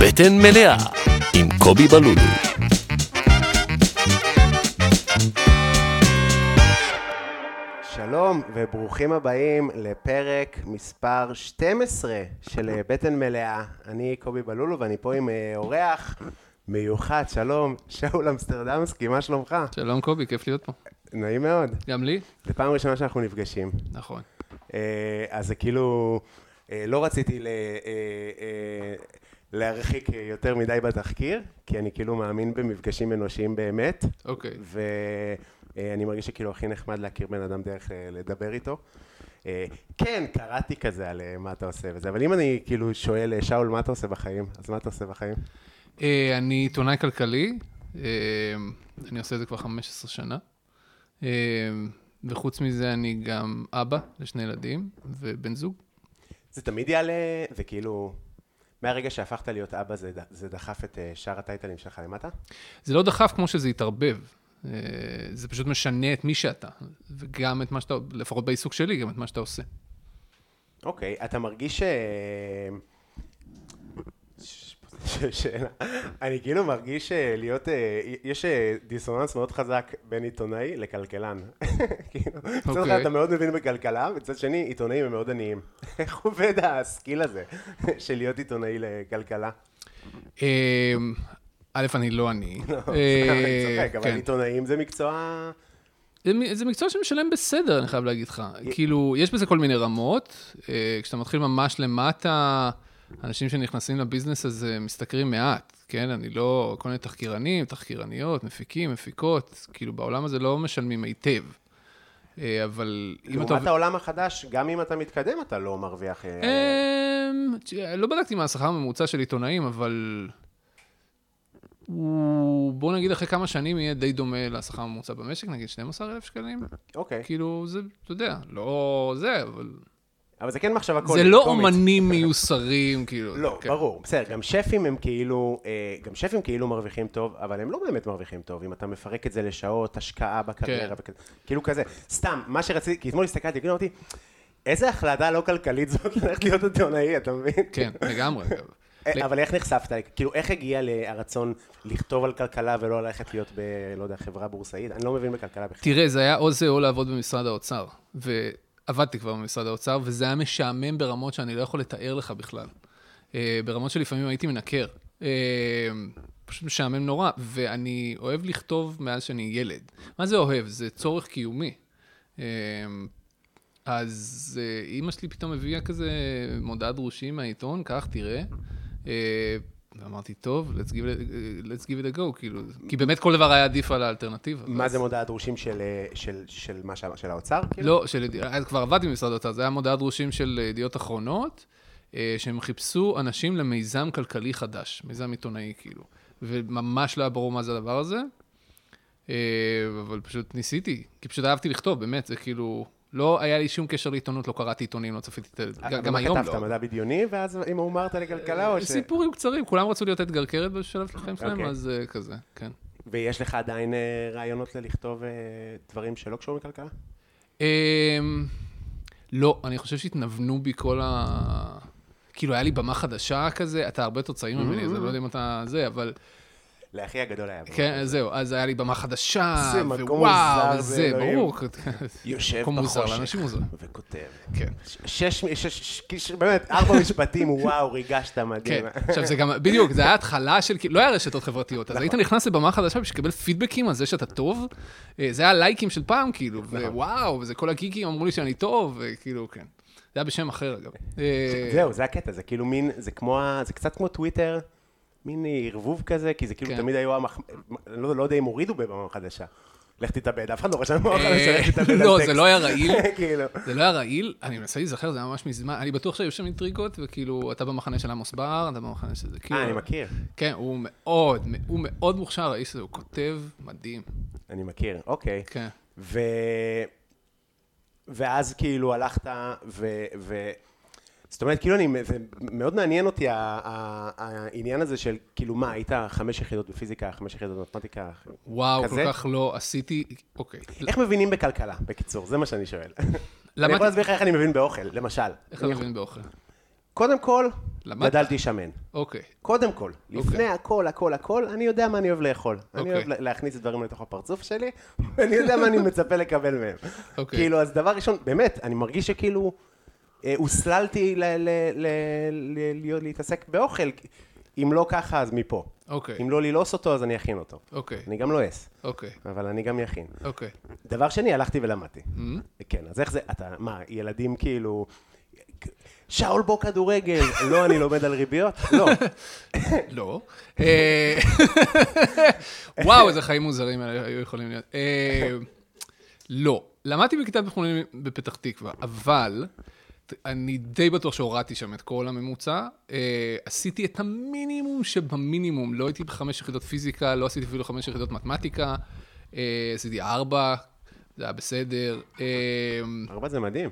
בטן מלאה עם קובי בלולו. שלום וברוכים הבאים לפרק מספר 12 של אה, בטן מלאה. אני קובי בלולו ואני פה עם אה, אורח מיוחד, שלום, שאול אמסטרדמסקי, מה שלומך? שלום קובי, כיף להיות פה. נעים מאוד. גם לי? זו פעם ראשונה שאנחנו נפגשים. נכון. אה, אז זה כאילו, אה, לא רציתי ל- אה, אה, להרחיק אה, יותר מדי בתחקיר, כי אני כאילו מאמין במפגשים אנושיים באמת. אוקיי. ואני מרגיש שכאילו הכי נחמד להכיר בן אדם דרך אה, לדבר איתו. אה, כן, קראתי כזה על אה, מה אתה עושה וזה, אבל אם אני כאילו שואל, אה, שאול, מה אתה עושה בחיים? אז מה אתה עושה בחיים? אה, אני עיתונאי כלכלי, אה, אני עושה את זה כבר 15 שנה. אה, וחוץ מזה אני גם אבא לשני ילדים ובן זוג. זה תמיד יעלה, זה כאילו, מהרגע שהפכת להיות אבא, זה, ד- זה דחף את אה, שאר הטייטלים שלך למטה? זה לא דחף כמו שזה התערבב. אה, זה פשוט משנה את מי שאתה, וגם את מה שאתה, לפחות בעיסוק שלי, גם את מה שאתה עושה. אוקיי, אתה מרגיש ש... ש- ש- שאלה. אני כאילו מרגיש שלהיות, אה, יש אה, דיסוננס מאוד חזק בין עיתונאי לכלכלן. כאילו, מצד אחד אוקיי. אתה מאוד מבין בכלכלה, מצד שני עיתונאים הם מאוד עניים. איך עובד הסקיל הזה של להיות עיתונאי לכלכלה? אה, א', אני לא אני. אני אה, צוחק, אבל כן. עיתונאים זה מקצוע... זה, מ- זה מקצוע שמשלם בסדר, אני חייב להגיד לך. כאילו, יש בזה כל מיני רמות. אה, כשאתה מתחיל ממש למטה, אנשים שנכנסים לביזנס הזה משתכרים מעט, כן? אני לא... כל מיני תחקירנים, תחקירניות, מפיקים, מפיקות. כאילו, בעולם הזה לא משלמים היטב. אה, אבל אם אתה... לעומת העולם החדש, גם אם אתה מתקדם, אתה לא מרוויח... אה, אמ, תשמע, לא בדקתי מה השכר הממוצע של עיתונאים, אבל... הוא, בוא נגיד, אחרי כמה שנים יהיה די דומה לשכר הממוצע במשק, נגיד 12,000 שקלים. אוקיי, כאילו, זה, אתה יודע, לא זה, אבל... אבל זה כן מחשבה קומית. זה לא קומית. אומנים מיוסרים, כאילו. לא, כן. ברור, בסדר, גם שפים הם כאילו, אה, גם שפים כאילו מרוויחים טוב, אבל הם לא באמת מרוויחים טוב, אם אתה מפרק את זה לשעות, השקעה בקריירה, כן. וכזה, כאילו כזה, סתם, מה שרציתי, כי אתמול הסתכלתי, כאילו אמרתי, איזה החלטה לא כלכלית זאת ללכת להיות עיתונאי, אתה מבין? כן, לגמרי. אגב. אה, אבל איך נחשפת, כאילו איך הגיע ל- הרצון לכתוב על כלכלה ולא ללכת להיות ב... לא יודע, חברה בורסאית? אני לא מבין בכלכלה בכלל. תראה, זה היה או זה או לעבוד במשרד האוצר. ועבדתי כבר במשרד האוצר, וזה היה משעמם ברמות שאני לא יכול לתאר לך בכלל. אה, ברמות שלפעמים הייתי מנקר. אה, פשוט משעמם נורא, ואני אוהב לכתוב מאז שאני ילד. מה זה אוהב? זה צורך קיומי. אה, אז אה, אימא שלי פתאום הביאה כזה מודעת דרושים מהעיתון, קח, תראה. אה, ואמרתי, טוב, let's give, it, let's give it a go, כאילו, כי באמת כל דבר היה עדיף על האלטרנטיבה. מה ואז- זה מודע הדרושים של, אה, של, של מה שאמר, של האוצר? כאילו? לא, של... ידיע- אז כבר עבדתי במשרד האוצר, זה היה מודעת דרושים של אה, ידיעות אחרונות, אה, שהם חיפשו אנשים למיזם כלכלי חדש, מיזם עיתונאי כאילו, וממש לא היה ברור מה זה הדבר הזה, אה, אבל פשוט ניסיתי, כי פשוט אהבתי לכתוב, באמת, זה כאילו, לא היה לי שום קשר לעיתונות, לא קראתי עיתונים, לא צפיתי את ה... גם- גם היום מה אה, כתבת, לא. אה, מדע בדיוני, ואז אם הומרת לכלכלה או ש... סיפורים קצרים, כולם רצו להיות אתגר קרת בשלב של החיים שלהם, אוקיי. אז אה, כזה, כן. ויש לך עדיין אה, רעיונות ללכתוב אה, דברים שלא קשורים לכלכלה? אמ, לא, אני חושב שהתנוונו בי כל ה... כאילו, היה לי במה חדשה כזה, אתה הרבה יותר צעיר ממני, אז אני לא יודע אם אתה זה, אבל... לאחי הגדול היה. בו. כן, אז זהו, אז היה לי במה חדשה, זה מקום מוזר, ווואו, זה זה, אלוהים. ברור. יושב מקום מוזר, בחושך לאנשים מוזרים. וכותב. כן. ש- שש, מ- שש, ש- ש- באמת, ארבע משפטים, וואו, ריגשת מדהים. כן, עכשיו זה גם, בדיוק, זה היה התחלה של, כאילו, לא היה רשתות חברתיות, נכון. אז היית נכנס לבמה חדשה בשביל לקבל פידבקים על זה שאתה טוב, אה, זה היה לייקים של פעם, כאילו, נכון. ווואו, וזה כל הגיקים אמרו לי שאני טוב, וכאילו, כן. זה היה בשם אחר, אגב. אה, זהו, זה הקטע, זה כאילו מין, זה כמו, ה- זה קצת כמו טוויטר, מין ערבוב כזה, כי זה כאילו כן. תמיד היו, המח- אני לא לא יודע אם הורידו בבמה חדשה. לך תתאבד, אף אחד לא רשם בבמה אה, חדשה, לך תתאבד על לא, טקסט. זה לא היה רעיל. כאילו. זה לא היה רעיל, אני מנסה להיזכר, זה היה ממש מזמן, אני בטוח שהיו שם אינטריגות, וכאילו, אתה במחנה של עמוס בר, אתה במחנה של זה, כאילו... אה, אני מכיר, כן, הוא מאוד, הוא מאוד מוכשר, האיש הזה, הוא כותב מדהים, אני מכיר, אוקיי. כן. ו... ואז כאילו הלכת ו... ו... זאת אומרת, כאילו אני, זה מאוד מעניין אותי ה- ה- העניין הזה של, כאילו מה, היית חמש יחידות בפיזיקה, חמש יחידות במתמטיקה, וואו, כזה? כל כך לא עשיתי, אוקיי. איך מבינים בכלכלה, בקיצור, זה מה שאני שואל. אני למדתי- יכול להסביר לך איך אני מבין באוכל, למשל. איך אתה מבין באוכל? קודם כל, למדת? גדלתי שמן. אוקיי. קודם כל, לפני אוקיי. הכל, הכל, הכל, אני יודע מה אני אוהב לאכול. אני אוקיי. אוהב לה- להכניס דברים לתוך הפרצוף שלי, ואני יודע מה אני מצפה לקבל מהם. אוקיי. כאילו, אז דבר ראשון, באמת, אני מרגיש שכאילו אה, הוסללתי ל- ל- ל- ל- להיות- להתעסק באוכל. אם לא ככה, אז מפה. אוקיי. אם לא ללעוס אותו, אז אני אכין אותו. אוקיי. אני גם לא אעש, אוקיי. אבל אני גם אכין. אוקיי. דבר שני, הלכתי ולמדתי. Mm-hmm. כן, אז איך זה, אתה, מה, ילדים כאילו... שאול בו כדורגל, לא, אני לומד על ריביות? לא. לא. אה, וואו, איזה חיים מוזרים אלה היו יכולים להיות. אה, לא. למדתי בכיתה בחולונים בפתח תקווה, אבל אני די בטוח שהורדתי שם את כל הממוצע. אה, עשיתי את המינימום שבמינימום. לא הייתי בחמש יחידות פיזיקה, לא עשיתי אפילו חמש יחידות מתמטיקה. אה, עשיתי ארבע, זה היה בסדר. אה, ארבע זה מדהים.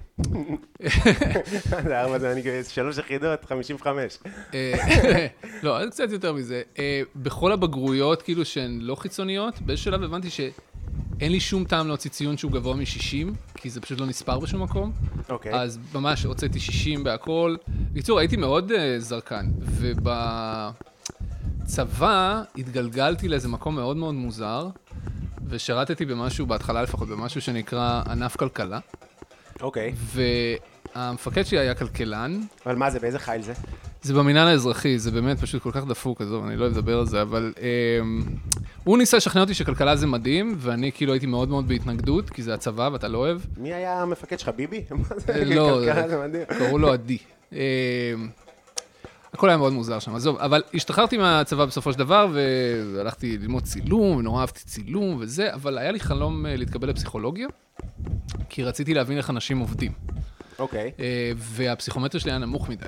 זה ארבע זה אני שלוש יחידות, 55. אה, לא, אז קצת יותר מזה. אה, בכל הבגרויות, כאילו, שהן לא חיצוניות, באיזשהו שלב הבנתי שאין לי שום טעם להוציא ציון שהוא גבוה מ-60, כי זה פשוט לא נספר בשום מקום. אוקיי. אז ממש הוצאתי 60 בהכל. בקיצור, הייתי מאוד אה, זרקן, ובצבא התגלגלתי לאיזה מקום מאוד מאוד מוזר, ושירתתי במשהו, בהתחלה לפחות, במשהו שנקרא ענף כלכלה, אוקיי. והמפקד שלי היה כלכלן, אבל מה זה, באיזה חיל זה? זה במינהל האזרחי, זה באמת פשוט כל כך דפוק, עזוב, אני לא אוהב לדבר על זה, אבל אמ, הוא ניסה לשכנע אותי שכלכלה זה מדהים, ואני כאילו הייתי מאוד מאוד בהתנגדות, כי זה הצבא ואתה לא אוהב. מי היה המפקד שלך, ביבי? מה זה? אה, לא, כן, כלכלה זה מדהים. קראו לו עדי. אמ, הכל היה מאוד מוזר שם, עזוב, אבל השתחררתי מהצבא בסופו של דבר, והלכתי ללמוד צילום, ונורא אהבתי צילום וזה, אבל היה לי חלום אה, להתקבל לפסיכולוגיה, כי רציתי להבין איך אנשים עובדים. אוקיי. אה, והפסיכומטר שלי היה נמוך מדי.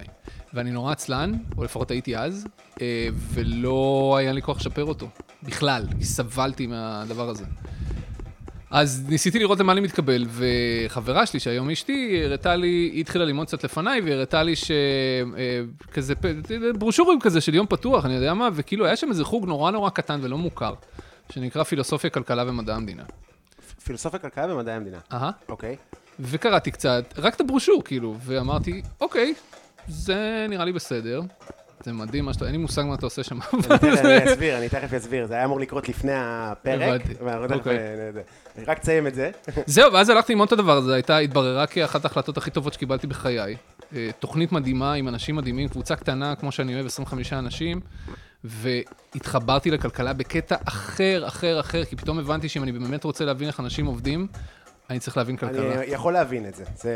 ואני נורא עצלן, או לפחות הייתי אז, אה, ולא היה לי כוח לשפר אותו. בכלל, כי סבלתי מהדבר הזה. אז ניסיתי לראות למה אני מתקבל, וחברה שלי, שהיום היא אשתי, הראתה לי, היא התחילה ללמוד קצת לפניי, והיא הראתה לי שכזה, ברושורים כזה של יום פתוח, אני יודע מה, וכאילו היה שם איזה חוג נורא נורא קטן ולא מוכר, שנקרא פילוסופיה, כלכלה ומדע המדינה. פילוסופיה, כלכלה ומדעי המדינה. אהה. אוקיי. וקראתי קצת, רק את הברושור, כאילו, ואמרתי, אוקיי, זה נראה לי בסדר. זה מדהים מה שאתה, אין לי מושג מה אתה עושה שם. אני תכף- אני אסביר, אני תכף אסביר. זה היה אמור לקרות לפני הפרק. הבנתי. ואנחנו תכף, אוקיי. אה, זה. רק תסיים את זה. זהו, ואז הלכתי ללמוד את הדבר הזה, הייתה, התבררה כאחת ההחלטות הכי טובות שקיבלתי בחיי. אה, תוכנית מדהימה עם אנשים מדהימים, קבוצה קטנה, כמו שאני אוהב, 25 אנשים, והתחברתי לכלכלה בקטע אחר, אחר, אחר, כי פתאום הבנתי שאם אני באמת רוצה להבין איך אנשים עובדים, אני צריך להבין כלכלה. אני יכול להבין את זה. זה...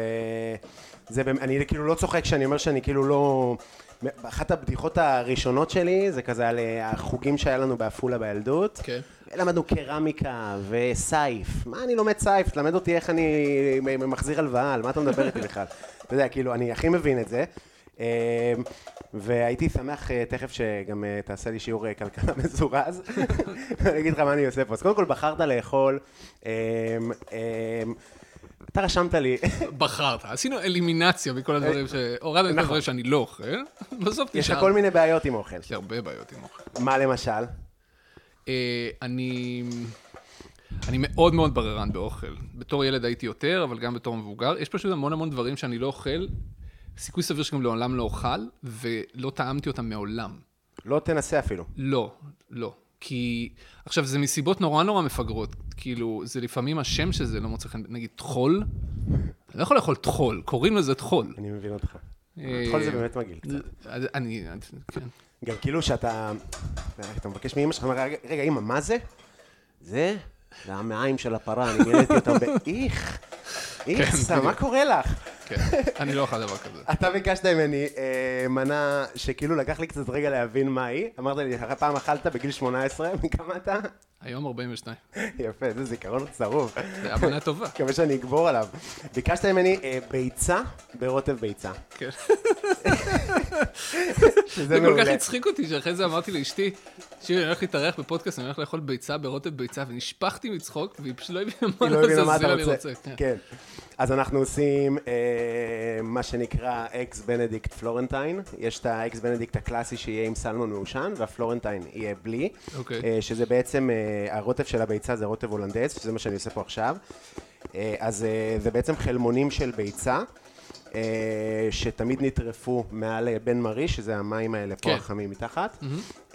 זה באמת- אני כאילו לא צוחק כשאני אומר שאני כאילו לא... אחת הבדיחות הראשונות שלי זה כזה על אה, החוגים שהיה לנו בעפולה בילדות. כן. למדנו קרמיקה וסייף. מה אני לומד סייף? תלמד אותי איך אני מ- מ- מחזיר הלוואה, על מה אתה מדבר איתי בכלל? אתה יודע, כאילו, אני הכי מבין את זה. אה, והייתי שמח אה, תכף שגם אה, תעשה לי שיעור אה, כלכלה מזורז, אני אגיד לך מה אני עושה פה. אז קודם כל בחרת לאכול, אה, אה, אתה רשמת לי, בחרת, עשינו אלימינציה מכל הדברים ש... הורדנו את הדברים שאני לא אוכל, בסוף אה, נכון. יש לך נשאר. כל מיני בעיות עם אוכל. יש לי הרבה בעיות עם אוכל. מה למשל? אה, אני... אני מאוד מאוד בררן באוכל. בתור ילד הייתי יותר, אבל גם בתור מבוגר. יש פשוט המון המון דברים שאני לא אוכל. סיכוי סביר שגם לעולם לא אוכל, ולא טעמתי אותם מעולם. לא תנסה אפילו. לא, לא. כי... עכשיו, זה מסיבות נורא נורא מפגרות. כאילו, זה לפעמים השם של זה לא מוצא חן. נגיד, טחול? אני לא יכול לאכול טחול, קוראים לזה טחול. אני מבין אותך. אה, בכל זה באמת מגעיל. קצת. אני- אני... כן. גם כאילו שאתה, אה, אתה מבקש מאמא שלך, אומר, "רגע, רגע, אמא, מה זה? זה? זה המעיים של הפרה, אני מילאתי אותם באיך, איכסה, אה, מה קורה לך? כן. אני לא אוכל דבר כזה. אתה ביקשת ממני אה, מנה שכאילו לקח לי קצת רגע להבין מה היא, אמרת לי, "אחרי פעם אכלת בגיל 18, מכמה אתה? היום 42. יפה, זה זיכרון צרוב. זה היה מנה טובה. מקווה שאני אגבור עליו. ביקשת ממני אה, ביצה ברוטב ביצה. כן. שזה זה כל כך מעולה. הצחיק אותי, שאחרי זה אמרתי לאשתי, תקשיבי, אני הולך להתארח בפודקאסט, אני הולך לאכול ביצה ברוטב ביצה, ונשפכתי מצחוק, והיא פשוט לא הבינה היא לא מה הבינה מה לעזאזל אתה אני רוצה. רוצה. כן. כן. אז אנחנו עושים אה, מה שנקרא אקס בנדיקט פלורנטיין. יש את האקס בנדיקט הקלאסי שיהיה עם סלמון מעושן, והפלורנטיין יהיה בלי. אוקיי. אה, שזה בעצם, אה, הרוטב של הביצה זה רוטב הולנדס, שזה מה שאני עושה פה עכשיו. אה, אז אה, זה בעצם חלמונים של ביצה. אה, שתמיד נטרפו מעל אה, בן מרי, שזה המים האלה פה כן. החמים מתחת.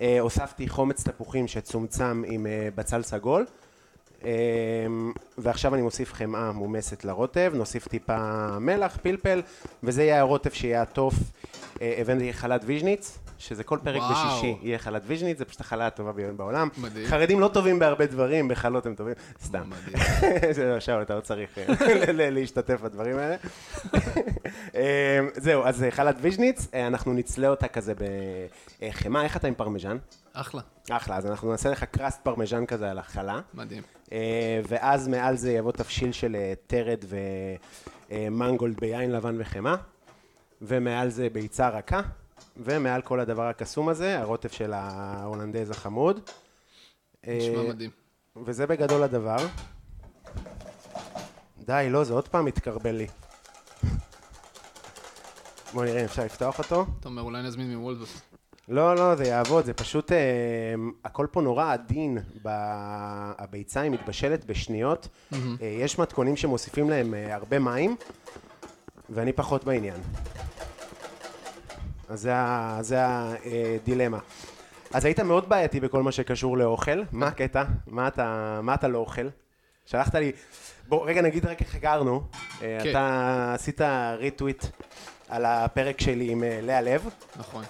אה, הוספתי חומץ תפוחים שצומצם עם אה, בצל סגול. אה, ועכשיו אני מוסיף חמאה מומסת לרוטב, נוסיף טיפה מלח, פלפל, וזה יהיה הרוטב שיהיה הטוף. אה, הבאתי חלת ויז'ניץ, שזה כל פרק וואו. בשישי יהיה חלת ויז'ניץ, זה פשוט החלה הטובה ביום בעולם. מדהים. חרדים לא טובים בהרבה דברים, בחלות הם טובים, סתם. זה לא שאול, אתה לא צריך אה, ל- ל- להשתתף בדברים האלה. אה, זהו, אז אה, חלת ויז'ניץ, אה, אנחנו נצלה אותה כזה בחמאה, איך אתה עם פרמיז'ן? אחלה, אחלה, אז אנחנו נעשה לך קראסט פרמיז'ן כזה על החלה. מדהים. אה, ואז מעל זה יבוא תבשיל של אה, טרד ומנגולד ביין לבן וחמאה, ומעל זה ביצה רכה, ומעל כל הדבר הקסום הזה, הרוטב של ההולנדז החמוד. אה, נשמע מדהים. וזה בגדול הדבר. די, לא, זה עוד פעם מתקרבל לי. בוא נראה אם אפשר לפתוח אותו. אתה אומר, אולי נזמין מוולדבוס. לא, לא, זה יעבוד, זה פשוט, אה, הכל פה נורא עדין, ב... הביצה היא מתבשלת בשניות, mm-hmm. אה, יש מתכונים שמוסיפים להם אה, הרבה מים, ואני פחות בעניין. אז זה, ה- זה הדילמה. אז היית מאוד בעייתי בכל מה שקשור לאוכל, מה הקטע? מה אתה, מה אתה לא אוכל? שלחת לי, בוא רגע נגיד רק איך הגרנו, אה, כן. אתה עשית ריטוויט על הפרק שלי עם אה, לאה לב. נכון.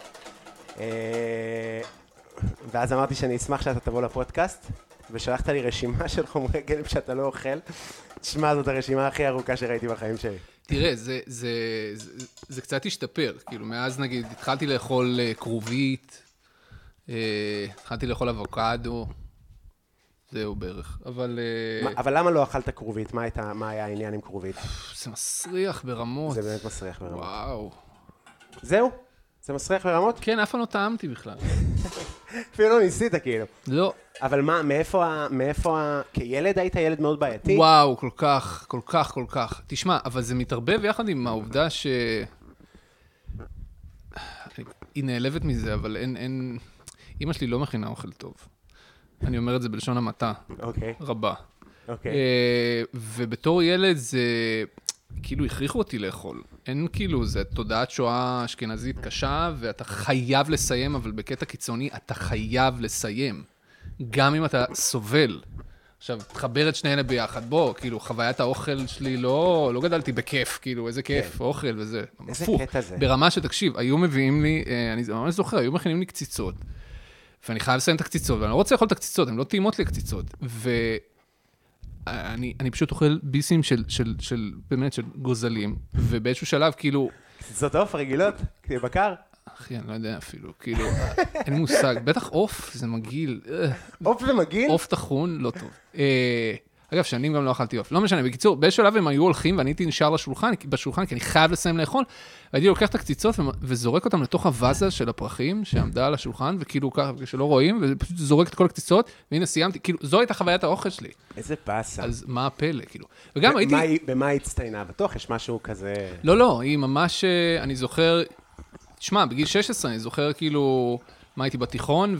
אה, ואז אמרתי שאני אשמח שאתה תבוא לפודקאסט, ושלחת לי רשימה של חומרי גלם שאתה לא אוכל. תשמע, זאת הרשימה הכי ארוכה שראיתי בחיים שלי. תראה, זה, זה, זה, זה, זה קצת השתפר. כאילו, מאז נגיד התחלתי לאכול אה, כרובית, אה, התחלתי לאכול אבוקדו, זהו בערך. אבל אה, מה- אבל למה לא אכלת כרובית? מה הייתה- מה היה העניין עם כרובית? זה מסריח ברמות. זה באמת מסריח ברמות. וואו. זהו? זה מסריח ברמות? כן, אף פעם לא טעמתי בכלל. אפילו לא ניסית כאילו. לא. אבל מה, מאיפה ה... מאיפה ה... כילד היית ילד מאוד בעייתי? וואו, כל כך, כל כך, כל כך. תשמע, אבל זה מתערבב יחד עם העובדה ש... היא נעלבת מזה, אבל אין, אין... אימא שלי לא מכינה אוכל טוב. אני אומר את זה בלשון המעטה אוקיי, רבה. אוקיי. אה, ובתור ילד זה... כאילו הכריחו אותי לאכול. אין כאילו, זה תודעת שואה אשכנזית קשה, ואתה חייב לסיים, אבל בקטע קיצוני אתה חייב לסיים. גם אם אתה סובל. עכשיו, תחבר את שני אלה ביחד. בוא, כאילו, חוויית האוכל שלי לא... לא גדלתי בכיף, כאילו, איזה כיף, אוכל וזה. כן. איזה הפוך. קטע זה. ברמה שתקשיב, היו מביאים לי, אה, אני ממש זוכר, היו מכינים לי קציצות. ואני חייב לסיים את הקציצות, ואני לא רוצה לאכול את הקציצות, הן לא טעימות לי הקציצות. ו... אני, אני פשוט אוכל ביסים של, של, של, באמת, של גוזלים, ובאיזשהו שלב, כאילו, זאת עוף רגילות? כאילו, בקר? אחי, אני לא יודע אפילו, כאילו, אין לי מושג, בטח עוף, זה מגעיל, אה, עוף ומגעיל? עוף טחון, לא טוב. אה, אגב, שנים גם לא אכלתי עוף, לא משנה, בקיצור, באיזשהו שלב הם היו הולכים, ואני הייתי נשאר לשולחן, כי- בשולחן, כי אני חייב לסיים לאכול, והייתי לוקח את הקציצות ומ- וזורק אותן לתוך הוואזה של הפרחים שעמדה על השולחן, וכאילו ככה, שלא רואים, ופשוט זורק את כל הקציצות, והנה סיימתי, כאילו, זו הייתה חוויית האוכל שלי, איזה באסה. אז מה הפלא, כאילו. וגם במה הייתי... היא- במה היא הצטיינה? בטוח יש משהו כזה... לא, לא, היא ממש, אה, אני זוכר, תשמע, בגיל 16 אני זוכר כאילו, מה הייתי בתיכון,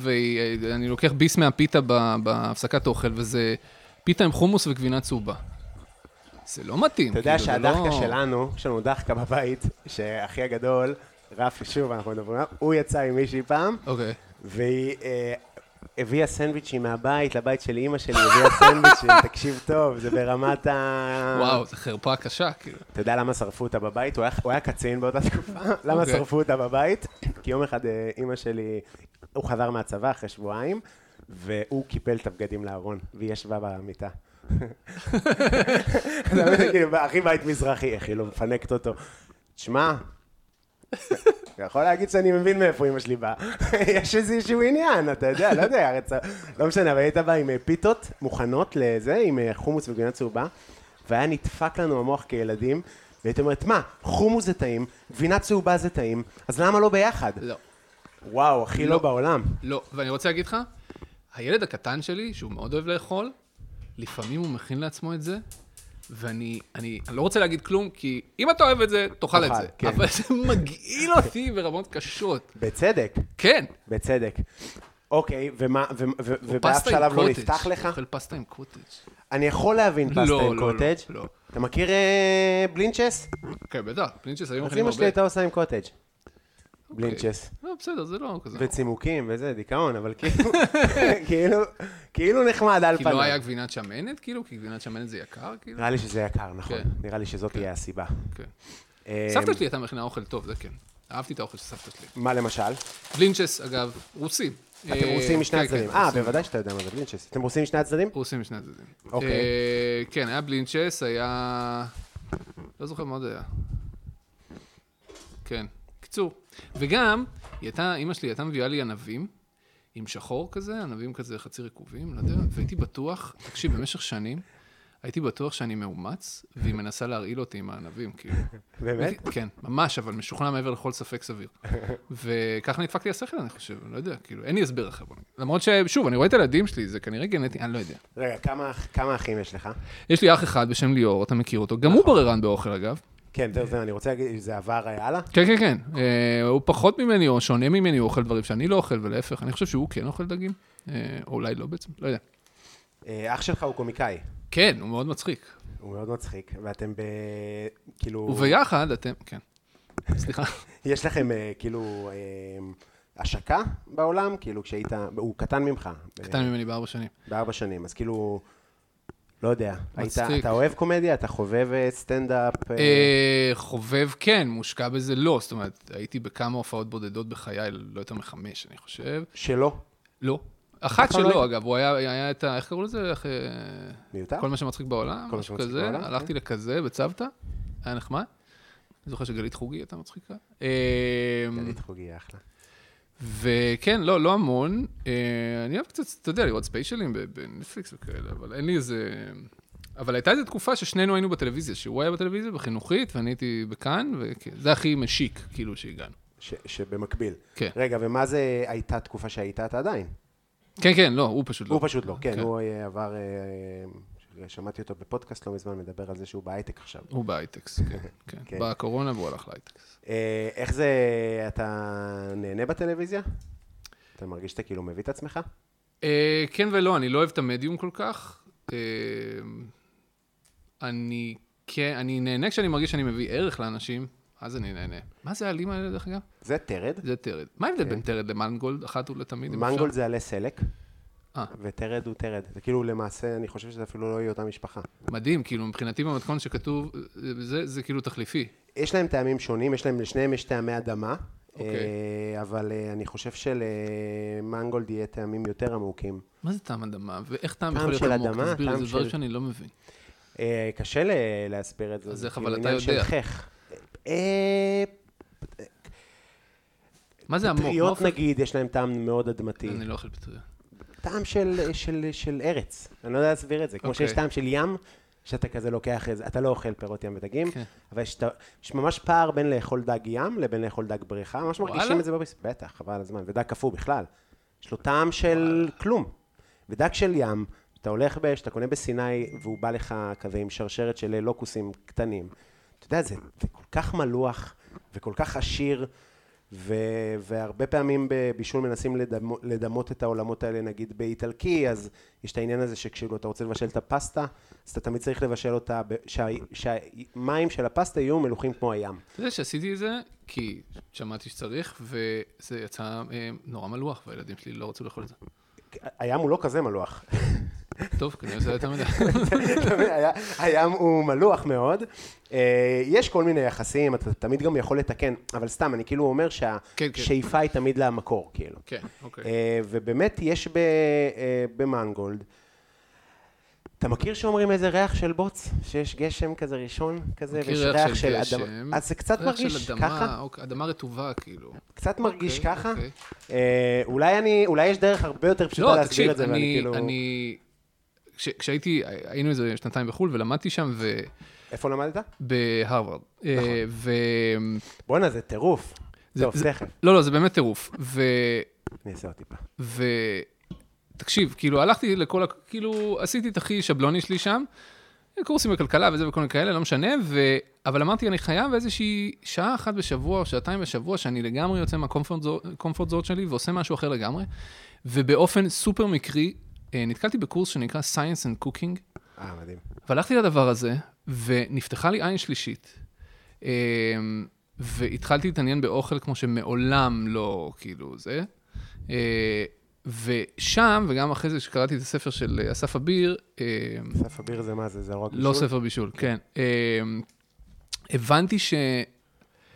ואני לוקח ביס מהפיתה ב- בהפסקת אוכל, וזה פיתה עם חומוס וגבינה צהובה. זה לא מתאים. אתה יודע כאילו, זה שהדחקה לא... שלנו, יש לנו דחקה בבית, שאחי הגדול, רפי, שוב אנחנו מדברים עליו, הוא יצא עם מישהי פעם, אוקיי. והיא אה, הביאה סנדוויצ'ים מהבית לבית של אימא שלי, הביאה סנדוויצ'ים, תקשיב טוב, זה ברמת ה... וואו, זו חרפה קשה, כאילו. אתה יודע למה שרפו אותה בבית? הוא היה, הוא היה קצין באותה תקופה. למה אוקיי. שרפו אותה בבית? כי יום אחד אה, אימא שלי, הוא חזר מהצבא אחרי שבועיים, והוא קיפל את הבגדים לארון, והיא ישבה במיטה. אתה מבין, כאילו, הכי בית מזרחי, איך היא לא מפנקת אותו. תשמע, אתה יכול להגיד שאני מבין מאיפה אמא שלי באה. יש איזשהו עניין, אתה יודע, לא יודע, הרצ... לא משנה, אבל היית בא עם אה, פיתות מוכנות לזה, עם אה, חומוס וגבינה צהובה, והיה נדפק לנו המוח כילדים, והייתי אומרת, מה, חומוס זה טעים, גבינה צהובה זה טעים, אז למה לא ביחד? לא. וואו, הכי לא לא. בעולם. לא, ואני רוצה להגיד לך, הילד הקטן שלי, שהוא מאוד אוהב לאכול, לפעמים הוא מכין לעצמו את זה, ואני אני, אני לא רוצה להגיד כלום, כי אם אתה אוהב את זה, תאכל את תאכל, זה. כן. אבל זה מגעיל אותי ברמות קשות. בצדק, כן. בצדק. אוקיי, ומה, ו- ו- ובאף פסטה עם שלב לא קוטג'. נפתח לך? אוכל פסטה עם קוטג'. אני יכול להבין פסטה לא, עם לא, קוטג'. לא, לא. אתה מכיר אה, בלינצ'ס? כן, בטח, פלינצ'ס היו אז מכינים אמא שלי הרבה. הייתה עושה עם קוטג'. בלינצ'ס. לא, בסדר, זה לא כזה. וצימוקים וזה, דיכאון, אבל כאילו, כאילו, כאילו נחמד על כי לא היה פניו. גבינת שמנת, כאילו? כי גבינת שמנת זה יקר, כאילו? נראה לי שזה יקר, נכון. כן. נראה לי שזאת תהיה הסיבה. כן. אה, סבתא שלי הייתה מכינה אוכל טוב, זה כן. אהבתי את האוכל של סבתא שלי. אמ, מה למשל? אה, בלינצ'ס, אגב, רוסים. אתם רוסים משני כן, הצדדים. אה, בוודאי ש... שאתה יודע מה זה בלינצ'ס. אתם רוסים משני הצדדים? רוסים משני הצדדים. אוקיי. אה, כן, היה בלינצ'ס, היה... לא זוכר מה עוד היה. כן. קיצור. וגם, היא הייתה, אימא שלי הייתה מביאה לי ענבים, עם שחור כזה, ענבים כזה חצי רקובים, לא יודע, והייתי בטוח, תקשיב, במשך שנים, הייתי בטוח שאני מאומץ, והיא מנסה להרעיל אותי עם הענבים, כאילו. באמת? כן, ממש, אבל משוכנע מעבר לכל ספק סביר. וככה נדפק לי השכל, אני חושב, אני לא יודע, כאילו, אין לי הסבר אחר. בוא נגיד. למרות ששוב, אני רואה את הילדים שלי, זה כנראה גנטי, אני לא יודע. רגע, כמה- כמה אחים יש לך? יש לי אח אחד בשם ליאור, אתה מכיר אותו, גם הוא בררן באוכל, אגב. כן, זהו, זהו, אני רוצה להגיד, זה עבר הלאה? כן, כן, כן. אה, הוא פחות ממני, או שונה ממני, הוא אוכל דברים שאני לא אוכל, ולהפך, אני חושב שהוא כן אוכל דגים. אה, או אולי לא בעצם, לא יודע. אה, אח שלך הוא קומיקאי, כן, הוא מאוד מצחיק. הוא מאוד מצחיק, ואתם ב... כאילו... וביחד אתם, כן. סליחה. יש לכם אה, כאילו אה, השקה בעולם? כאילו כשהיית... הוא קטן ממך. אה, קטן ממני בארבע שנים. בארבע שנים, אז כאילו... לא יודע. היית, מצחיק. אתה אוהב קומדיה? אתה חובב אה, סטנדאפ? אה, אה, חובב כן, מושקע בזה לא. זאת אומרת, הייתי בכמה הופעות בודדות בחיי, לא יותר מחמש, אני חושב. שלא? לא. אחת אף פעם לא שלא, אגב, הוא היה, היה את ה... איך קראו לזה? איך... אה, מיותר? כל מה שמצחיק בעולם, כל מה משהו שמצחיק כזה. בעולם, כן. הלכתי לכזה בצוותא, היה נחמד. אני זוכר שגלית חוגי הייתה מצחיקה. אה, גלית חוגי, אחלה. וכן, לא, לא המון. אה, אני אוהב קצת, אתה יודע, לראות ספיישלים ב- בנטפליקס וכאלה, אבל אין לי איזה... אבל הייתה איזו תקופה ששנינו היינו בטלוויזיה, שהוא היה בטלוויזיה בחינוכית, ואני הייתי בכאן, וזה הכי משיק, כאילו, שהגענו. ש, שבמקביל. כן. רגע, ומה זה הייתה תקופה שהיית אתה עדיין? כן, כן, לא, הוא פשוט לא. הוא פשוט לא, כן, כן. הוא אה, עבר... אה, שמעתי אותו בפודקאסט לא מזמן מדבר על זה שהוא בהייטק עכשיו. הוא בהייטקס, כן, כן. כן. בקורונה והוא הלך להייטקס. אה, איך זה, אתה נהנה בטלוויזיה? אתה מרגיש שאתה כאילו מביא את עצמך? אה, כן ולא, אני לא אוהב את המדיום כל כך. אה, אני כן, אני נהנה כשאני מרגיש שאני מביא ערך לאנשים, אז אני נהנה. מה זה העלים האלה, דרך אגב? זה טרד. זה תרד. מה ההבדל אוקיי. בין תרד למנגולד, אחת ולתמיד? אם מנגולד אפשר? זה עלי סלק, אה, וטרד הוא טרד. זה כאילו למעשה, אני חושב שזה אפילו לא יהיה אותה משפחה. מדהים, כאילו, מבחינתי במתכון שכתוב, אה, זה- זה כאילו תחליפי. יש להם טעמים שונים, יש להם, לשניהם יש טעמי אדמה, אוקיי. אה, אבל אה, אני חושב שלמנגולד יהיה טעמים יותר עמוקים. מה זה טעם אדמה? ואיך טעם טעם יכול להיות של עמוק? אדמה, תסביר, טעם זה דברים של- שאני לא מבין. אה, קשה ל- להסביר את זה. אז זה איך, כאילו אבל אתה עניין של יודע? חך. אה, מה זה עמוק? מה פטריות אופן- נגיד, יש להם טעם מאוד אדמתי. אני לא אוכל פטריות. טעם של, של, של ארץ, אני לא יודע להסביר את זה. כמו אוקיי. שיש טעם של ים, שאתה כזה לוקח איזה, אתה לא אוכל פירות ים ודגים, כן. אבל יש, ת- יש ממש פער בין לאכול דג ים לבין לאכול דג בריכה, ממש מרגישים וואלה? את זה בביס, בטח, חבל על הזמן, ודג קפוא בכלל. יש לו טעם של כלום. ודג של ים, אתה הולך ב... שאתה קונה בסיני, והוא בא לך כזה עם שרשרת של לוקוסים קטנים. אתה יודע, זה, זה כל כך מלוח וכל כך עשיר. ו, והרבה פעמים בבישול מנסים לדמו, לדמות את העולמות האלה, נגיד באיטלקי, אז יש את העניין הזה שכשאתה רוצה לבשל את הפסטה, אז אתה תמיד צריך לבשל אותה, ב- שה- שהמים של הפסטה יהיו מלוכים כמו הים. אתה יודע שעשיתי את זה כי שמעתי שצריך, וזה יצא אה, נורא מלוח, והילדים שלי לא רצו לאכול את זה. הים הוא לא כזה מלוח. טוב, כנראה זה היה יותר מדי. אתה מבין? היה- הים הוא מלוח מאוד. אה, יש כל מיני יחסים, אתה תמיד גם יכול לתקן, אבל סתם, אני כאילו אומר כן, כן. שהשאיפה היא תמיד למקור, כאילו. כן, אוקיי. אה, ובאמת יש ב- אה, במנגולד, אתה מכיר שאומרים איזה ריח של בוץ? שיש גשם כזה ראשון כזה, מכיר ויש ריח ריח של של גשם. אדמה. אז זה קצת ריח של מרגיש אדמה, ככה? אוקיי, אדמה רטובה, כאילו. קצת מרגיש אוקיי, ככה? אוקיי. אה, אולי אני, אולי יש דרך הרבה יותר פשוטה לא, להסביר תקשיב, את זה, ואני אני, כאילו... אני... כש- כשהייתי, היינו איזה שנתיים בחו"ל, ולמדתי שם ו... איפה למדת? בהרווארד. נכון. ו... בואנה, זה טירוף. זה- טוב, זה- תכף. לא, לא, זה באמת טירוף. ו... אני אעשה עוד טיפה. ו... תקשיב, כאילו, הלכתי לכל ה... כאילו, עשיתי את הכי שבלוני שלי שם, קורסים בכלכלה וזה וכל מיני כאלה, לא משנה, ו... אבל אמרתי, אני חייב איזושהי שעה אחת בשבוע או שעתיים בשבוע, שאני לגמרי יוצא מהקומפורט זורט שלי ועושה משהו אחר לגמרי, ובאופן סופר מקרי, אה, נתקלתי בקורס שנקרא Science and Cooking, אה, מדהים. והלכתי לדבר הזה, ונפתחה לי עין שלישית. אמ, והתחלתי להתעניין באוכל כמו שמעולם לא, כאילו, זה. אה, ושם, וגם אחרי זה שקראתי את הספר של אה, אסף אביר, אמ, סף אביר זה מה זה? זה רק לא ספר בישול, כן. אמ, הבנתי ש...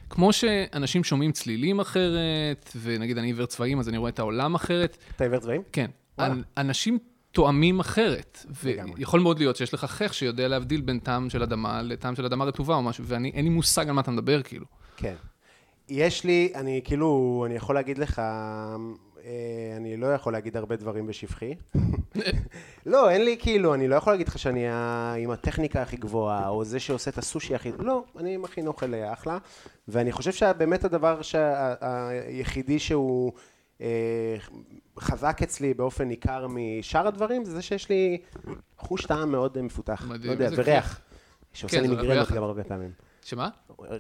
כמו שאנשים שומעים צלילים אחרת, ונגיד אני עיוור צבעים, אז אני רואה את העולם אחרת, אתה עיוור צבעים? כן. וואלה. אנ- אנשים תואמים אחרת, לגמרי. ויכול מאוד להיות שיש לך חך שיודע להבדיל בין טעם של אדמה לטעם של אדמה רטובה או משהו, ואני, אין לי מושג על מה אתה מדבר, כאילו. כן. יש לי, אני כאילו, אני יכול להגיד לך, אה, אני לא יכול להגיד הרבה דברים בשבחי. לא, אין לי כאילו, אני לא יכול להגיד לך שאני ה- עם הטכניקה הכי גבוהה, או זה שעושה את הסושי הכי... לא, אני מכין אוכל אה, אחלה, ואני חושב שבאמת הדבר שה- ה- היחידי שהוא אה, חזק אצלי באופן ניכר משאר הדברים, זה זה שיש לי חוש טעם מאוד אה, מפותח. מדהים, לא יודע, איזה וריח. כן, שעושה לי זה מיגרנות ביחד. גם הרבה פעמים. שמה?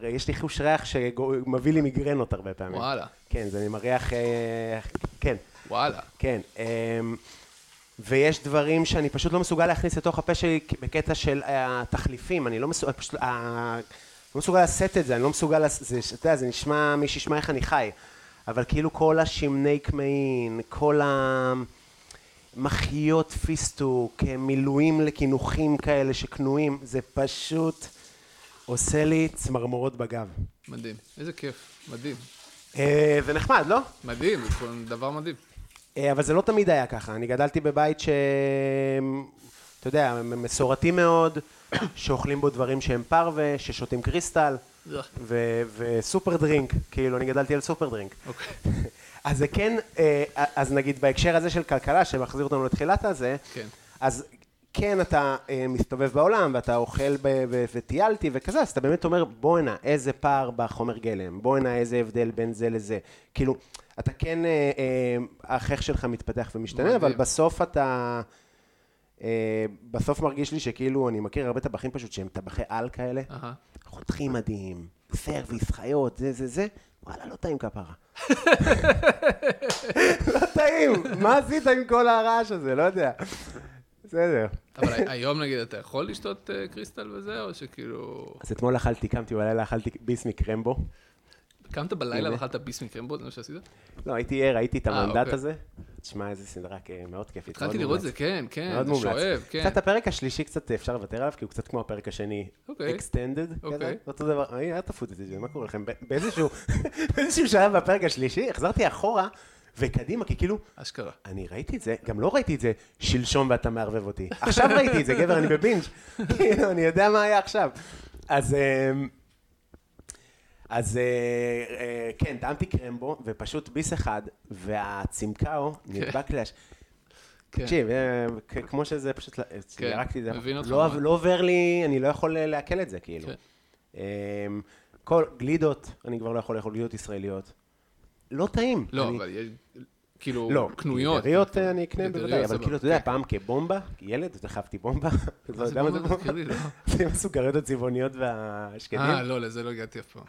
יש לי חוש ריח שמביא לי מיגרנות הרבה פעמים. וואלה. כן, זה אני מריח... אה, כן, וואלה. כן. אה, ויש דברים שאני פשוט לא מסוגל להכניס לתוך הפה שלי בקטע של אה, התחליפים, אני לא מסוגל, פשוט, אה, לא מסוגל לשאת את זה, אני לא מסוגל, לס- זה, אתה יודע, זה נשמע, מי שישמע איך אני חי, אבל כאילו כל השמני קמעין, כל ה... מחיות פיסטוק, אה, מילואים לקינוחים כאלה שכנועים, זה פשוט עושה לי צמרמורות בגב. מדהים. איזה כיף. מדהים. אה, זה נחמד, לא? מדהים, זה דבר מדהים. אה, אבל זה לא תמיד היה ככה. אני גדלתי בבית ש... אתה יודע, הם מסורתי מאוד, שאוכלים בו דברים שהם פרווה, ששותים קריסטל, ו- וסופר דרינק, כאילו, אני גדלתי על סופר דרינק. אוקיי. אז זה כן, אה, אז נגיד בהקשר הזה של כלכלה, שמחזיר אותנו לתחילת הזה, כן. אז כן, אתה אה, מסתובב בעולם, ואתה אוכל ב- ו- וטיילתי וכזה, אז אתה באמת אומר, בואנה, איזה פער בחומר גלם, בואנה, איזה הבדל בין זה לזה. כאילו, אתה כן, אה, אה, החייך שלך מתפתח ומשתנה, מדהים. אבל בסוף אתה... אה, בסוף מרגיש לי שכאילו, אני מכיר הרבה טבחים פשוט שהם טבחי על כאלה, אהה. חותכים מדהים, סרוויס, חיות, זה, זה, זה, וואלה, לא טעים כפרה. לא טעים, מה עשית עם כל הרעש הזה? לא יודע. בסדר. אבל הי- היום נגיד אתה יכול לשתות אה, קריסטל וזה, או שכאילו... אז אתמול אכלתי, קמתי בלילה, אכלתי ביס מקרמבו. קמת בלילה ואכלת ביס מקרמבו, זה מה שעשית? לא, הייתי ער, ראיתי את אה, המנדט אוקיי. הזה. תשמע, איזה סדרה אה, מאוד כיפית. התחלתי מאוד לראות את מומלצת. זה, כן, כן, מאוד זה מומלץ. שואב, כן. קצת הפרק השלישי, קצת אפשר לוותר עליו, כי הוא קצת כמו הפרק השני. אוקיי. אקסטנדד, אוקיי. כזה. אותו דבר, אוי, אל תפוט את זה, מה קורה לכם? ב- באיזשהו באיזשהו שלב בפרק השלישי, החזרתי אחורה וקדימה, כי כאילו, אשכרה. אני ראיתי את זה, גם לא ראיתי את זה שלשום ואתה מערבב אותי. עכשיו ראיתי את זה, גבר, אני בבינג'. כאילו, אני יודע מה היה עכשיו. אז... אמ, אז אה, אה, כן, טעמתי קרמבו, ופשוט ביס אחד, והצימקאו נדבק להש... כן. תקשיב, אה, כ- כמו שזה פשוט, אה, כן, ירקתי את זה, מבין אותך לא- מאוד. לא עובר לי, אני לא יכול אה, לעכל את זה, כאילו. כן. אמ, כל גלידות, אני כבר לא יכול לאכול גלידות ישראליות. לא טעים. לא, אני- אבל יש, כאילו, לא, קנויות. גלידריות אה, אני אקנה גלידריות, בוודאי, אבל סבבה. כאילו, אתה יודע, פעם כבומבה, כילד, דחפתי בומבה, אתה לא- כן. מה זה יודע מה זה כן, בומבה? בומבה? תזכיר לי, לא. זה עם הסוכריות הצבעוניות והשקדים. אה, לא, לזה לא הגעתי אף פעם.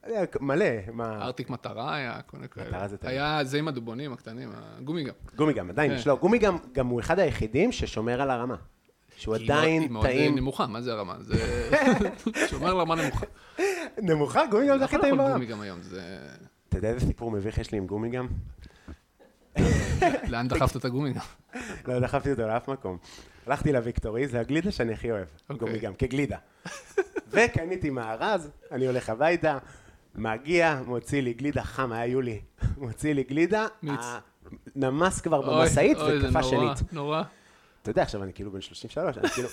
אתה יודע, מלא, מה, ארטיק מטרה היה, כל מיני כאלה. אה. מטרה זה טעים. היה זה עם הדובונים הקטנים, הגומי גם. גומי גם, עדיין כן. יש לו, גומי גם, גם הוא אחד היחידים ששומר על הרמה. שהוא היא מאוד- היא עדיין מאוד אה, טעים. נמוכה, מה זה הרמה? זה... שומר לרמה נמוכה. נמוכה, גומי גם זה הכי אתה טעים יכול בעולם. לאכול גומי גם היום, זה... אתה יודע איזה סיפור מביך יש לי עם גומי גם? לאן דחפת את הגומי גם? לא דחפתי אותו לאף מקום. הלכתי לוויקטורי, זה הגלידה שאני הכי אוהב. אוקיי. גומי גם, כגלידה. וקניתי מארז, אני הולך הביתה, מגיע, מוציא לי גלידה, חם, היה יולי. מוציא לי גלידה, מיץ. ה- נמס כבר אוי, במשאית אוי, זה וקפא נורא, שנית. נורא. אתה יודע, עכשיו אני כאילו בן 33, אני כאילו...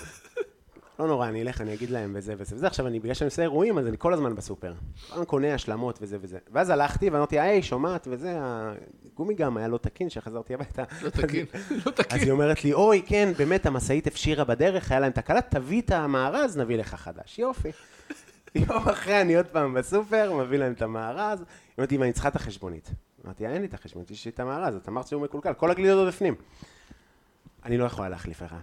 לא נורא, אני אלך, אני אגיד להם וזה וזה וזה. עכשיו, אני, בגלל שאני עושה אירועים, אז אני כל הזמן בסופר. פעם קונה השלמות וזה וזה. ואז הלכתי ואמרתי, היי, שומעת וזה, הגומי גם היה לא תקין, כשחזרתי הביתה. לא תקין, לא אז היא תקין. אומרת לי, אוי, כן, באמת, המשאית הפשירה בדרך, היה להם תקלה, תביא את המארז, נביא לך חדש. יופי. יום אחרי אני עוד פעם בסופר, מביא להם את המארז, היא אומרת לי, "אמא, אני צריכה את החשבונית. אמרתי, אין לי את החשבונית, יש לי את המארז, את אמרת שהוא מקולקל, כל הגלידות עוד בפנים. אני לא יכולה להחליף לך.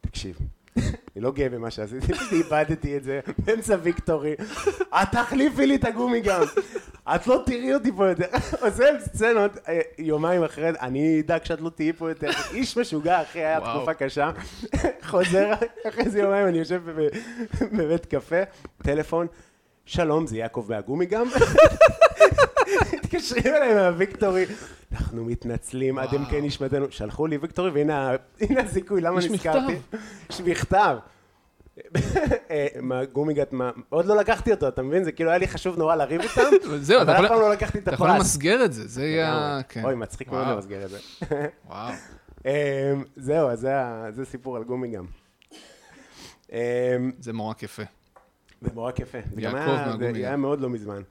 תקשיב, אני לא גאה במה שעשיתי, פשוט איבדתי את זה באמצע ויקטורי. את תחליפי לי את הגומי גם. את לא תראי אותי פה יותר. עושה סצנות אה, יומיים אחרי, אני אדאג שאת לא תהיי פה יותר. איש משוגע, אחי, היה וואו. תקופה קשה. חוזר, אחרי איזה יומיים אני יושב בב- בבית קפה, טלפון, שלום, זה יעקב מהגומי גם? מתקשרים אליי מהוויקטורי. אנחנו מתנצלים עד עמקי נשמתנו. שלחו לי ויקטורי, והנה ה- הנה הזיכוי, למה יש נזכרתי? יש מכתב. אה, מה, גומיגט, מה, עוד לא לקחתי אותו, אתה מבין? זה כאילו היה לי חשוב נורא לריב איתם, זהו, אתה אבל אף יכול- פעם לא לקחתי את אתה יכול הפרס. למסגר את זה, זה יהיה... לגמרי. כן. אוי, מצחיק מאוד וואו, למסגר את זה. וואו. אה, זהו, אז זה ה- זה סיפור על גומיגם. אה, זה מורק יפה. זה נורא יפה. זה גם יעקב היה- זה מהגומיגם. היה מאוד לא מזמן.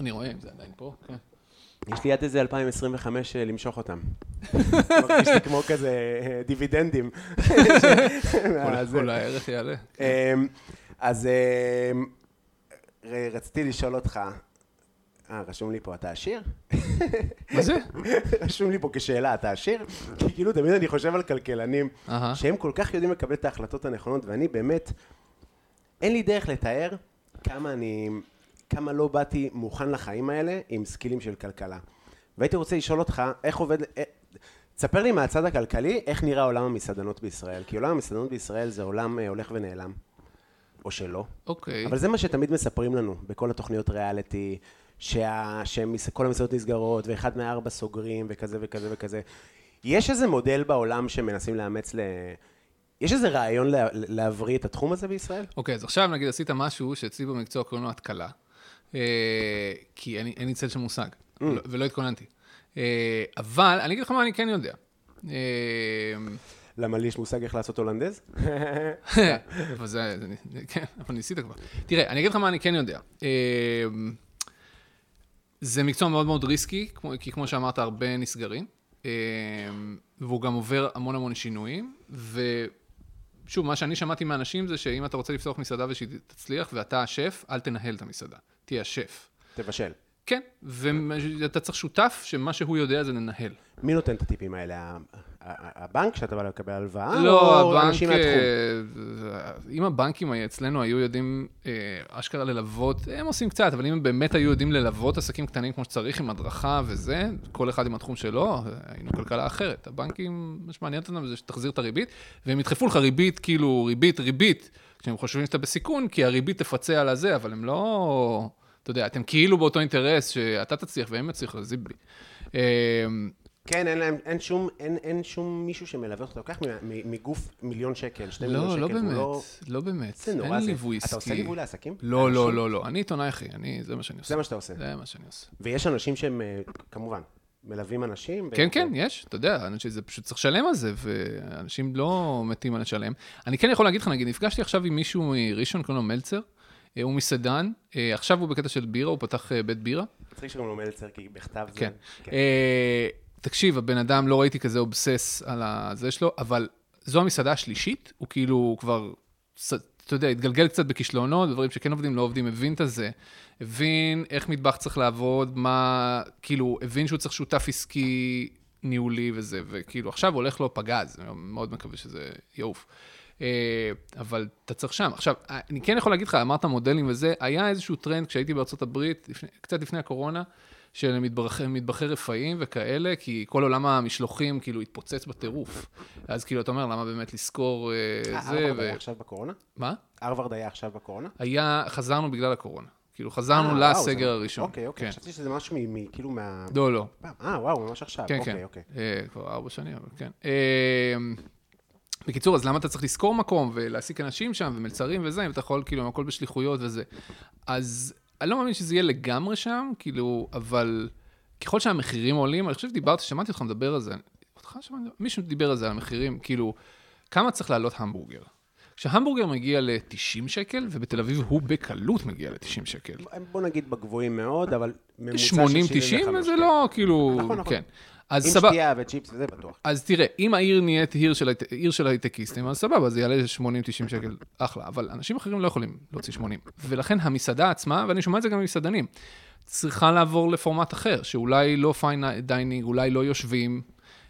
אני רואה אם זה עדיין פה, כן. אה, יש לי עד איזה 2025 אה, למשוך אותם. מרגיש לי כמו כזה אה, דיבידנדים. אולי- מהזה. אולי הערך יעלה. אמ, אז אמ, ר- רציתי לשאול אותך, אה, רשום לי פה, אתה עשיר? מה זה? רשום לי פה כשאלה, אתה עשיר? כי כאילו, תמיד אני חושב על כלכלנים, אהה. שהם כל כך יודעים לקבל את ההחלטות הנכונות, ואני באמת, אין לי דרך לתאר כמה אני, כמה לא באתי מוכן לחיים האלה עם סקילים של כלכלה. והייתי רוצה לשאול אותך, איך עובד, אה, תספר לי מהצד הכלכלי, איך נראה עולם המסעדנות בישראל. כי עולם המסעדנות בישראל זה עולם אה, הולך ונעלם. או שלא. אוקיי. אבל זה מה שתמיד מספרים לנו, בכל התוכניות ריאליטי, שה- שכל המסעדות נסגרות, ואחד מארבע סוגרים, וכזה וכזה וכזה. יש איזה מודל בעולם שמנסים לאמץ ל... יש איזה רעיון לה- להבריא את התחום הזה בישראל? אוקיי, אז עכשיו נגיד עשית משהו שאצלי במקצוע קוראים לו התקלה. אה, כי אין לי- אין לי צל של מושג, לא- ולא התכוננתי. אה, אבל אני אגיד לך מה אני כן יודע. אה, למה לי יש מושג איך לעשות הולנדז? אבל זה, זה, זה- כן, אבל ניסית כבר. תראה, אני אגיד לך מה אני כן יודע. אמ, זה מקצוע מאוד מאוד ריסקי, כמו- כי כמו שאמרת, הרבה נסגרים, אמ, והוא גם עובר המון המון שינויים, ושוב, מה שאני שמעתי מאנשים זה שאם אתה רוצה לפתוח מסעדה ושהיא תצליח, ואתה השף, אל תנהל את המסעדה, תהיה השף. תבשל. כן, ואתה צריך שותף שמה שהוא יודע זה לנהל. מי נותן את הטיפים האלה? ה- ה- הבנק שאתה בא לקבל הלוואה? לא, אה, או הבנק... אנשים מהתחום? אה, אם הבנקים היה- אצלנו היו יודעים אה, אשכרה ללוות, הם עושים קצת, אבל אם הם באמת היו יודעים ללוות עסקים קטנים כמו שצריך, עם הדרכה וזה, כל אחד עם התחום שלו, אה, היינו כלכלה אחרת. הבנקים, מה שמעניין אותם זה שתחזיר את הריבית, והם ידחפו לך ריבית, כאילו, ריבית, ריבית, כשהם חושבים שאתה בסיכון, כי הריבית תפצה על הזה, אבל הם לא... אתה יודע, אתם כאילו באותו אינטרס שאתה תצליח והם יצליחו, אז זיבלי. אה, כן, אין להם, אין שום, אין, אין שום מישהו שמלווה אותך, אתה לוקח מ- מ- מגוף מיליון שקל, שני מיליון לא, שקל, לא והוא באמת, לא באמת. זה נורא אין זה. ליווי אתה עסקי. עושה ליווי לעסקים? לא, לאנשים? לא, לא, לא. אני עיתונאי, אחי. אני, זה מה שאני עושה. זה מה שאתה עושה. זה מה שאני עושה. ויש אנשים שהם, אה, כמובן, מלווים אנשים. ו- כן, כן, יש, אתה יודע, אנשים, זה פשוט צריך לשלם על זה, ואנשים לא מתים על לשלם. אני כן יכול להגיד לך, נגיד, נפגשתי עכשיו עם מישהו מראשון, קוראים לו מלצר, אה, הוא מסעדן, אה, עכשיו הוא בקטע של בירה, הוא פתח אה, בית בירה. מצחיק שקוראים לו מלצר, כי בכתב זה... כן. אה, תקשיב, הבן אדם, לא ראיתי כזה אובסס על זה שלו, אבל זו המסעדה השלישית, הוא כאילו כבר, ס- אתה יודע, התגלגל קצת בכישלונות, דברים שכן עובדים, לא עובדים, הבין את הזה, הבין איך מטבח צריך לעבוד, מה, כאילו, הבין שהוא צריך שותף עסקי ניהולי וזה, וכאילו, עכשיו הולך לו פגז, אני מאוד מקווה שזה יעוף. אה, אבל אתה צריך שם. עכשיו, אני כן יכול להגיד לך, אמרת מודלים וזה, היה איזשהו טרנד כשהייתי בארצות הברית, לפני, קצת לפני הקורונה, של מטבח- מטבחי רפאים וכאלה, כי כל עולם המשלוחים כאילו התפוצץ בטירוף. אז כאילו, אתה אומר, למה באמת לשכור אה, אה, זה הרווארד ו... היה עכשיו בקורונה? מה? הרווארד היה עכשיו בקורונה? היה, חזרנו בגלל הקורונה. כאילו, אה, חזרנו וואו, לסגר זה- הראשון. אוקיי, אוקיי, כן. חשבתי שזה משהו מ- מ- כאילו מה... לא, לא. אה, וואו, ממש עכשיו. כן, אוקיי, כן. אוקיי. אה, כבר ארבע שנים, אבל כן. אה, בקיצור, אז למה אתה צריך לשכור מקום ולהעסיק אנשים שם ומלצרים וזה, אם אתה יכול, כאילו, הכל בשליחויות וזה. אז אני לא מאמין שזה יהיה לגמרי שם, כאילו, אבל ככל שהמחירים עולים, אני חושב שדיברתי, שמעתי אותך מדבר על זה, אותך שמעתי, מישהו דיבר על זה, על המחירים, כאילו, כמה צריך לעלות המבורגר? כשהמבורגר מגיע ל-90 שקל, ובתל אביב הוא בקלות מגיע ל-90 שקל. אה, בוא נגיד בגבוהים מאוד, אבל ממוצע של 80-90 75, זה כן. לא, כאילו, נכון, נכון. כן. אז עם סבבה. שתייה וצ'יפס וזה בטוח. אז תראה, אם העיר נהיית עיר של, הייט- עיר של הייטקיסטים, אז סבבה, זה יעלה 80-90 שקל, אחלה. אבל אנשים אחרים לא יכולים להוציא 80. ולכן המסעדה עצמה, ואני שומע את זה גם ממסעדנים, צריכה לעבור לפורמט אחר, שאולי לא פיין דיינינג, אולי לא יושבים,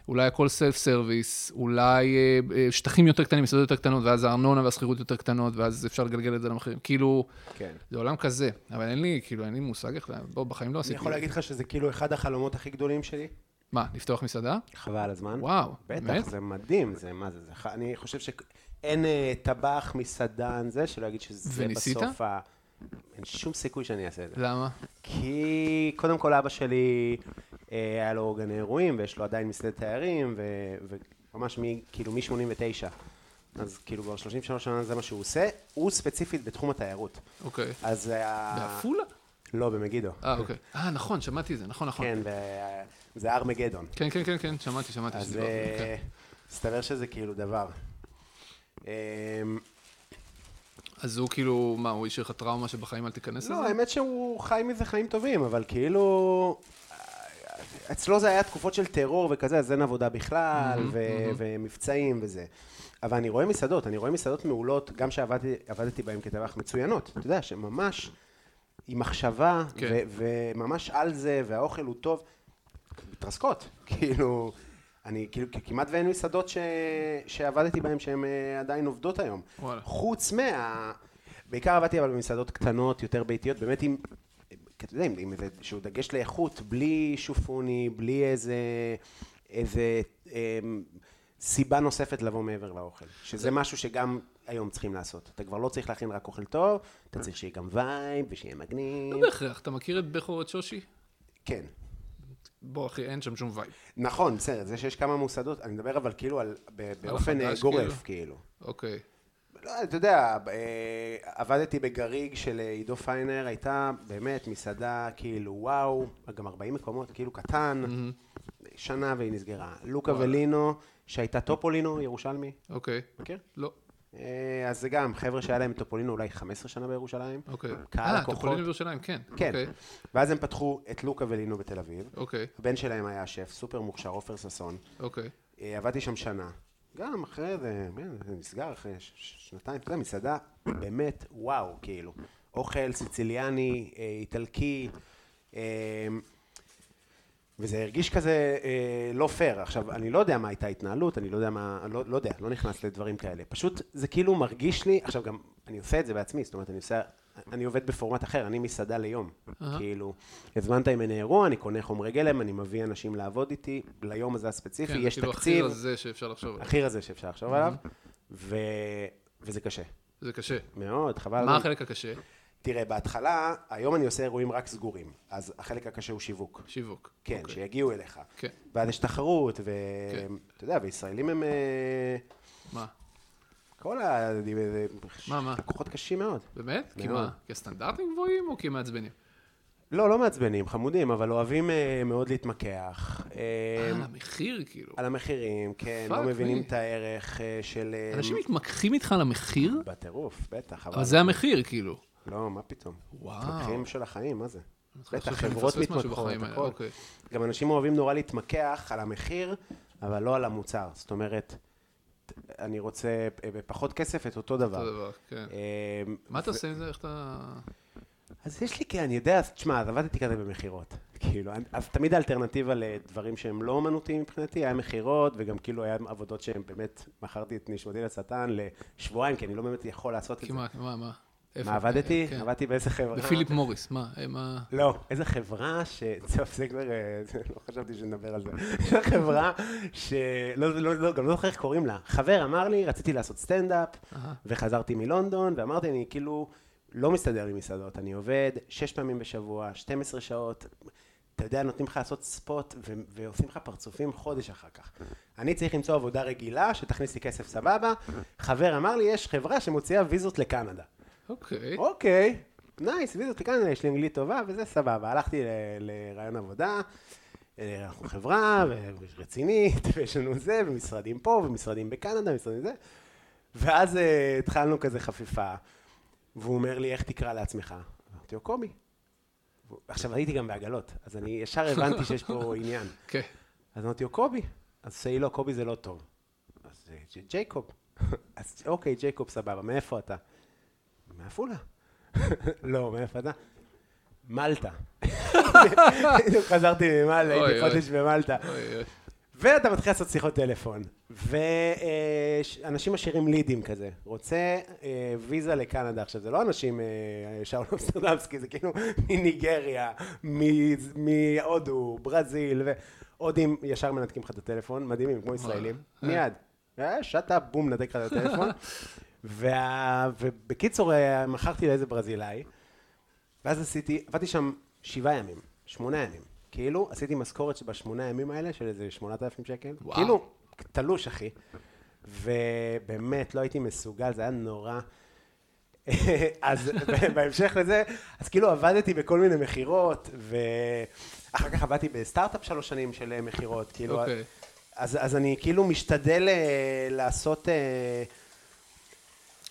אולי הכל סלף סרוויס, אולי אה, אה, שטחים יותר קטנים, מסעדות יותר קטנות, ואז הארנונה והשכירות יותר קטנות, ואז אפשר לגלגל את זה למחירים. כאילו, כן. זה עולם כזה, אבל אין לי, כאילו, אין לי מושג איך, לה- בוא, בחיים לא אני עשיתי. יכול להגיד לך שזה כאילו אחד החלומות הכי גדולים שלי? מה, לפתוח מסעדה? חבל על הזמן. וואו, באמת? בטח, זה מדהים, זה מה זה, זה ח- אני חושב שאין אה, טבח, מסעדן, זה, שלא יגיד שזה וניסית? לא. בסוף ה... אין שום סיכוי שאני אעשה את זה. למה? כי קודם כל אבא שלי, אה, היה לו גני אירועים, ויש לו עדיין מסעדת תיירים, ו- וממש מ- כאילו מ-89. אז כאילו כבר 33 שנה זה מה שהוא עושה, הוא ספציפית בתחום התיירות. אוקיי. אז... ה- בעפולה? לא, במגידו. אה, אוקיי. אה, נכון, שמעתי את זה, נכון, נכון. כן, ו- זה הר מגדון. כן, כן, כן, כן, שמעתי, שמעתי. אז שדיברת, אה, כן. מסתבר שזה כאילו דבר. אה, אז הוא כאילו, מה, הוא השאיר לך טראומה שבחיים אל תיכנס לזה? לא, האמת שהוא חי מזה חיים טובים, אבל כאילו... אה, אצלו זה היה תקופות של טרור וכזה, אז אין עבודה בכלל, ו- ומבצעים וזה. אבל אני רואה מסעדות, אני רואה מסעדות מעולות, גם שעבדתי עבדתי בהן כטבח, מצוינות. אתה יודע, שממש עם מחשבה, כן. ו- וממש על זה, והאוכל הוא טוב. מתרסקות. כאילו, אני, כאילו, כ- כמעט ואין מסעדות ש... שעבדתי בהן שהן אה, עדיין עובדות היום. וואלה. חוץ מה... בעיקר עבדתי אבל במסעדות קטנות, יותר ביתיות, באמת עם... אתה יודע, עם- עם איזה שהוא דגש לאיכות, בלי שופוני, בלי איזה... איזה... אה, סיבה נוספת לבוא מעבר לאוכל, שזה משהו שגם היום צריכים לעשות. אתה כבר לא צריך להכין רק אוכל טוב, אתה צריך שיהיה גם וייב ושיהיה מגניב. לא בהכרח, אתה מכיר את בכורת שושי? כן. בוא, אחי, אין שם שום וייב. נכון, בסדר, זה שיש כמה מוסדות, אני מדבר אבל כאילו על, ב- באופן אה, החדש, גורף, כאילו. אוקיי. לא, אתה יודע, אה, עבדתי בגריג של אה, עידו פיינר, הייתה באמת מסעדה כאילו וואו, גם 40 מקומות, כאילו קטן, Mm-hmm. שנה והיא נסגרה. לוקה ולינו, שהייתה טופולינו, ירושלמי, אוקיי. מכיר? לא. אה, אז זה גם, חבר'ה שהיה להם טופולינו אולי 15 שנה בירושלים. אוקיי. קהל אה, לקוחות. טופולין בירושלים, כן. כן. אוקיי. ואז הם פתחו את לוקה ולינו בתל אביב. אוקיי. הבן שלהם היה שף, סופר מוכשר, עופר ששון. אוקיי. אה, עבדתי שם שנה. גם אחרי זה, כן, זה נסגר אחרי ש- ש- שנתיים, אתה יודע, מסעדה באמת וואו, כאילו. אוכל סיציליאני, אה, איטלקי, אה, וזה הרגיש כזה אה, לא פייר. עכשיו, אני לא יודע מה הייתה ההתנהלות, אני לא יודע מה, אני לא, לא יודע, לא נכנס לדברים כאלה. פשוט זה כאילו מרגיש לי, עכשיו גם, אני עושה את זה בעצמי, זאת אומרת, אני עושה, אני עובד בפורמט אחר, אני מסעדה ליום. אהה. כאילו, הזמנת ממני אירוע, אני קונה חומרי גלם, אני מביא אנשים לעבוד איתי, ליום הזה הספציפי, כן, יש כאילו, תקציב, הכי רזה שאפשר לחשוב עליו. הכי רזה שאפשר לחשוב עליו, ו... וזה קשה. זה קשה. מאוד, חבל. על מה הזמן. החלק הקשה? תראה, בהתחלה, היום אני עושה אירועים רק סגורים, אז החלק הקשה הוא שיווק. שיווק. כן, okay. אוקיי. שיגיעו אליך. כן. ואז יש תחרות, כן. ואתה יודע, וישראלים הם... אה, מה? כל ה... מה, מה? לקוחות קשים מאוד. באמת? כי מאוד. מה? כי הסטנדרטים גבוהים או כי הם מעצבנים? לא, לא מעצבנים, חמודים, אבל אוהבים אה, מאוד להתמקח. אה, על המחיר, כאילו. על המחירים, כן, לא Fuck מבינים me. את הערך אה, של... אה, אנשים מתמקחים איתך על המחיר? לא, בטירוף, בטח. אבל זה המחיר, כאילו. לא, מה פתאום. וואו. מתמקחים של החיים, מה זה? בטח, חושב שאני חברות מפספס משהו מתמקחות, בחיים האלה, הכל. אוקיי. גם אנשים אוהבים נורא להתמקח על המחיר, אבל לא על המוצר. זאת אומרת, אני רוצה אה, בפחות כסף את אותו אותו דבר. דבר, כן. אה, מה אתה עושה עם זה? איך אתה... אז יש לי, כן, אני יודע, אז תשמע, אז עבדתי כזה במכירות. כאילו, אני- אז תמיד האלטרנטיבה לדברים שהם לא אומנותיים מבחינתי, היה מכירות, וגם כאילו היה עבודות שהם באמת, מכרתי את נשמתי לשטן לשבועיים, כי אני לא באמת יכול לעשות את זה. כמעט, מה, מה? איפה? מה, עבדתי? כן. עבדתי באיזה חברה? בפיליפ מוריס, מה? אה, מה? לא, איזה חברה ש... טוב, זה כבר... אה, זה- לא חשבתי שנדבר על זה. איזה חברה ש... לא, לא, לא, גם לא זוכר איך קוראים לה. חבר אמר לי, רציתי לעשות סטנדאפ, אהה. וחזרתי מלונדון, ואמרתי, אני כאילו לא מסתדר עם מסעדות, אני עובד שש פעמים בשבוע, 12 שעות. אתה יודע, נותנים לך לעשות ספוט ו- ועושים לך פרצופים חודש אחר כך. אני צריך למצוא עבודה רגילה, שתכניס לי כסף סבבה. חבר אמר לי, יש חברה שמוציאה ויזות לקנדה. אוקיי. אוקיי, נייס, ויזות לקנדה, יש לי אנגלית טובה וזה סבבה. הלכתי ל- לרעיון עבודה, אה, אנחנו חברה ו- רצינית, ויש לנו זה, ומשרדים פה, ומשרדים בקנדה, ומשרדים זה. ואז אה, התחלנו כזה חפיפה, והוא אומר לי, איך תקרא לעצמך? אמרתי לו, קובי. והוא- עכשיו, הייתי גם בעגלות, אז אני ישר הבנתי שיש פה עניין. כן. אז אמרתי לו, קובי. אז תעשי לו, קובי זה לא טוב. אז אה, "ג'- ג'ייקוב. אז אוקיי, ג'ייקוב, סבבה, מאיפה אתה? מעפולה. לא, מאיפה אתה? מלטה. בדיוק חזרתי ממלטה, אוי, הייתי אוי. חודש במלטה. אוי, אוי. ואתה מתחיל לעשות שיחות טלפון, ואנשים משאירים לידים כזה, רוצה אה, ויזה לקנדה. עכשיו, זה לא אנשים אה, שאול אמסטרדמסקי, זה כאילו מניגריה, מ- מהודו, ברזיל, והודים ישר מנתקים לך את הטלפון, מדהימים, כמו ישראלים, מיד. אה, שטה, בום, נדק לך את הטלפון. וה... ובקיצור, אה, מכרתי לאיזה ברזילאי, ואז עשיתי, עבדתי שם שבעה ימים, שמונה ימים. כאילו, עשיתי משכורת בשמונה ימים האלה של איזה שמונת אלפים שקל. וואו. כאילו, תלוש, אחי. ובאמת, לא הייתי מסוגל, זה היה נורא. אז בהמשך לזה, אז כאילו עבדתי בכל מיני מכירות, ואחר כך עבדתי בסטארט-אפ שלוש שנים של אה, מכירות, כאילו, אוקיי. אז, אז אני כאילו משתדל אה, לעשות, אה,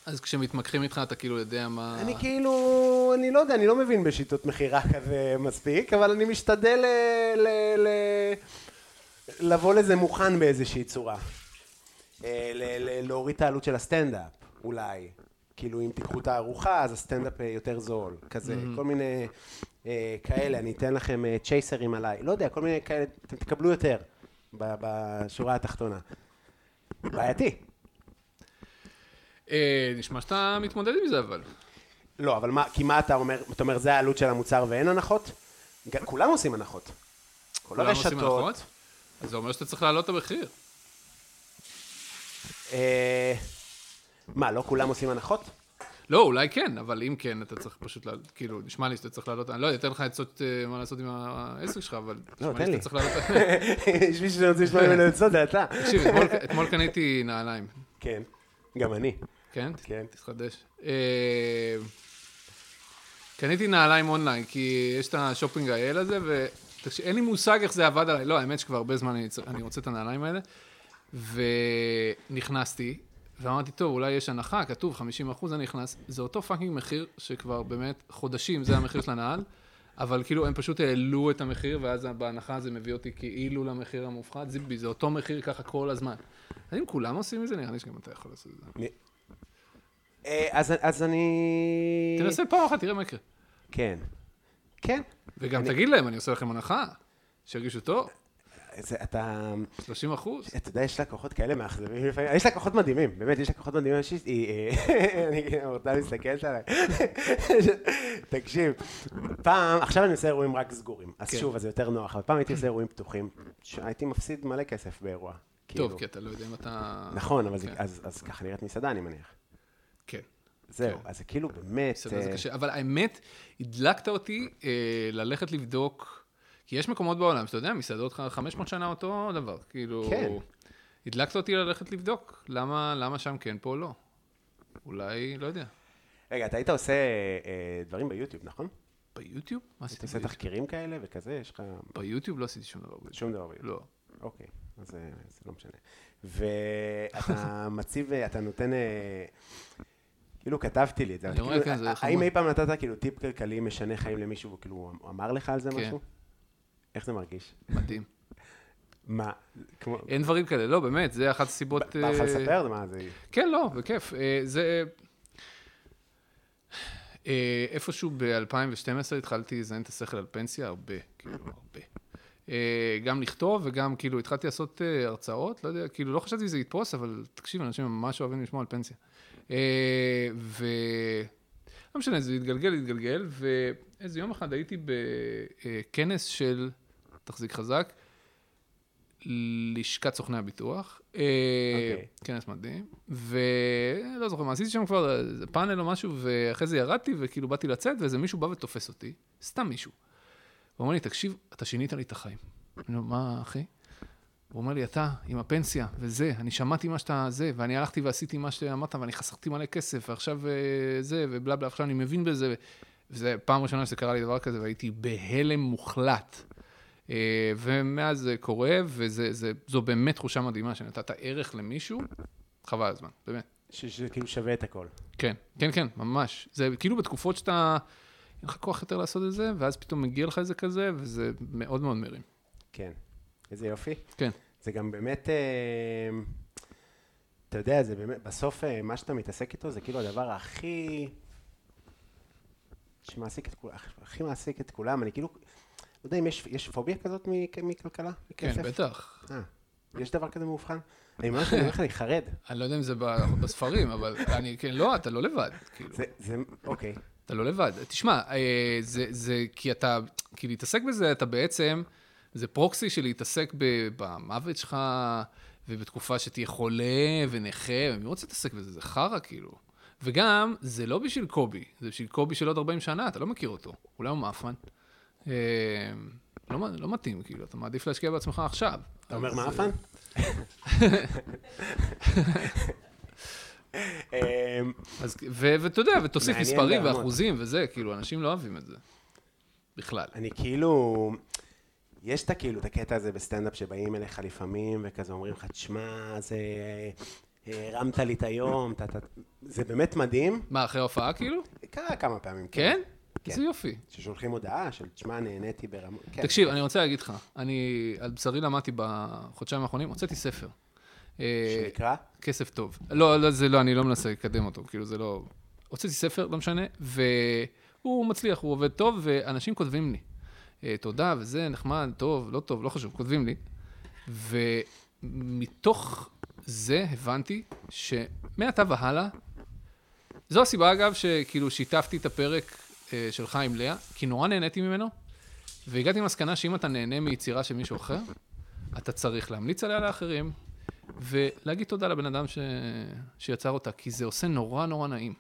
אז כשמתמקחים איתך, אתה כאילו יודע מה... אני כאילו, אני לא יודע, אני לא מבין בשיטות מכירה כזה מספיק, אבל אני משתדל ל, ל, ל, לבוא לזה מוכן באיזושהי צורה. אה, ל, ל, להוריד את העלות של הסטנדאפ, אולי. כאילו, אם תיקחו את הארוחה, אז הסטנדאפ אה, יותר זול, כזה, כל מיני אה, כאלה, אני אתן לכם אה, צ'ייסרים עליי, לא יודע, כל מיני כאלה, אתם תקבלו יותר ב- בשורה התחתונה. בעייתי. אה, נשמע שאתה מתמודד עם זה, אבל. לא, אבל מה, כי מה אתה אומר, אתה אומר זה העלות של המוצר ואין הנחות? גם- כולם עושים הנחות. כל כולם עושים הרשתות. הנחות? אז זה אומר שאתה צריך להעלות את המחיר. אה, מה, לא כולם עושים הנחות? לא, אולי כן, אבל אם כן, אתה צריך פשוט, לה... כאילו, נשמע לי שאתה צריך לעלות, אני לא יודע, אתן לך עצות אה, מה לעשות עם העסק שלך, אבל נשמע לא, תן לי לי. שאתה צריך לעלות... יש מישהו שרוצה לשמוע ממנו עצות, זה אתה. תקשיב, אתמול, אתמול קניתי נעליים, כן, גם אני. כן? כן. תתחדש. אה, קניתי נעליים אונליין, כי יש את השופינג האל הזה, ואין לי מושג איך זה עבד עליי. לא, האמת שכבר הרבה זמן אני, צר- אני רוצה את הנעליים האלה. ונכנסתי, ואמרתי, טוב, אולי יש הנחה, כתוב 50 אחוז, אני נכנס. זה אותו פאקינג מחיר שכבר באמת חודשים זה המחיר של הנעל, אבל כאילו הם פשוט העלו את המחיר, ואז בהנחה זה מביא אותי כאילו למחיר המופחת. זיבי, זה אותו מחיר ככה כל הזמן. אז אם כולם עושים את זה, נראה לי שגם אתה יכול לעשות את זה. אני- אה, אז- אז אני... תנסה פעם אחת, תראה מה יקרה. כן. כן. וגם תגיד להם, אני עושה לכם הנחה, שירגישו טוב, זה- אתה... 30 אחוז. אתה יודע, יש לקוחות כאלה מאכזבים לפעמים, יש לקוחות מדהימים, באמת, יש לקוחות מדהימים, יש לי, אה, אני כאילו, אורטל מסתכלת עליי, תקשיב, פעם, עכשיו אני עושה אירועים רק סגורים, אז כן. שוב, אז זה יותר נוח, אבל פעם הייתי עושה אירועים פתוחים, ש- הייתי מפסיד מלא כסף באירוע, טוב, כאילו. כי אתה לא יודע אם אתה... נכון, אבל זה- כן. אז אז ככה נראית מסעדה, אני מניח, כן. זהו, כן. אז זה כאילו באמת, בסדר, זה אה, קשה. אבל האמת, הדלקת אותי אה, ללכת לבדוק, כי יש מקומות בעולם שאתה יודע, מסעדות ח- 500 שנה אותו דבר, כאילו... כן. הדלקת אותי ללכת לבדוק, למה למה שם כן, פה לא. אולי, לא יודע. רגע, אתה היית עושה אה, אה, דברים ביוטיוב, נכון? ביוטיוב? מה עשיתי אתה עושה ביוטיוב? תחקירים כאלה וכזה, יש לך ביוטיוב לא עשיתי שום דבר ביוטיוב. שום דבר ביוטיוב. לא. אוקיי, אז אה, זה לא משנה. ואתה מציב, אה, אתה נותן... אה, כאילו כתבתי לי את זה, אבל אני רואה, כאילו, כן, זה ה- חמוד. האם אי פעם נתת כאילו טיפ כלכלי משנה חיים למישהו, וכאילו הוא אמ-, אמר לך על זה כן. משהו? איך זה מרגיש? מדהים. מה? כמו... אין דברים כאלה, לא, באמת, זה אחת הסיבות... בא לך אה, לספר? מה זה? כן, לא, בכיף. אה, זה... אה, איפשהו ב-2012 התחלתי לזיין את השכל על פנסיה הרבה, כאילו, הרבה. אה, גם לכתוב וגם כאילו התחלתי לעשות אה, הרצאות, לא יודע, כאילו לא חשבתי שזה יתפוס, אבל תקשיב, אנשים ממש אוהבים לשמוע על פנסיה. אה, ו... לא משנה, זה התגלגל, התגלגל, ואיזה יום אחד הייתי בכנס של, תחזיק חזק, לשכת סוכני הביטוח. אה, אוקיי. כנס מדהים, ולא זוכר מה עשיתי שם כבר, איזה פאנל או משהו, ואחרי זה ירדתי, וכאילו באתי לצאת, ואיזה מישהו בא ותופס אותי, סתם מישהו. הוא אומר לי, תקשיב, אתה שינית לי את החיים. אני אומר, מה, אחי? הוא אומר לי, אתה, עם הפנסיה, וזה, אני שמעתי מה שאתה, זה, ואני הלכתי ועשיתי מה שאמרת, ואני חסכתי מלא כסף, ועכשיו אה, זה, ובלה בלה, עכשיו אני מבין בזה. וזה פעם ראשונה שזה קרה לי דבר כזה, והייתי בהלם מוחלט. אה, ומאז זה קורה, וזו באמת תחושה מדהימה שנתת ערך למישהו, חבל על הזמן, באמת. ש- שזה כאילו שווה את הכל. כן, כן, כן, ממש. זה כאילו בתקופות שאתה, אין לך כוח יותר לעשות את זה, ואז פתאום מגיע לך איזה כזה, וזה מאוד מאוד מרים. כן. איזה יופי. כן, זה גם באמת, אה, אתה יודע, זה באמת, בסוף אה, מה שאתה מתעסק איתו זה כאילו הדבר הכי... שמעסיק את כולם, הכי מעסיק את כולם, אני כאילו, לא יודע אם יש, יש פוביה כזאת מכ- מכלכלה? כן, מכסף? בטח. אה, יש דבר כזה מאובחן? אני ממש אני אומר לך, אני חרד. אני לא יודע אם זה ב- בספרים, אבל אני, כן, לא, אתה לא לבד, כאילו. זה, זה, אוקיי. אתה לא לבד. תשמע, אה, זה, זה כי אתה, כי להתעסק בזה, אתה בעצם, זה פרוקסי של להתעסק ב- במוות שלך, ובתקופה שתהיה חולה ונכה, ומי רוצה להתעסק בזה? זה חרא, כאילו. וגם, זה לא בשביל קובי, זה בשביל קובי של עוד 40 שנה, אתה לא מכיר אותו, אולי הוא מאפן. אה, לא, מ- לא מתאים, כאילו, אתה מעדיף להשקיע בעצמך עכשיו. אתה אומר אז, מה אה, הפן? אמ, אז, ו- ואתה יודע, ותוסיף מעניין מספרים ברמות. ואחוזים וזה, כאילו, אנשים לא אוהבים את זה. בכלל. אני כאילו, יש את הכאילו, את הקטע הזה בסטנדאפ שבאים אליך לפעמים, וכזה אומרים לך, תשמע, זה... אה, הרמת לי את היום, אתה- אתה- זה באמת מדהים. מה, אחרי ההופעה, כאילו? קרה כמה פעמים. כן? כן. איזה יופי. ששולחים הודעה של, תשמע, נהניתי ברמה... כן. תקשיב, אני רוצה להגיד לך, אני על בשרי למדתי בחודשיים האחרונים, הוצאתי ספר. אה, שנקרא? כסף טוב. לא, לא, זה לא, אני לא מנסה לקדם אותו, כאילו זה לא... הוצאתי ספר, לא משנה, והוא מצליח, הוא עובד טוב, ואנשים כותבים לי. אה, תודה, וזה נחמד, טוב, לא טוב, לא חשוב, כותבים לי. ומתוך זה הבנתי שמעתה והלאה, זו הסיבה אגב שכאילו שיתפתי את הפרק אה, שלך עם לאה, כי נורא נהניתי ממנו, והגעתי למסקנה שאם אתה נהנה מיצירה של מישהו אחר, אתה צריך להמליץ עליה לאחרים, ולהגיד תודה לבן אדם ש... שיצר אותה, כי זה עושה נורא נורא נעים.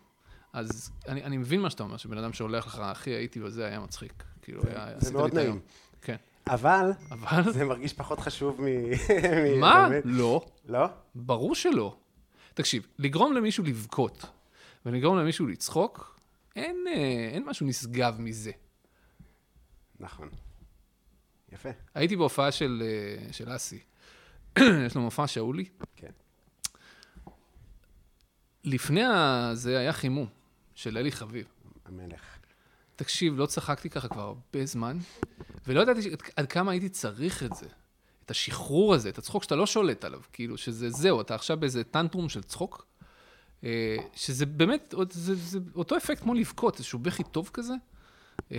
אז אני, אני מבין מה שאתה אומר, שבן אדם שהולך לך, אחי, הייתי בזה, היה מצחיק. כאילו, זה- היה... זה עשית לי מאוד את היום." נעים. כן. אבל, אבל... זה מרגיש פחות חשוב מ... מ- מה? באמת. לא. לא? ברור שלא. תקשיב, לגרום למישהו לבכות ולגרום למישהו לצחוק, אין, אה, אין משהו נשגב מזה. נכון. יפה, הייתי בהופעה של, אה, של אסי. יש לו מופע שאולי. כן. לפני ה- זה היה חימום של אלי חביב. המלך. תקשיב, לא צחקתי ככה כבר הרבה זמן, ולא ידעתי ש- עד כמה הייתי צריך את זה. את השחרור הזה, את הצחוק שאתה לא שולט עליו, כאילו, שזה זהו, אתה עכשיו באיזה טנטרום של צחוק, אה, שזה באמת, עוד- זה, זה אותו אפקט כמו לבכות, איזשהו בכי טוב כזה. אה,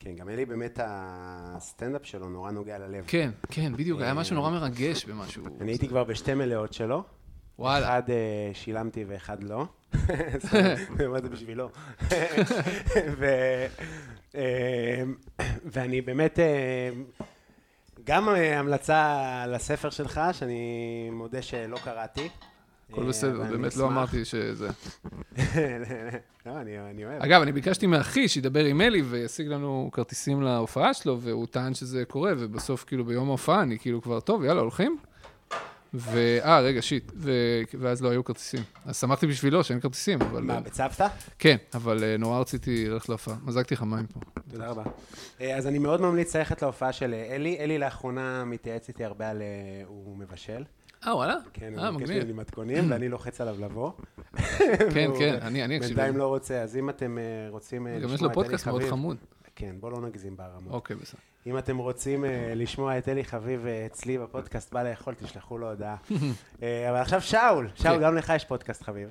כן, גם אלי באמת הסטנדאפ שלו נורא נוגע ללב. כן, כן, בדיוק, היה משהו נורא מרגש במשהו. אני הייתי כבר בשתי מלאות שלו. וואלה. אחד אה, שילמתי ואחד לא. סתם, אני אומר את זה בשבילו. ו- אה, ואני באמת, אה, גם אה, המלצה לספר שלך, שאני מודה שלא קראתי. הכל אה, בסדר, אבל אני באמת אשמח. לא אמרתי שזה. לא, אני אני אוהב. אגב, אני ביקשתי מאחי שידבר עם אלי וישיג לנו כרטיסים להופעה שלו, והוא טען שזה קורה, ובסוף, כאילו, ביום ההופעה, אני כאילו כבר, טוב, יאללה, הולכים? ו... אה, רגע, שיט. ו... ואז לא היו כרטיסים. אז שמחתי בשבילו שאין כרטיסים, אבל... אה, מה, בצוותא? כן, אבל אה, נורא רציתי ללכת להופעה. מזגתי לך מים פה. תודה רבה. אה, אז אני מאוד ממליץ ללכת להופעה של אה, אלי. אלי לאחרונה מתייעץ איתי הרבה על... אה, הוא מבשל. אה, וואלה? כן, אה, הוא מבקש ממני מגניב. מתכונים, ואני לוחץ עליו לבוא. כן, והוא כן, אני אני אקשיב. בינתיים לזה. לא רוצה, אז אם אתם אה, רוצים אה, לשמוע את גם אלי יש חביב... לו פודקאסט מאוד חמוד. כן, בואו לא נגזים בהרמות. אוקיי, בסדר. אם אתם רוצים אה, לשמוע את אלי חביב אה, אצלי בפודקאסט, בא לאכול, תשלחו לו הודעה. אה, אבל עכשיו שאול, שאול, כן. גם לך יש פודקאסט חביב.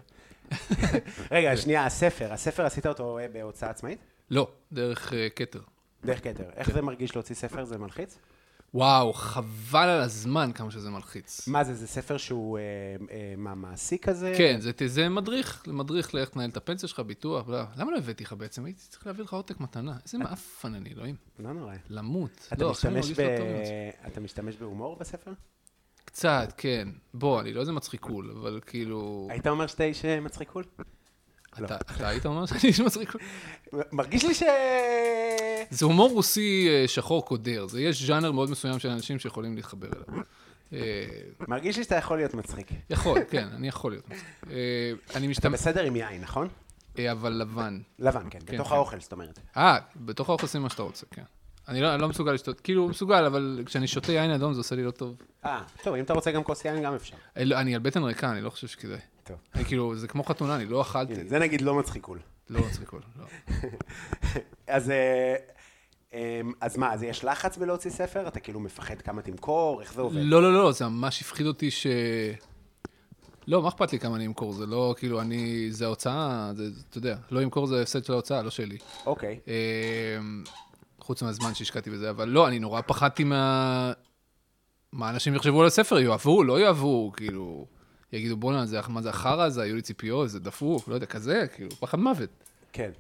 רגע, שנייה, הספר, הספר עשית אותו אה, בהוצאה עצמאית? לא, דרך אה, כתר. דרך כתר. איך כן. זה מרגיש להוציא ספר? זה מלחיץ? וואו, חבל על הזמן כמה שזה מלחיץ. מה זה, זה ספר שהוא, אה, אה, מה, מעשי כזה? כן, זה, זה מדריך, מדריך לאיך לנהל את הפנסיה שלך, ביטוח, בלה. למה לא הבאתי לך בעצם? הייתי צריך להביא לך עותק מתנה. איזה מעפן אני, אלוהים. לא נורא. למות. אתה לא, עכשיו אני משתמש מרגיש ב- לא טוב עם עצמי. אתה משתמש בהומור בספר? קצת, כן. בוא, אני לא איזה מצחיקול, אבל כאילו... היית לא. אומר שאתה איש אה, מצחיקול? אתה, אתה היית אומר שאני איש מצחיקול? מ- מרגיש לי ש... זה הומור רוסי אה, שחור קודר. זה יש ז'אנר מאוד מסוים של אנשים שיכולים להתחבר אליו. אה, מרגיש לי שאתה יכול להיות מצחיק. יכול, כן, אני יכול להיות. מצחיק. אה, אני אתה משתמש... בסדר עם יין, נכון? אה, אבל לבן. לבן, כן, כן, בתוך כן. האוכל, זאת אומרת. אה, בתוך האוכל שים מה שאתה רוצה, כן. אני לא, אני לא מסוגל לשתות, כאילו מסוגל, אבל כשאני שותה יין אדום זה עושה לי לא טוב. אה, טוב, אם אתה רוצה גם כוס יין, גם אפשר. אה, לא, אני על בטן ריקה, אני לא חושב שכדאי. טוב. אני כאילו, זה כמו חתונה, אני לא אכלתי. הנה, אוקיי. זה נגיד לא מצחיקול. לא מצחיק כל, לא. אז... אה, אה, אז מה, אז יש לחץ בלהוציא ספר? אתה כאילו מפחד כמה תמכור? איך זה עובד? לא, לא, לא, זה ממש הפחיד אותי ש... לא, מה אכפת לי כמה אני אמכור? זה לא, כאילו, אני... זה ההוצאה, זה, אתה יודע, לא אמכור זה הפסד של ההוצאה, לא שלי. אוקיי. אמ, חוץ מהזמן שהשקעתי בזה, אבל לא, אני נורא פחדתי מה... מה אנשים יחשבו על הספר? יאהבו, לא יאהבו, כאילו... יגידו, בואנה, זה- מה זה החרא הזה? היו לי ציפיות, זה דפוק, לא יודע, כזה, כאילו, פחד מוות. כן.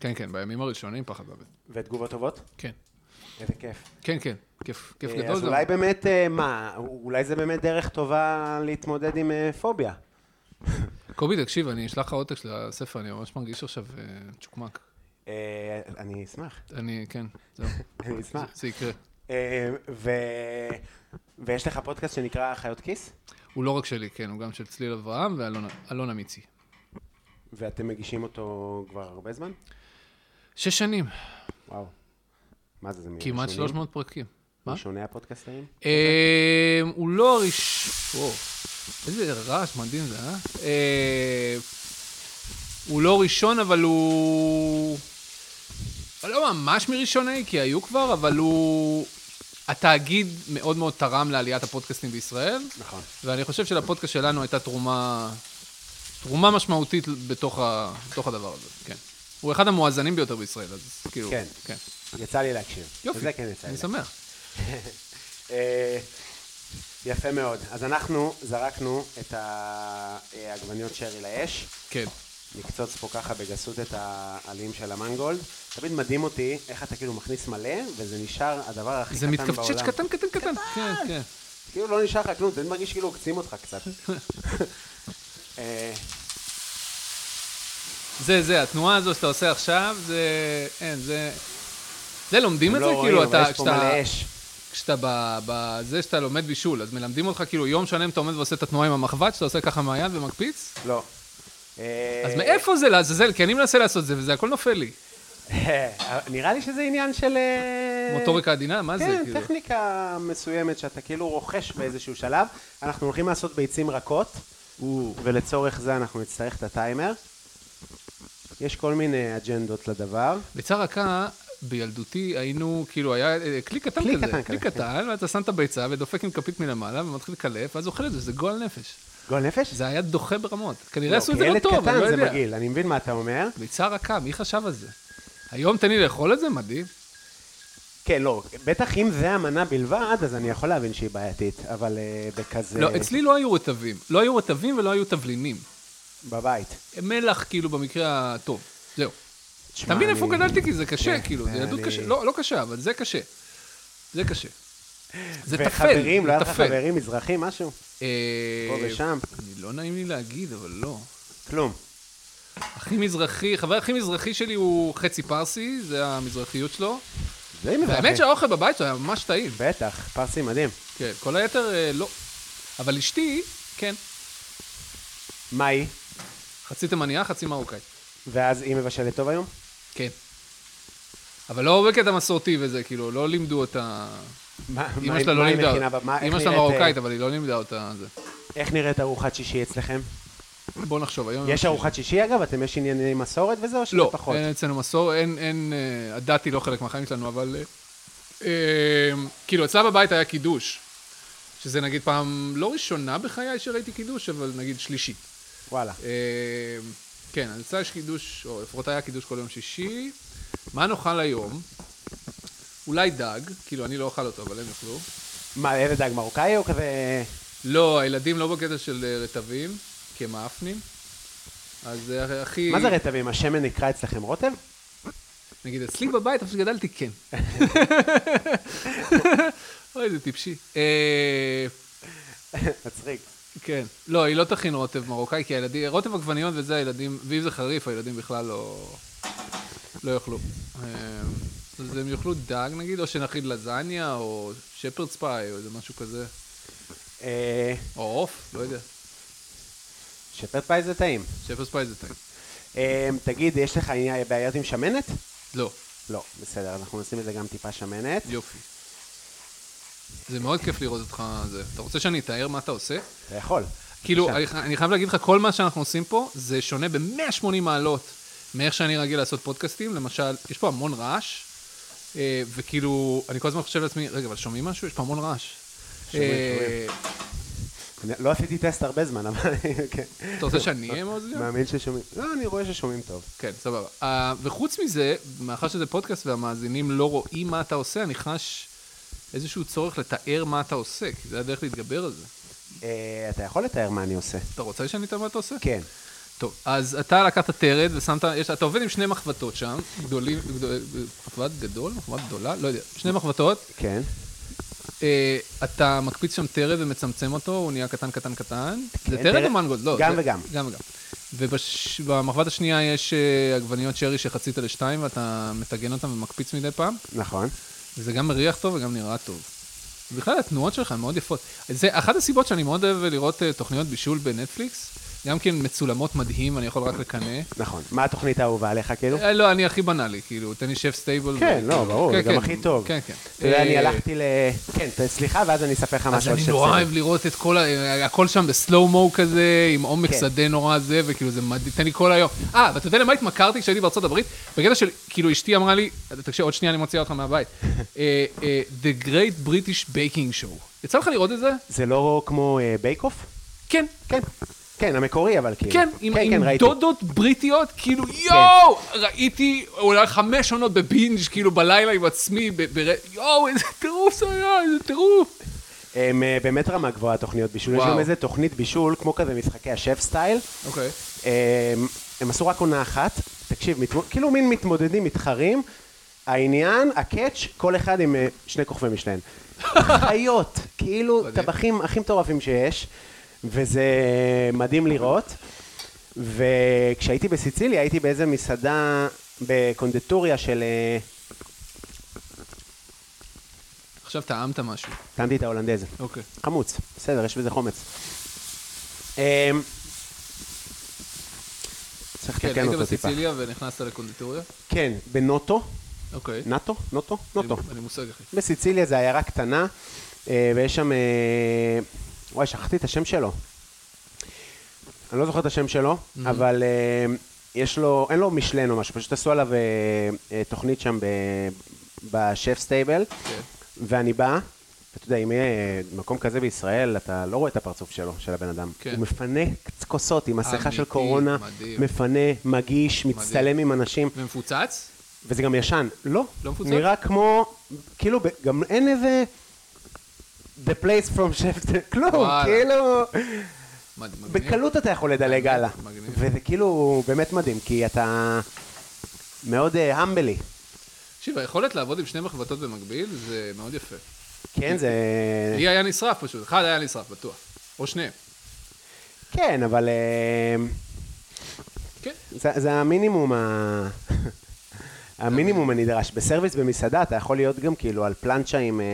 כן, כן, בימים הראשונים פחד מוות. ותגובות טובות? כן. איזה כיף. כן, כן, כיף, כיף אה, גדול. אז גם. אולי באמת, אה, מה, אולי זה באמת דרך טובה להתמודד עם אה, פוביה. קובי, תקשיב, אני אשלח לך עותק של הספר, אני ממש מרגיש עכשיו אה, צ'וקמק. אה, אני אשמח, אני, כן, זהו, אני זה- אשמח. זה יקרה. אה, ו... ויש לך פודקאסט שנקרא חיות כיס, הוא לא רק שלי, כן, הוא גם של צליל אברהם ואלונה אלונה מיצי. ואתם מגישים אותו כבר הרבה זמן? שש שנים, וואו. מה זה, זה מראשוני? כמעט 300 פרקים. מה? ראשוני הפודקאסטרים? אוקיי. אה, הוא לא הראשון... וואו, איזה רעש מדהים זה, אה? אה? הוא לא ראשון, אבל הוא... לא ממש מראשוני, כי היו כבר, אבל הוא... התאגיד מאוד מאוד תרם לעליית הפודקאסטים בישראל, נכון. ואני חושב שלפודקאסט שלנו הייתה תרומה, תרומה משמעותית בתוך, ה, בתוך הדבר הזה, כן. הוא אחד המואזנים ביותר בישראל, אז כאילו... כן. כן. יצא לי להקשיב. יופי, זה כן יצא לי אני להקשיב. שמח. אה, יפה מאוד. אז אנחנו זרקנו את העגבניות שרי לאש. כן. נקצוץ פה ככה בגסות את העלים של המנגולד. תמיד מדהים אותי איך אתה כאילו מכניס מלא, וזה נשאר הדבר הכי זה קטן בעולם. מתכווצ'ץ' קטן, קטן, קטן. כן, כן. כאילו לא נשאר לך כלום, זה מרגיש כאילו עוקצים אותך קצת. אה, זה, זה, התנועה הזו שאתה עושה עכשיו, זה... אין, זה... זה, לומדים את הם זה? לא רואים, כאילו, אבל אתה... יש פה כשאתה- מלא אש. כשאתה ב- בזה שאתה לומד בישול, אז מלמדים אותך כאילו יום שלם אתה עומד ועושה את התנועה עם המחבת, שאתה עושה ככה מהיד ומקפיץ? לא. אה, אז מאיפה זה לעזאזל? כי אני מנסה לעשות זה, וזה הכל נופל לי. אה, נראה לי שזה עניין של... אה, מוטוריקה עדינה, מה זה? כן, כאילו? טכניקה מסוימת שאתה כאילו רוכש באיזשהו שלב. אנחנו הולכים לעשות ביצים רכות, ולצורך זה אנחנו נצטרך את הטיימר. יש כל מיני אג'נדות לדבר. ביצה רכה, בילדותי היינו, כאילו, היה אה, כלי קטן כלי כזה. קטן כלי כזה, כן. קטן, ואתה שם את הביצה ודופק עם כפית מלמעלה ומתחיל לקלף, ואז אוכל את זה, זה גועל נפש. גועל נפש? זה היה דוחה ברמות. לא, כנראה עשו את כי זה לא ילד טוב, אני לא קטן יודע. זה מגעיל, אני מבין מה אתה אומר. ביצה רכה, מי חשב על זה? היום תן לי לאכול את זה? מדהים. כן, לא, בטח אם זה המנה בלבד, אז אני יכול להבין שהיא בעייתית, אבל אה, בכזה... לא, אצלי לא היו רטבים. לא היו רטבים ולא היו תבלינים. בבית. מלח, כאילו, במקרה הטוב. זהו. תשמע, אתה מבין איפה אני- גדלתי? כי זה קשה, כן, כאילו, זה אני- ילדות קשה. לא, לא קשה, אבל זה קשה. זה קשה. זה טפל. וחברים, זה לא היה לך טפל. חברים מזרחים, משהו? אה, פה ושם? אני- לא נעים לי להגיד, אבל לא. כלום. הכי מזרחי, חבר הכי מזרחי שלי הוא חצי פרסי, זה המזרחיות שלו. זה מזרחי. והאמת שהאוכל בבית שלו היה ממש טעים. בטח, פרסי מדהים. כן, כל היתר אה, לא. אבל אשתי, כן. מה היא? חצי תימניה, חצי מרוקאי. ואז היא מבשלת טוב היום? כן. אבל לא בקטע מסורתי וזה, כאילו, לא לימדו אותה... מה- מה- אימא שלה לא מה היא לימדה מכינה ב- מה- אותה. איך אימא שלה נראית, אה, מרוקאית, אבל היא לא לימדה אותה זה. איך נראית ארוחת שישי אצלכם? בוא נחשוב, היום... יש ארוחת שישי אגב? אתם יש ענייני מסורת וזה או שזה לא, פחות? אין אצלנו מסור, אין, אין... אה, הדת היא לא חלק מהחיים שלנו, אבל... אה, אה, כאילו, אצלה בבית היה קידוש. שזה נגיד פעם, לא ראשונה בחיי שראיתי קידוש, אבל נגיד שלישית. וואלה. אה, כן, אז אצלה יש קידוש, או לפחות היה קידוש כל יום שישי. מה נאכל היום? אולי דג, כאילו אני לא אוכל אותו, אבל הם יאכלו. מה, איזה דג מרוקאי או כזה... לא, הילדים לא בקטע של אה, רטבים, כי הם מאפנים. אז אה, הכי... מה זה רטבים? השמן נקרא אצלכם רוטב? נגיד, אצלי בבית, איפה שגדלתי, כן. אוי, זה טיפשי. אה, מצחיק. כן. לא, היא לא תכין רוטב מרוקאי, כי הילדים, רוטב עגבניות וזה הילדים, ואם זה חריף, הילדים בכלל לא, לא יאכלו. אה, אז הם יאכלו דג נגיד, או שנכין לזניה, או שפרד ספיי, או איזה משהו כזה. אה, או עוף, לא יודע. שפרד פאי זה טעים. שפרד ספיי זה טעים. אה, תגיד, יש לך עניין- בעיות עם שמנת? לא, לא, בסדר, אנחנו נשים את זה גם טיפה שמנת. יופי. זה מאוד כיף לראות אותך, זה. אתה רוצה שאני אתאר מה אתה עושה? אתה יכול. כאילו, בבקשה. אני, אני חייב להגיד לך, כל מה שאנחנו עושים פה, זה שונה ב-180 מעלות מאיך שאני רגיל לעשות פודקאסטים. למשל, יש פה המון רעש, אה, וכאילו, אני כל הזמן חושב לעצמי, רגע, אבל שומעים משהו? יש פה המון רעש. שומעים, אה, אני- לא עשיתי טסט הרבה זמן, אבל... כן. אתה רוצה שאני אהיה מאוד מאמין ששומעים. לא, אני רואה ששומעים טוב. כן, סבבה. Uh, וחוץ מזה, מאחר שזה פודקאסט והמאזינים לא רואים מה אתה עושה, אני חש איזשהו צורך לתאר מה אתה עושה, כי זה הדרך להתגבר על זה. אה, אתה יכול לתאר מה אני עושה. אתה רוצה שאני אתאר מה אתה עושה? כן. טוב, אז אתה לקחת טרד ושמת, יש, אתה עובד עם שני מחבטות שם, גדולים, גדול, מחבט גדול, מחבט גדולה, לא יודע, שני מחבטות, כן. אה, אתה מקפיץ שם טרד ומצמצם אותו, הוא נהיה קטן קטן קטן. זה כן, טרד טרד- או מנגולד? לא. גם זה- וגם. גם וגם. ובמחבת השנייה יש אה, עגבניות שרי שחצית לשתיים ואתה מטגן אותן ומקפיץ מדי פעם, נכון. וזה גם מריח טוב וגם נראה טוב. בכלל התנועות שלך הן מאוד יפות. זה אחת הסיבות שאני מאוד אוהב לראות אה, תוכניות בישול בנטפליקס, גם כי הן מצולמות מדהים, אני יכול רק לקנא. נכון. מה התוכנית האהובה עליך, כאילו? אה, לא, אני הכי בנאלי, כאילו, תן לי שף סטייבל. כן, ו- לא, ברור, כן, זה גם כן, הכי טוב. כן, כן. אתה יודע, אני אה, הלכתי ל... כן, ת- סליחה, ואז אני אספר לך משהו. אז על אני שפסל. נורא אוהב לראות את כל, ה- אה, הכל שם בסלואו-מו כזה, עם עומק כן. שדה נורא זה, וכאילו זה מדהים, תן לי כל היום. אה, ואתה יודע למה התמכרתי כשהייתי בארצות הברית? בקטע של, כאילו אשתי אמרה לי, תקשיב, עוד שנייה אני מוציאה אותך מהבית. אה, אה, The Great British Baking Show. יצא לך לראות את זה? זה לא כמו אה, בייק אוף? כן. כן. כן, המקורי, אבל כאילו. כן, עם, כן, עם ראיתי. כן. דודות בריטיות, כאילו, יואו, ראיתי אולי חמש עונות בבינג', כאילו, בלילה עם עצמי, ב, ב, יואו, איזה טירוף זה היה, איזה טירוף. הם אה, באמת רמה גבוהה, תוכניות בישול. יש וואו. גם איזה תוכנית בישול, כמו כזה משחקי השף סטייל. אוקיי. הם, הם עשו רק עונה אחת, תקשיב, מתמוד, כאילו מין מתמודדים, מתחרים, העניין, הקאץ', כל אחד עם אה, שני כוכבי משלן. חיות, כאילו מדהים. טבחים הכי מטורפים שיש, וזה מדהים לראות. וכשהייתי בסיציליה הייתי באיזה מסעדה בקונדטוריה של... אה, עכשיו טעמת משהו. טעמתי את ההולנדז. אוקיי. חמוץ, בסדר, יש בזה חומץ. אמ, צריך כן, לתקן היית אותו טיפה. בסיציליה ונכנסת לקונדיטוריה? כן, בנוטו, אוקיי. נאטו? נוטו? נוטו. אין לי מושג, אחי. בסיציליה זה עיירה קטנה, אה, ויש שם... אה, וואי, שכחתי את השם שלו. אני לא זוכר את השם שלו, אבל אה, יש לו... אין לו משלן או משהו, פשוט עשו עליו אה, אה, תוכנית שם ב- בשף סטייבל, כן. ואני בא, ואתה יודע, אם יהיה אה, מקום כזה בישראל, אתה לא רואה את הפרצוף שלו, של הבן אדם. כן. הוא מפנה כוסות עם מסכה של אמיתי, קורונה, מדהים. מפנה, מגיש, מצטלם עם אנשים. ומפוצץ? וזה גם ישן. לא. לא מפוצץ? נראה כמו, כאילו, ב- גם אין איזה... The place from chef, כלום, וואלה. כאילו, מד- מגניב. בקלות אתה יכול לדלג הלאה. מגניב. וזה כאילו באמת מדהים, כי אתה מאוד אה, המבלי. תקשיב, היכולת לעבוד עם שני מחבטות במקביל זה מאוד יפה. כן, זה... לי היה נשרף פשוט, אחד היה נשרף, בטוח. או שניהם. כן, אבל אה, כן. זה זה המינימום ה... המינימום הנדרש. בסרוויס במסעדה אתה יכול להיות גם כאילו על פלנצ'ה עם... אה,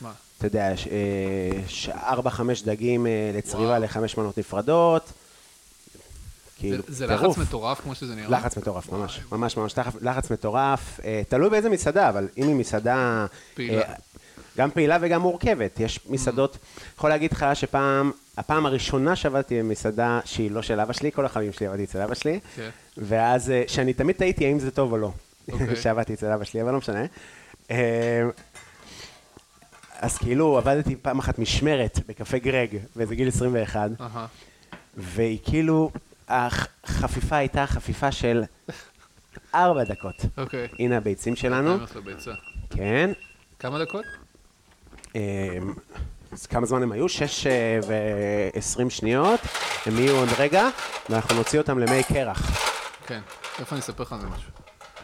מה? אתה יודע, ש- אה, ש- ארבע, חמש דגים אה, לצריבה וואו. לחמש מנות נפרדות. כאילו, זה- זה טירוף. לחץ מטורף כמו שזה נראה. לחץ מטורף, ממש, ממש, ממש, תח- לחץ מטורף. אה, תלוי באיזה מסעדה, אבל אם היא מסעדה... פעילה. Mm-hmm. אה, גם פעילה וגם מורכבת. יש מסעדות, יכול להגיד לך שפעם, הפעם הראשונה שעבדתי במסעדה שהיא לא של אבא שלי, כל החיים שלי עבדתי אצל אבא שלי, כן. ואז, אה, שאני תמיד תהיתי האם זה טוב או לא, אוקיי. שעבדתי אצל אבא שלי, אבל לא משנה. אה, אז כאילו עבדתי פעם אחת משמרת בקפה גרג, וזה גיל 21, אהה. והיא כאילו, החפיפה הייתה חפיפה של ארבע דקות. אוקיי. הנה הביצים אני שלנו, הולך לביצה. כן. כמה דקות? אמ, אז כמה זמן הם היו? שש אה, ועשרים שניות. הם יהיו עוד רגע, ואנחנו נוציא אותם למי קרח. כן. איפה אני אספר לך על זה משהו?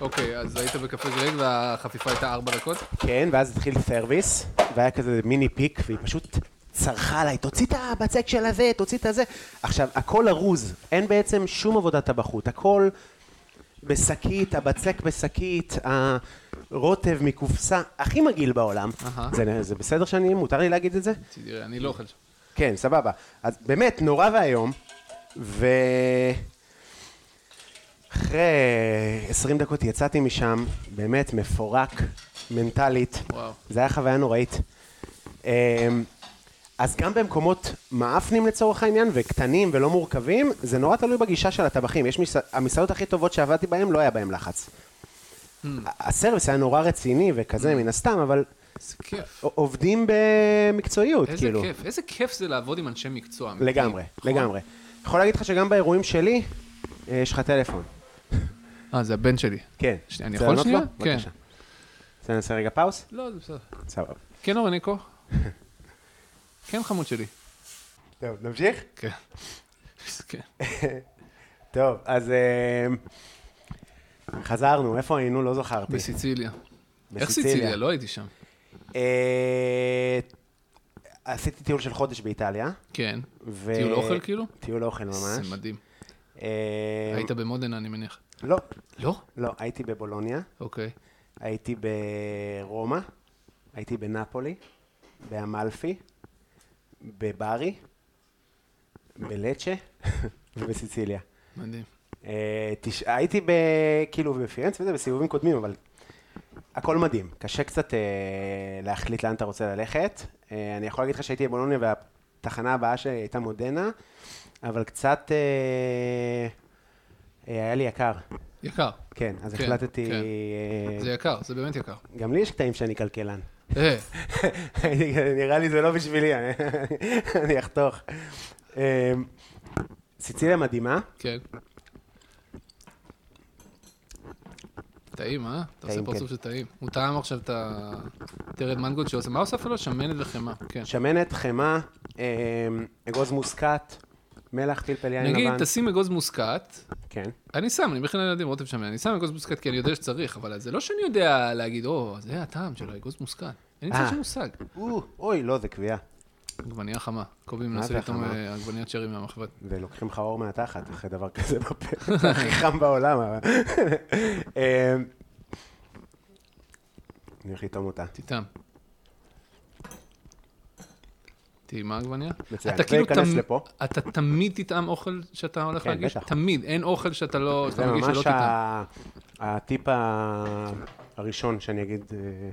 אוקיי, אז היית בקפה גרג והחפיפה הייתה ארבע דקות? כן, ואז התחיל סרוויס, והיה כזה מיני פיק, והיא פשוט צרחה עליי, תוציא את הבצק של הזה, תוציא את הזה. עכשיו, הכל ארוז, אין בעצם שום עבודת טבחות, הכל בשקית, הבצק בשקית, הרוטב מקופסה, הכי מגעיל בעולם. אהה. זה, זה בסדר שאני, מותר לי להגיד את זה? תראה, אני לא אוכל שם. כן, סבבה. אז באמת, נורא ואיום, ו... אחרי 20 דקות יצאתי משם, באמת מפורק, מנטלית. וואו. זה היה חוויה נוראית. אמ, אז גם במקומות מאפנים לצורך העניין, וקטנים ולא מורכבים, זה נורא תלוי בגישה של הטבחים. יש מסע... המסעדות הכי טובות שעבדתי בהן, לא היה בהן לחץ. Hmm. ה- הסרוויס היה נורא רציני וכזה, מן הסתם, אבל איזה כיף. ע- עובדים במקצועיות, איזה כאילו. כיף. איזה כיף זה לעבוד עם אנשי מקצוע. אמיתיים. לגמרי, נכון? לגמרי. יכול להגיד לך שגם באירועים שלי, אה, יש לך טלפון. אה, זה הבן שלי. כן. שנייה, אני רוצה יכול לענות שנייה? לו? כן. בבקשה. רוצה נעשה רגע פאוס? לא, זה בסדר. סבבה. כן, אורניקו? כן, חמוד שלי. טוב, נמשיך? כן. כן. טוב, אז אה, חזרנו, איפה היינו? לא זכרתי. בסיציליה. איך בסיציליה. סיציליה? לא הייתי שם. אה, עשיתי טיול של חודש באיטליה. כן. ו- טיול אוכל כאילו? טיול אוכל ממש. זה מדהים. אה, היית במודנה, אני מניח. לא, לא? לא, הייתי בבולוניה, אוקיי. הייתי ברומא, הייתי בנפולי, באמלפי, בברי, בלצ'ה ובסיציליה. מדהים. אה, תש... הייתי ב... כאילו בפירנץ וזה בסיבובים קודמים, אבל הכל מדהים. קשה קצת אה, להחליט לאן אתה רוצה ללכת. אה, אני יכול להגיד לך שהייתי בבולוניה והתחנה הבאה שלי הייתה מודנה, אבל קצת אה, אה, היה לי יקר. יקר. כן, אז כן, החלטתי... כן. אה, זה יקר, זה באמת יקר. גם לי יש קטעים שאני כלכלן. אה, נראה לי זה לא בשבילי, אני- אני אחתוך. אה, סיציליה מדהימה, כן. טעים, אה? אתה עושה טעים, פרצוף כן. של טעים. הוא טעם עכשיו את הטרד מנגו שעושה. מה הוסף לו? שמנת וחמאה. כן. שמנת, חמאה, אה, אגוז מוסקת, מלח, פלפל יין נגיד, לבן. תשים אגוז מוסקת, כן. אני שם, אני מכין לילדים רוטב שמנת, אני שם אגוז מוסקת כי אני יודע שצריך, אבל זה לא שאני יודע להגיד, או, זה הטעם של האגוז מוסקת. אין לי אה. שום מושג. או, אוי, לא, זה קביעה. עגבנייה חמה. קובי מה מנסה זה לטעום החמה? אה, עגבניית שרי מהמחבת. ולוקחים לך אור מהתחת אחרי דבר כזה בפה. זה הכי חם בעולם. אבל. אה, אני הולך לטעום אותה. תטעם. טעימה עגבניה? מצוין. אתה כאילו וייכנס תמ- לפה. אתה תמיד תטעם אוכל שאתה הולך כן, להגיש? בטח. תמיד, אין אוכל שאתה לא, זה שאתה מרגיש שלא ממש תטעם. ה- הטיפ ה- הראשון שאני אגיד, אה,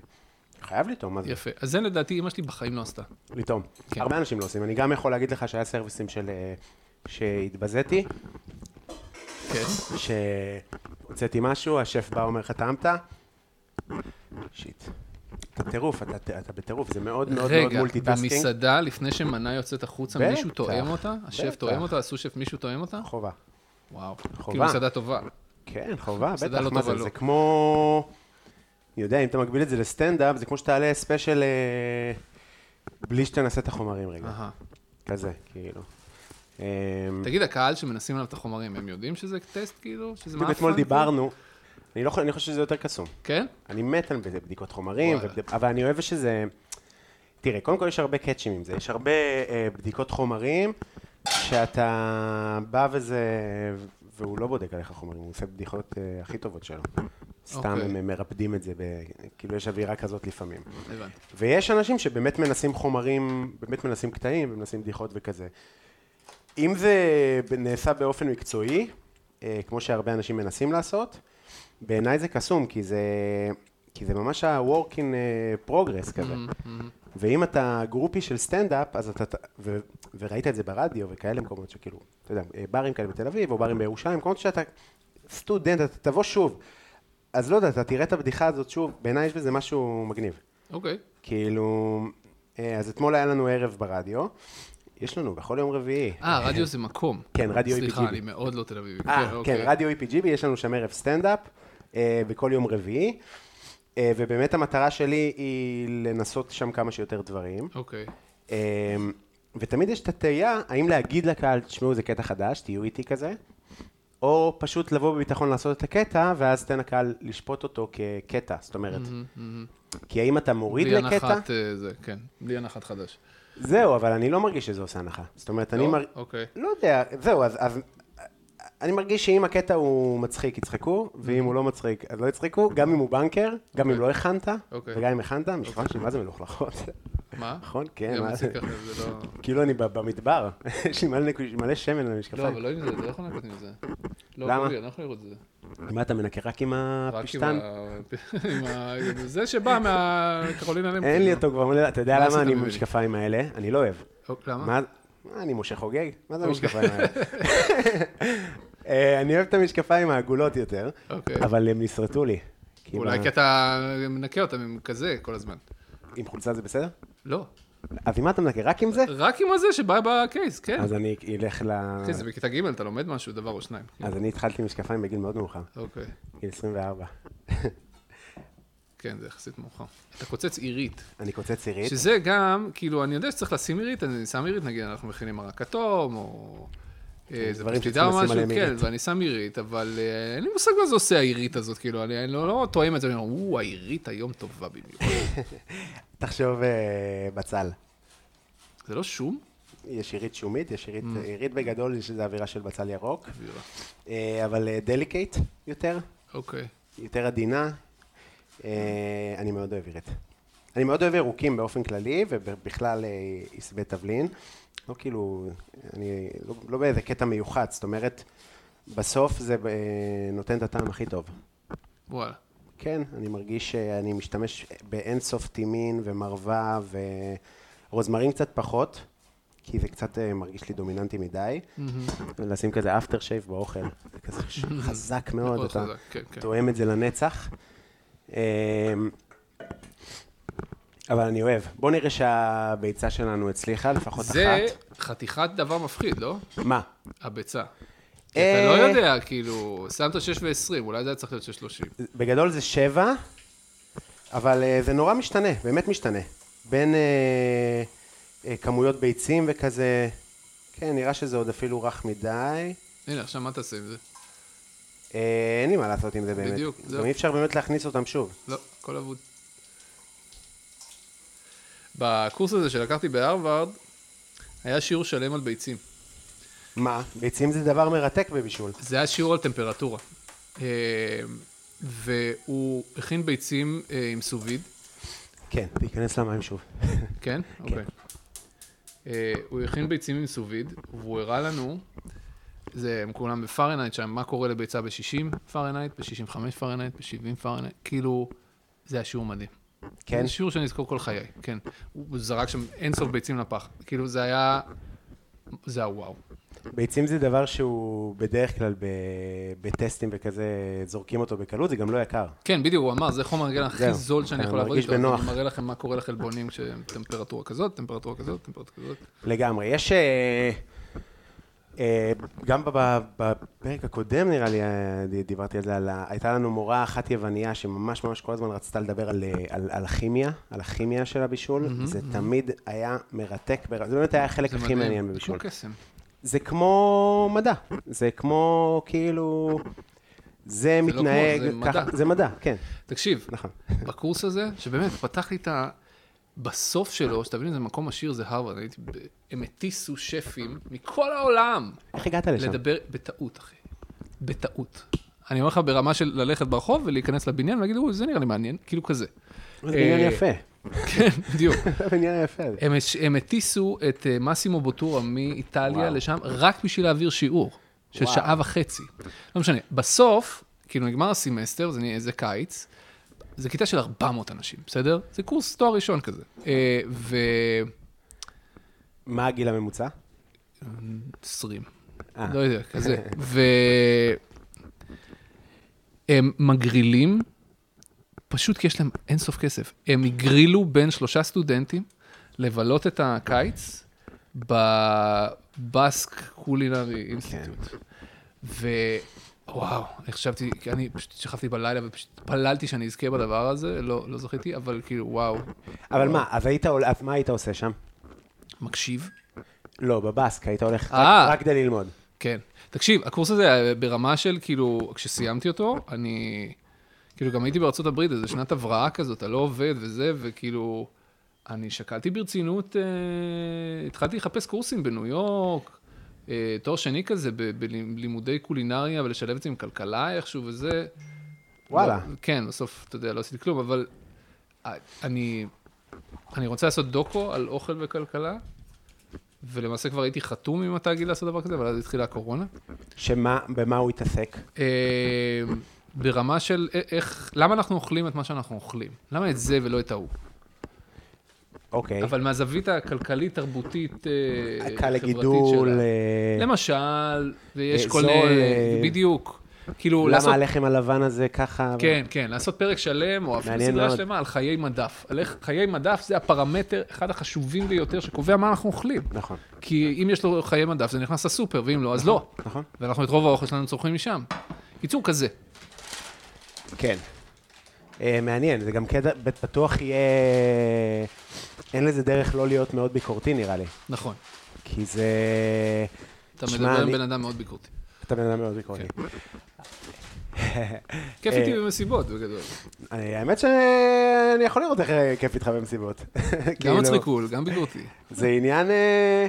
חייב לטעום, מה זה? יפה. אז זה לדעתי אמא שלי בחיים לא עשתה. לטעום. כן. הרבה אנשים לא עושים. אני גם יכול להגיד לך שהיה סרוויסים של... אה, שהתבזיתי, כן. שהוצאתי משהו, השף בא אומר לך, טעמת? שיט. אתה טירוף, אתה- אתה אתה בטירוף, זה מאוד מאוד מאוד רגע, מולטיטאסקינג. במסעדה, לפני שמנה יוצאת החוצה, בטח, מישהו תואם אותה? השף בטח. תואם אותה? הסושף מישהו תואם אותה? חובה. וואו. חובה. כאילו מסעדה טובה. כן, חובה, מסעדה בטח, לא מה טובה זה, לו. זה כמו... אני יודע, אם אתה מגביל את זה לסטנדאפ, זה כמו שתעלה ספיישל אה, בלי שתנסה את החומרים רגע. אהה. כזה, כאילו. אמ, תגיד, הקהל שמנסים עליו את החומרים, הם יודעים שזה טסט כאילו? שזה בדיוק מאפן? אתמול דיברנו, אני לא חושב- אני חושב שזה יותר קסום. כן? אני מת על בד- בדיקות חומרים, וואלה. ובד- אבל אני אוהב שזה... תראה, קודם כל יש הרבה קאצ'ים עם זה, יש הרבה אה, בדיקות חומרים, שאתה בא וזה... והוא לא בודק עליך חומרים, הוא עושה בדיחות אה, הכי טובות שלו. סתם אוקיי. הם מרפדים את זה, ב... כאילו יש אווירה כזאת לפעמים. הבנתי. ויש אנשים שבאמת מנסים חומרים, באמת מנסים קטעים, ומנסים בדיחות וכזה. אם זה נעשה באופן מקצועי, אה, כמו שהרבה אנשים מנסים לעשות, בעיניי זה קסום, כי זה, כי זה ממש ה-work in אה, progress כזה. ואם אתה גרופי של סטנדאפ, אז אתה, ו, וראית את זה ברדיו וכאלה מקומות שכאילו, אתה יודע, אה, ברים כאלה בתל אביב, או ברים בירושלים, מקומות שאתה סטודנט, אתה תבוא שוב. אז לא יודע, אתה תראה את הבדיחה הזאת שוב, בעיניי יש בזה משהו מגניב. אוקיי. כאילו, אה, אז אתמול היה לנו ערב ברדיו, יש לנו בכל יום רביעי. אה, רדיו זה מקום. כן, רדיו סליחה, EPGB. אני מאוד לא תל אביבי. אה, אוקיי. כן, רדיו EPGB, יש לנו שם ערב סטנדאפ, אה, בכל יום רביעי, אה, ובאמת המטרה שלי היא לנסות שם כמה שיותר דברים. אוקיי. אה, ותמיד יש את התהייה, האם להגיד לקהל, תשמעו, זה קטע חדש, תהיו איתי כזה, או פשוט לבוא בביטחון לעשות את הקטע, ואז תן לקהל לשפוט אותו כקטע, זאת אומרת. כי האם אתה מוריד בלי לקטע? הנחת אה, זה, כן. בלי הנחת חדש. זהו, אבל אני לא מרגיש שזה עושה הנחה. זאת אומרת, אני לא? מרגיש... אוקיי. לא יודע, זהו, אז, אז אני מרגיש שאם הקטע הוא מצחיק, יצחקו, ואם הוא לא מצחיק, אז לא יצחקו, גם אם הוא בנקר, גם אם לא הכנת, אוקיי. וגם אם הכנת, המשפחה שלי, מה זה מלוכלכות? מה? נכון, כן, גם מה אצלי זה? ככה, זה לא... כאילו אני ב- במדבר, יש לי מלא נקו- מלא שמן על לא, אבל המשקפיים. לא עם זה, אתה לא יכול לנקות עם זה. לא, למה? קובי, אני לא יכול לראות את זה. מה אתה מנקה רק עם רק עם הפשטן? ה- עם ה... עם זה שבא מהקרולינה למקין. אין לי אותו כבר מלא, אתה יודע מה למה עשית אה. אני עם ממני? המשקפיים האלה? אני לא אוהב. אוקיי, למה? מה? מה, אני משה חוגג? מה זה אוקיי. המשקפיים האלה? אה, אני אוהב את המשקפיים העגולות יותר, אוקיי. אבל הם נשרטו לי. כי אולי עם ה- כי אתה מנקה אותם עם כזה כל הזמן. עם חולצה זה בסדר? לא. אז עם מה אתה מנקה? רק עם זה? רק עם הזה שבא בקייס, כן. אז אני אלך ל... כן, זה בכיתה ג', אתה לומד משהו, דבר או שניים. כן. אז אני התחלתי עם משקפיים בגיל מאוד מאוחר, אוקיי. גיל 24. כן, זה יחסית מאוחר. אתה קוצץ עירית. אני קוצץ עירית. שזה גם, כאילו, אני יודע שצריך לשים עירית, אני שם עירית, נגיד, אנחנו מכינים מרק כתום, או... אה, כן, זה דברים פתידה או שצריך לשים משהו, עליהם כן, עירית. ואני שם עירית, אבל אה, אין לי מושג מה זה עושה העירית הזאת, כאילו, אני אני לא לא תואם את זה, אני אומר, או, העירית היום טובה במיוחד. תחשוב אה, בצל. זה לא שום? יש עירית שומית, יש עירית, Mm. עירית בגדול, יש איזו אווירה של בצל ירוק, אווירה. אה, אבל דליקייט יותר, אוקיי. יותר עדינה. אה, אני מאוד אוהב עירית. אני מאוד אוהב ירוקים באופן כללי, ובכלל אה, עשבי תבלין. לא כאילו, אני לא, לא באיזה קטע מיוחד, זאת אומרת, בסוף זה אה, נותן את הטעם הכי טוב. וואלה. כן, אני מרגיש שאני משתמש באינסוף טימין ומרווה ורוזמרין קצת פחות, כי זה קצת אה, מרגיש לי דומיננטי מדי. לשים כזה אפטר שייב באוכל, זה כזה ש- חזק מאוד, מאוד אתה חזק, כן, כן. תואם את זה לנצח. אה, אבל אני אוהב. בוא נראה שהביצה שלנו הצליחה, לפחות זה אחת. חתיכת דבר מפחיד, לא? מה? הביצה. כי אתה אה. לא יודע, כאילו, שמת 6 ו-20, אולי זה היה צריך להיות 6 30. בגדול זה שבע, אבל אה, זה נורא משתנה, באמת משתנה. בין אה, אה, כמויות ביצים וכזה, כן, נראה שזה עוד אפילו רך מדי. הנה, עכשיו מה תעשה עם זה? אה, אין לי מה לעשות עם זה באמת. בדיוק, גם זהו. אי אפשר באמת להכניס אותם שוב. לא, הכל אבוד. בקורס הזה שלקחתי בהרווארד, היה שיעור שלם על ביצים. מה? ביצים זה דבר מרתק בבישול. זה היה שיעור על טמפרטורה. אה, והוא הכין ביצים אה, עם סוביד, כן, תיכנס למים שוב. כן? אוקיי. אה, הוא הכין ביצים עם סוביד, והוא הראה לנו, זה הם כולם בפרנייט שם, מה קורה לביצה ב-60 פרנייט, ב-65 פרנייט, ב-70 פרנייט, כאילו, זה היה שיעור מדהים. כן? זה שיעור שאני אזכור כל חיי, כן. הוא זרק שם אינסוף ביצים לפח. כאילו, זה היה... זה הוואו. ביצים זה דבר שהוא בדרך כלל ב... בטסטים וכזה, זורקים אותו בקלות, זה גם לא יקר. כן, בדיוק, הוא אמר, זה חומר הגלם הכי זהו, זול שאני אתה יכול לעבוד מרגיש איתו. בנוח. אני מראה לכם מה קורה לחלבונים כשטמפרטורה כזאת, טמפרטורה כזאת, טמפרטורה כזאת. לגמרי. יש... אה, אה, גם בב- בפרק הקודם, נראה לי, אה, ד- דיברתי על זה, על ה... הייתה לנו מורה אחת יווניה שממש ממש כל הזמן רצתה לדבר על, אה, על, על הכימיה, על הכימיה של הבישול. זה תמיד היה מרתק, בר- זה באמת היה החלק זה הכי מדהים. מעניין אוקיי. זה כמו בבישול. קסם. זה כמו מדע, זה כמו כאילו... זה לא כמו, זה מתנהג... מדע. ככה- זה מדע, כן, תקשיב, נכון. בקורס הזה, שבאמת, פתח לי את ה... בסוף שלו, שתבין איזה מקום עשיר זה הרווארד, אני הייתי... ב- הם הטיסו שפים מכל העולם. איך הגעת לשם? לדבר בטעות, אחי. בטעות. אני אומר לך, ברמה של ללכת ברחוב ולהיכנס לבניין ולהגיד, אוי, זה נראה לי מעניין, כאילו כזה. זה בניין אה, יפה, כן, בדיוק. זה בניין יפה. הם הש- הם הטיסו את אה, מסימו בוטורה מאיטליה וואו. לשם, רק בשביל להעביר שיעור של וואו. שעה וחצי. לא משנה, בסוף, כאילו נגמר הסמסטר, זה נהיה- זה קיץ, זה כיתה של 400 אנשים, בסדר? זה קורס תואר ראשון כזה. אה, ו... מה הגיל אה, הממוצע? 20. אה. לא יודע, כזה. ו... הם מגרילים, פשוט כי יש להם אינסוף כסף. הם הגרילו בין שלושה סטודנטים לבלות את הקיץ בבאסק קולינרי אינסטיטוט. ווואו, אני חשבתי, כי אני פשוט שכבתי בלילה ופשוט התפללתי שאני אזכה בדבר הזה, לא, לא זכיתי, אבל כאילו, וואו, אבל מה, אז היית, עול- אז מה היית עושה שם? מקשיב. לא, בבאסק, היית הולך רק- אה. רק כדי ללמוד. כן. תקשיב, הקורס הזה היה ברמה של, כאילו, כשסיימתי אותו, אני... כאילו, גם הייתי בארצות הברית, איזו שנת הבראה כזאת, אתה לא עובד וזה, וכאילו, אני שקלתי ברצינות, אה, התחלתי לחפש קורסים בניו יורק, אה, תואר שני כזה, ב- בלימודי קולינריה, ולשלב את זה עם כלכלה איכשהו וזה. וואלה. לא, כן, בסוף, אתה יודע, לא עשיתי כלום, אבל אה, אני, אני רוצה לעשות דוקו על אוכל וכלכלה, ולמעשה כבר הייתי חתום עם התאגיד לעשות דבר כזה, אבל אז התחילה הקורונה. שמה, במה הוא התעסק? אה, ברמה של א- איך, למה אנחנו אוכלים את מה שאנחנו אוכלים? למה את זה ולא את ההוא? אוקיי. אבל מהזווית הכלכלית-תרבותית, אה, קל חברתית לגידול, שלה. אה, למשל, ויש אה, כל זול, מיני, אה, בדיוק. כאילו, לעשות למה הלחם הלבן הזה ככה? כן, כן, לעשות פרק שלם, או אפילו מעניין סדרה מאוד. שלמה על חיי מדף. על איך חיי מדף זה הפרמטר, אחד החשובים ביותר שקובע מה אנחנו אוכלים. נכון, כי אם יש לו חיי מדף, זה נכנס לסופר, ואם לא, אז לא. נכון. ואנחנו את רוב האוכל שלנו צורכים משם. קיצור, כזה. כן. אה, מעניין, זה גם קטע, בטוח יהיה... אין לזה דרך לא להיות מאוד ביקורתי, נראה לי. נכון. כי זה... אתה שמע, מדבר עם אני- בן אדם כן. מאוד ביקורתי. אתה בן אדם מאוד ביקורתי. כיף איתי אה, במסיבות, בגדול. אני- אה, האמת שאני יכול לראות איך אה, כיף איתך במסיבות. גם כאילו, מצחיקול, גם ביקורתי. זה עניין אה,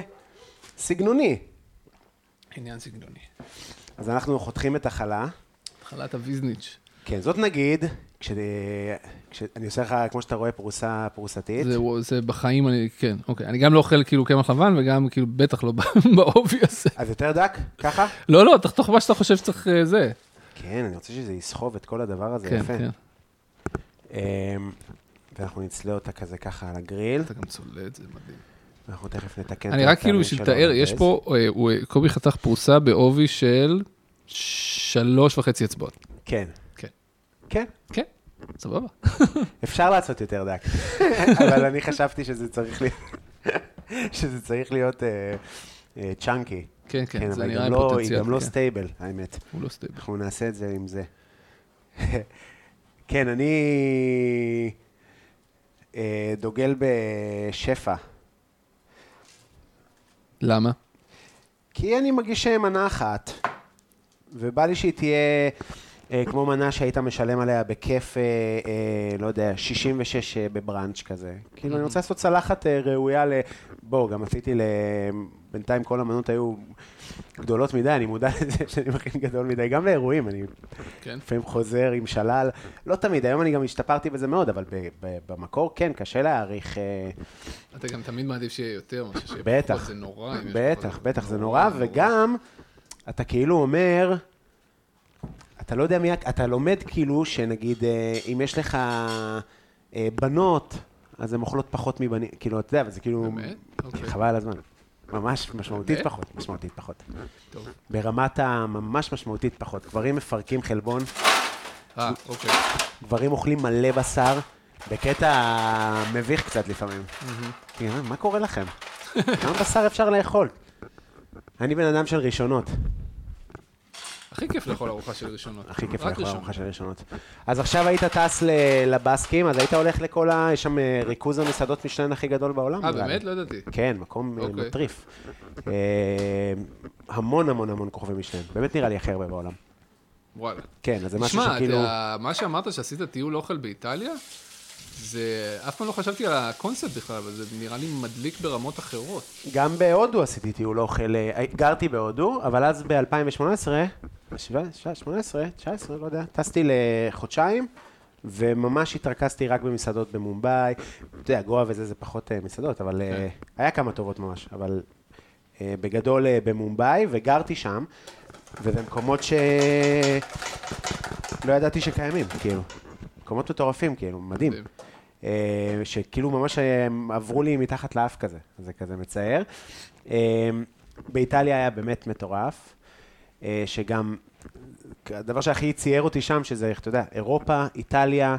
סגנוני. עניין סגנוני. אז אנחנו חותכים את החלה. התחלת הוויזניץ'. כן, זאת נגיד, כש- כשאני עושה לך, כמו שאתה רואה, פרוסה פרוסתית. זה, זה בחיים, אני, כן, אוקיי. אני גם לא אוכל כאילו קמח לבן, וגם כאילו בטח לא בא- בעובי הזה. אז יותר דק? ככה? לא, לא, תחתוך מה שאתה חושב שצריך אה, זה. כן, אני רוצה שזה יסחוב את כל הדבר הזה, כן, יפה. כן. אמ, ואנחנו נצלה אותה כזה ככה על הגריל, אתה גם צולע את זה, מדהים. ואנחנו תכף נתקן את אני רק כאילו, הטעמים בשביל שלו לתאר, על יש הגז. פה, אה, הוא- אה, קובי חתך פרוסה בעובי של שלוש וחצי אצבעות. כן. כן. כן, כן, סבבה. אפשר לעשות יותר דק. אבל אני חשבתי שזה צריך להיות... שזה צריך להיות אה, אה, צ'אנקי. כן, כן, זה אבל היא נראה גם לא- היא פוטנציאל. גם לא כן. סטייבל, האמת. הוא לא סטייבל. אנחנו נעשה את זה עם זה. כן, אני אה, דוגל בשפע. למה? כי אני מרגיש מנה אחת, ובא לי שהיא תהיה אה, כמו מנה שהיית משלם עליה בכיף, אה, אה, לא יודע, 66 אה, בבראנץ' כזה. כאילו, אני רוצה לעשות צלחת אה, ראויה ל... בוא, גם עשיתי ל... בינתיים כל המנות היו גדולות מדי, אני מודע לזה שאני מכין גדול מדי, גם לאירועים, אני כן. לפעמים חוזר עם שלל, לא תמיד, היום אני גם השתפרתי בזה מאוד, אבל ב- ב- במקור כן, קשה להעריך... אה, אתה גם תמיד מעדיף שיהיה יותר מאשר שיהיה פחות. בטח. זה נורא. אם יש בטח, פחות. בטח, זה נורא, וגם, אתה כאילו אומר, אתה לא יודע מי, ה- אתה לומד כאילו, שנגיד, אה, אם יש לך אה, בנות, אז הן אוכלות פחות מבנים, כאילו, אתה יודע, וזה כאילו, באמת? אוקיי. חבל על הזמן. ממש משמעותית באמת? פחות, משמעותית פחות. טוב. ברמת הממש משמעותית פחות. גברים מפרקים חלבון, אה, אוקיי. גברים אוכלים מלא בשר, בקטע מביך קצת לפעמים. תראה, מה קורה לכם? כמה בשר אפשר לאכול? אני בן אדם של ראשונות. הכי כיף לאכול ארוחה של ראשונות. הכי כיף רק לאכול ראשון. ארוחה של ראשונות. אז עכשיו היית טס ל- לבאסקים, אז היית הולך לכל ה... יש שם אה, ריכוז המסעדות משלן הכי גדול בעולם. אה, נראה לי. באמת? לא ידעתי. כן, מקום אה, אוקיי. מטריף. אה, המון המון המון כוכבי משלן. באמת נראה לי הכי הרבה בעולם. וואלה. כן, אז זה משהו תשמע, שכאילו... אתה- מה שאמרת שעשית טיול אוכל באיטליה, זה... אף פעם לא חשבתי על הקונספט בכלל, אבל זה נראה לי מדליק ברמות אחרות. גם בהודו עשיתי טיול אוכל, אה, גרתי בהודו, אבל אז ב-2018, 18, 19, לא יודע, טסתי לחודשיים, וממש התרכזתי רק במסעדות במומבאי. אתה יודע, גואה וזה, זה פחות אה, מסעדות, אבל אה, היה כמה טובות ממש, אבל אה, בגדול אה, במומבאי, וגרתי שם, וזה מקומות ש... לא ידעתי שקיימים, כאילו. מקומות מטורפים, כאילו, מדהים. מדהים. אה, שכאילו ממש אה, עברו לי מתחת לאף כזה, זה כזה מצער. אה, באיטליה היה באמת מטורף, אה, שגם, הדבר שהכי צייר אותי שם, שזה, אתה יודע, אירופה, איטליה,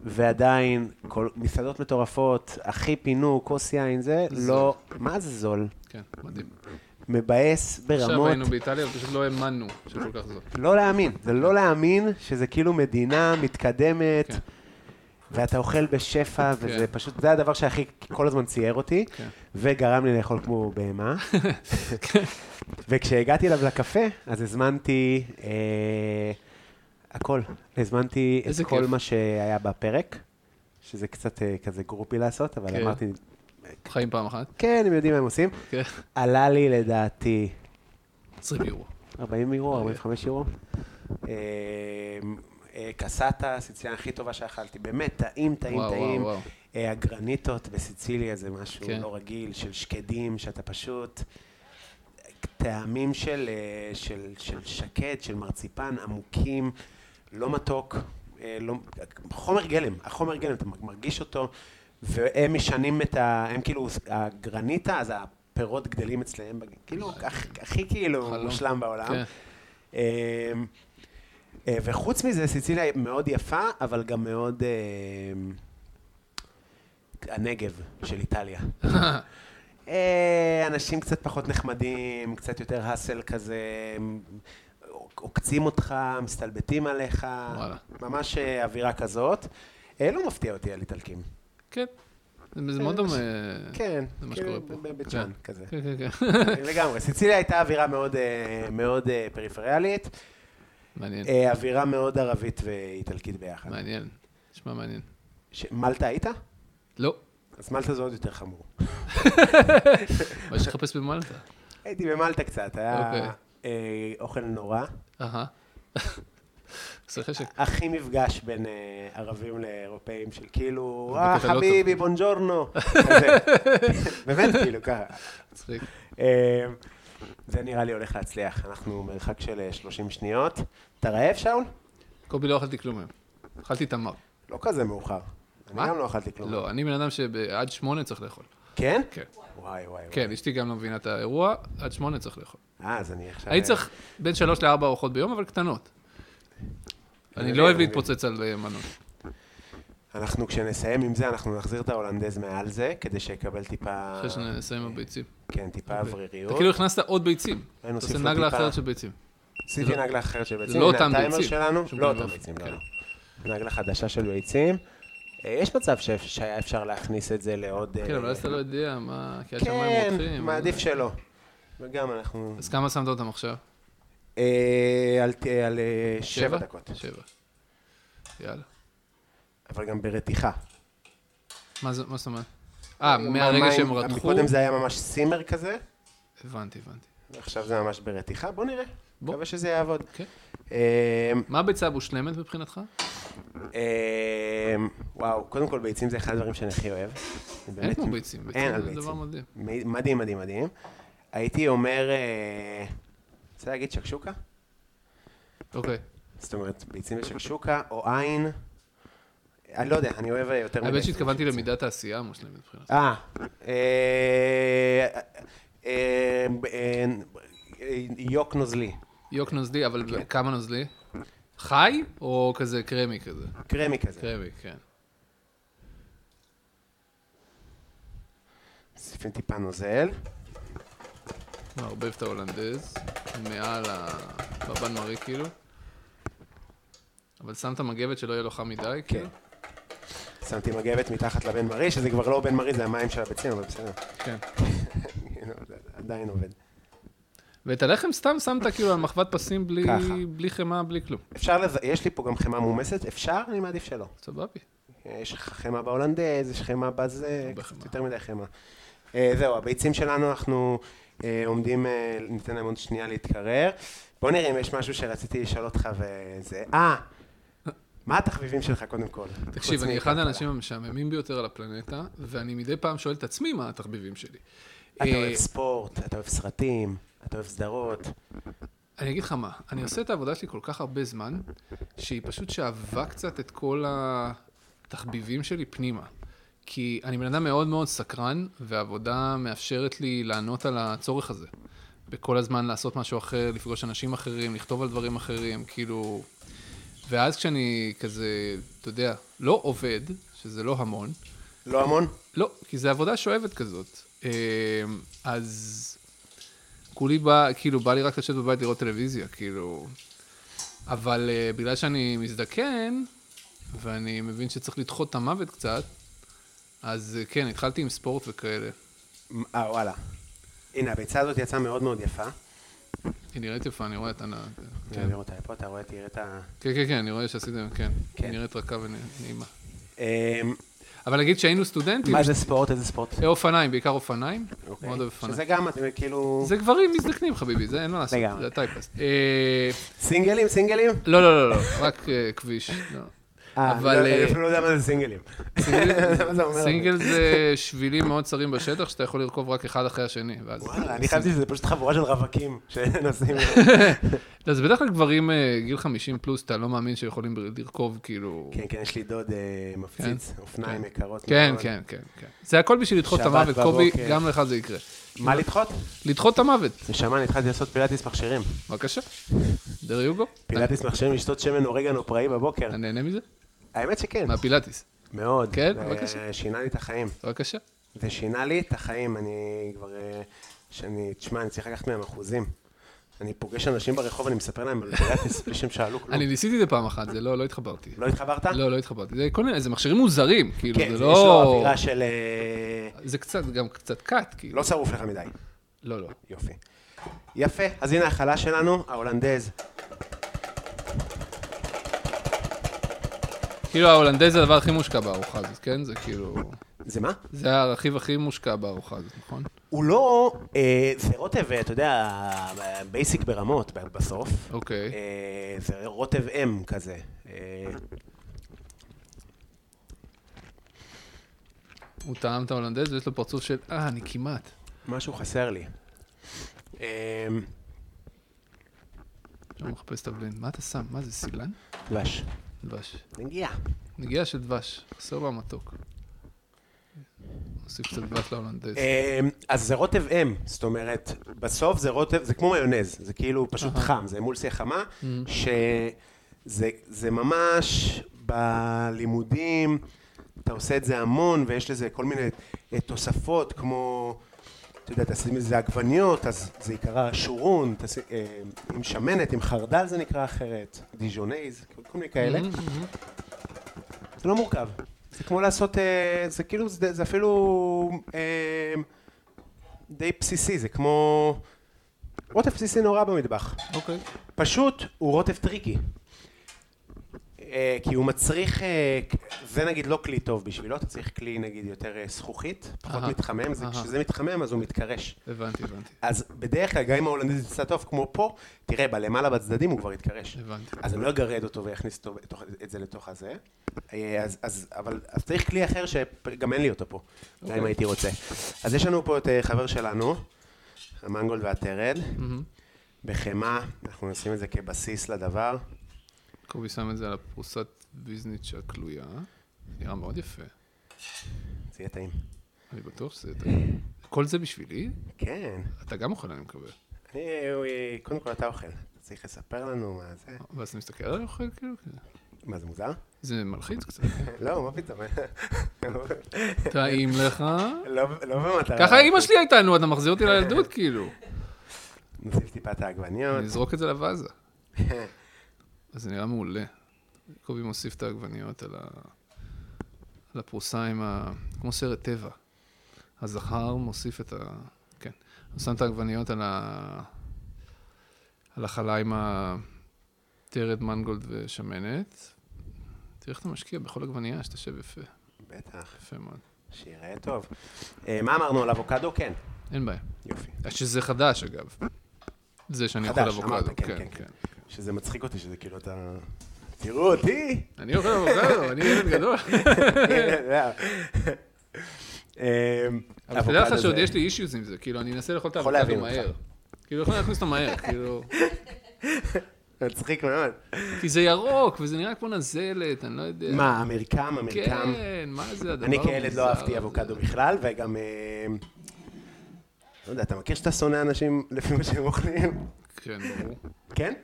ועדיין כל, מסעדות מטורפות, הכי פינוק, כוס יין, זה לא, מה זה זול? כן, מדהים. מבאס עכשיו ברמות, היינו באיטליה ופשוט לא האמנו שכל כך זאת. לא להאמין, זה לא להאמין שזה כאילו מדינה מתקדמת. כן. ואתה אוכל בשפע, וזה כן. פשוט, זה הדבר שהכי כל הזמן צייר אותי, כן. וגרם לי לאכול כמו בהמה. וכשהגעתי אליו לקפה, אז הזמנתי אה, הכל. הזמנתי את איזה כל כיף. מה שהיה בפרק, שזה קצת אה, כזה גרופי לעשות, אבל כן. אמרתי, חיים פעם אחת. כן, הם יודעים מה הם עושים. כן. עלה לי לדעתי 20 יורו. 40 אוקיי. יורו, 45 יורו. אה, אה, קסטה, הסיציליאן הכי טובה שאכלתי, באמת, טעים, טעים, וואו, טעים. וואו, וואו. אה, הגרניטות בסיציליה זה משהו כן. לא רגיל, של שקדים, שאתה פשוט... טעמים של, אה, של, של שקד, של מרציפן, עמוקים, לא מתוק, אה, לא, חומר גלם, החומר גלם, אתה מרגיש אותו, והם משנים את ה... הם כאילו, הגרניטה, אז הפירות גדלים אצלהם, בג- כאילו, הכ, הכי כאילו חלום. מושלם בעולם. כן. אה, אה, וחוץ מזה, סיציליה היא מאוד יפה, אבל גם מאוד... אה, הנגב של איטליה. אה, אנשים קצת פחות נחמדים, קצת יותר האסל כזה, עוקצים אותך, מסתלבטים עליך, וואלה. ממש אה, אווירה כזאת. אה, לא מפתיע אותי על איטלקים. כן. זה זה מאוד דומה. כן, אה, זה מה כאילו שקורה פה. בבית שאן כן. כזה. כן, כן, כן. לגמרי, סיציליה הייתה אווירה מאוד, אה, מאוד אה, פריפריאלית, מעניין, אה, אווירה מאוד ערבית ואיטלקית ביחד. מעניין. נשמע מעניין. ש- מלטה היית? לא, אז מלטה זה עוד יותר חמור. מה יש לחפש במלטה? הייתי במלטה קצת, היה אוקיי. אה, אוכל נורא. אהה. עושה חשק. הכי מפגש בין אה, ערבים לאירופאים, של כאילו, בקטע אה, לא טוב." חביבי, בונג'ורנו. כזה. באמת, כאילו, ככה. מצחיק. אה, זה נראה לי הולך להצליח, אנחנו מרחק של אה, 30 שניות. אתה רעב, שאול? קובי, לא אכלתי כלום היום. אכלתי תמר. לא כזה מאוחר. מה? אני גם לא אכלתי כלום. לא, אני בן אדם שעד שמונה צריך לאכול. כן? כן. וואי, וואי, וואי. כן, אשתי גם לא מבינה את האירוע, עד שמונה צריך לאכול. אה, אז אני עכשיו... הייתי צריך בין שלוש לארבע ארוחות ביום, אבל קטנות. אני לא אוהב להתפוצץ על אה, מנות. אה, אנחנו, כשנסיים עם זה, אנחנו נחזיר את ההולנדז מעל זה, כדי שיקבל טיפה... אחרי שנסיים עם הביצים. כן, טיפה אתה אווריריות. כאילו הכנסת עוד ביצים. אתה נוסיף עושה לו נגלה טיפה. כן, אחרת של ביצים. עשיתי זה לא- נגלה אחרת של ביצים. לא הנה, אותם הטיימר ביצים. שלנו, שום לא דבר. כן. אותם ביצים, לא, לא. נגלה חדשה של ביצים. אה, יש מצב שאפ- שהיה אפשר להכניס את זה לעוד... כן, אה, אבל אז אתה לא יודע מה... כי עד שמיים כן, רותחים. אה. מעדיף שלא. וגם אנחנו... אז כמה שמת אותם עכשיו? אה, על- אה, על אה, שבע דקות. שבע. יאללה. אבל גם ברתיחה. מה זה- מה זאת אומרת? אה, מהרגע מה- שהם מה- רתחו? קודם זה היה ממש סימר כזה, הבנתי, הבנתי. ועכשיו זה ממש ברתיחה. בוא נראה. בוא. מקווה שזה יעבוד. כן. אה, מה הביצה המושלמת מבחינתך? אה, וואו, קודם כל ביצים זה אחד הדברים שאני הכי אוהב. אני אין באמת- כמו ביצים. אין על ביצים זה דבר ביצים. מדהים. מ- מדהים, מדהים, מדהים. הייתי אומר, אה, רוצה להגיד שקשוקה? אוקיי. זאת אומרת, ביצים ושקשוקה, או עין. אני לא יודע, אני אוהב אה, יותר האמת מביצים. שהתכוונתי למידת העשייה המושלמת מבחינתך. אה, אה, אה, אה, אה, יוק נוזלי, יוק נוזלי, כן. אבל כמה נוזלי? חי או כזה קרמי כזה? קרמי כזה. קרמי, כן. מוסיפים טיפה נוזל. מערבב לא, את ההולנדז, מעל הבבן מרי כאילו. אבל שמת מגבת שלא יהיה לו חם מדי, כן, כאילו? שמתי מגבת מתחת לבן מרי, שזה כבר לא בן מרי, זה המים של הביצים, אבל בסדר. כן. כאילו, זה עדיין עובד. ואת הלחם סתם שמת כאילו על מחבת פסים בלי, ככה. בלי חמאה, בלי כלום. אפשר, לז... יש לי פה גם חמאה מומסת, אפשר? אני מעדיף שלא. סבבי. יש לך חמאה בהולנדז, יש חמאה בזה, הרבה קצת חמאה. יותר מדי חמאה. אה, זהו, הביצים שלנו, אנחנו אה, עומדים, אה, ניתן להם עוד שנייה להתקרר. בוא נראה אם יש משהו שרציתי לשאול אותך וזה. אה, מה התחביבים שלך קודם כל? תקשיב, חוץ אני אחד מכלכלה. האנשים המשעממים ביותר על הפלנטה, ואני מדי פעם שואל את עצמי מה התחביבים שלי. אתה אה, אוהב ספורט, אתה אוהב סרטים, אתה אוהב סדרות. אני אגיד לך מה, אני עושה את העבודה שלי כל כך הרבה זמן, שהיא פשוט שאבה קצת את כל התחביבים שלי פנימה. כי אני בן אדם מאוד מאוד סקרן, והעבודה מאפשרת לי לענות על הצורך הזה. בכל הזמן לעשות משהו אחר, לפגוש אנשים אחרים, לכתוב על דברים אחרים, כאילו... ואז כשאני כזה, אתה יודע, לא עובד, שזה לא המון, לא המון? לא, כי זה עבודה שואבת כזאת. אמ, אז כולי בא, כאילו, בא לי רק לשבת בבית לראות טלוויזיה, כאילו... אבל אה, בגלל שאני מזדקן, ואני מבין שצריך לדחות את המוות קצת, אז אה, כן, התחלתי עם ספורט וכאלה. אה, וואלה. הנה, הביצה הזאת יצאה מאוד מאוד יפה. כן. היא נראית יפה, אני רואה את הנ... אני אעביר אותה לפה, אתה רואה, תראה את ה... כן, כן, כן, אני רואה שעשיתם, כן. כן. היא נראית רכה ונעימה. אמ, אבל נגיד שהיינו סטודנטים, מה זה ספורט? איזה ספורט? אה, אופניים, בעיקר אופניים, אוקיי. מאוד אוהב אופניים. שזה גם, אתם כאילו... זה גברים מזדקנים, חביבי, זה אין מה לעשות, לגמרי. זה הטייפסט. אה, סינגלים, סינגלים? לא, לא, לא, לא, רק אה, כביש. לא. אה, אבל, אבל... אני אה, אפילו לא יודע מה זה סינגלים. מה זה אומר? סינגל זה שבילים מאוד צרים בשטח, שאתה יכול לרכוב רק אחד אחרי השני. ואז- וואלה, אני חשבתי שזה פשוט חבורה של רווקים שנוסעים. לא, זה בדרך כלל גברים אה, גיל 50 פלוס, אתה לא מאמין שיכולים בר- לרכוב, כאילו... כן, כן, יש לי דוד אה, מפציץ, אופניים יקרות. כן, מאוד. כן, כן, כן. זה הכל בשביל לדחות את שבת המוות, קובי, בבוקר. גם לך זה יקרה. מה לדחות? לדחות את המוות, נשמה, אני התחלתי לעשות פילאטיס מכשירים. בבקשה. דר יוגו, פילאטיס מכשירים, לשתות שמן אורגן או פראי בבוקר. אתה נהנה מזה? האמת שכן, מהפילאטיס, מאוד. כן, זה בבקשה. שינה לי את החיים. בבקשה. זה שינה לי את החיים, אני כבר... אה, שאני, תשמע, אני צריך לקחת מהם אחוזים. אני פוגש אנשים ברחוב, אני מספר להם על פילאטיס, בלי שהם שאלו כלום. אני ניסיתי את זה פעם אחת, זה לא, לא התחברתי. לא התחברת? לא, לא התחברתי. זה כל מיני, זה מכשירים מוזרים, כאילו, כן, זה זה יש לו לא... אווירה של... אה, זה קצת, גם קצת קאט, כאילו. לא שרוף לך מדי. לא, לא. יופי. יפה, אז הנה ההכלה שלנו, ההולנדז. כאילו ההולנדז זה הדבר הכי מושקע בארוחה הזאת, כן? זה כאילו... זה מה? זה הרכיב הכי מושקע בארוחה הזאת, נכון? הוא לא אה, זה רוטב, אה, אתה יודע, בייסיק ברמות ב- בסוף. אוקיי. אה, זה רוטב אם כזה. אה, הוא טעם את ההולנדז ויש לו פרצוף של, אה, אני כמעט. משהו חסר לי. אה, עכשיו הוא מחפש את הבלנד. מה אתה שם? מה זה, סילן? דבש. דבש. נגיעה. נגיעה של דבש, חסר לו המתוק. נוסיף קצת דבש להולנדז. אה, אז זה רוטב אם, זאת אומרת, בסוף זה רוטב, זה כמו מיונז, זה כאילו פשוט חם, זה אמולסיה חמה, שזה זה ממש בלימודים, אתה עושה את זה המון, ויש לזה כל מיני אה, תוספות, כמו, אתה יודע, תשים לזה עגבניות, אז זה יקרא שורון, תשים, אה, עם שמנת, עם חרדל זה נקרא אחרת, דיז'ונייז, כל מיני כאלה. Mm-hmm. זה לא מורכב. זה כמו לעשות, אה, זה כאילו, זה, זה אפילו אה, די בסיסי, זה כמו רוטף בסיסי נורא במטבח. אוקיי. פשוט הוא רוטף טריקי. אה, כי הוא מצריך, אה, זה נגיד לא כלי טוב בשבילו, אתה צריך כלי נגיד יותר אה, זכוכית, פחות אהה, מתחמם, זה- אהה. כשזה מתחמם אז הוא מתקרש. הבנתי, הבנתי. אז בדרך כלל, גם אם ההולנדז יצא טוב כמו פה, תראה, בלמעלה בצדדים הוא כבר יתקרש. הבנתי. אז אני לא אגרד אותו ואכניס אותו, בתוך- את זה לתוך הזה. אה, אז, אז, אבל אז צריך כלי אחר שגם אין לי אותו פה, גם אם הייתי רוצה. אז יש לנו פה את אה, חבר שלנו, המנגולד והטרד, בחמאה, אנחנו נשים את זה כבסיס לדבר. קובי שם את זה על הפרוסת ויזניץ' הכלויה. נראה מאוד יפה. זה יהיה טעים. אני בטוח שזה... טעים. כל זה בשבילי? כן. אתה גם אוכל, אני מקווה. אני, הוא- אה, קודם כל אתה אוכל. אתה צריך לספר לנו מה זה. ואז אתה מסתכל על האוכל, כאילו? כזה. מה זה מוזר? זה מלחיץ קצת. לא, מה פתאום? טעים לך. לא לא במטרה. ככה אימא שלי הייתה, נו, אתה מחזיר אותי לילדות, כאילו. נוסיף טיפה את העגבניות. נזרוק את זה לוואזה. אז זה נראה מעולה. קובי מוסיף את העגבניות על, ה... על הפרוסה עם ה... כמו סרט טבע. הזכר מוסיף את ה... כן. הוא שם את העגבניות על ה... על החלה עם הטרד מנגולד ושמנת. תראה איך אתה משקיע בכל עגבנייה, שתשב יפה. בטח, יפה מאוד. שיראה טוב. אה, מה אמרנו על אבוקדו? כן. אין בעיה. אה, יופי. שזה חדש, אגב. זה שאני אוכל חדש, אמרת, אבוקדו. כן, כן, כן. שזה מצחיק אותי, שזה כאילו אתה... תראו אותי! אני אוכל אבוקדו, אני ילד גדול. אמ, אבל תדע לך אבוקדו שעוד זה- יש לי אישיוז עם זה, כאילו, אני אנסה לאכול את יכול האבוקדו להבין אותך. מהר. כאילו, יכולים להכניס אותו מהר, כאילו... מצחיק מאוד. כי זה ירוק, וזה נראה כמו נזלת, אני לא יודע. מה, המרקם, המרקם. כן, מה זה הדבר אני כילד המוזר לא אהבתי הזה? אבוקדו בכלל, וגם... אמ, לא יודע, אתה מכיר שאתה שונא אנשים לפי מה שהם אוכלים? כן, ברור. כן?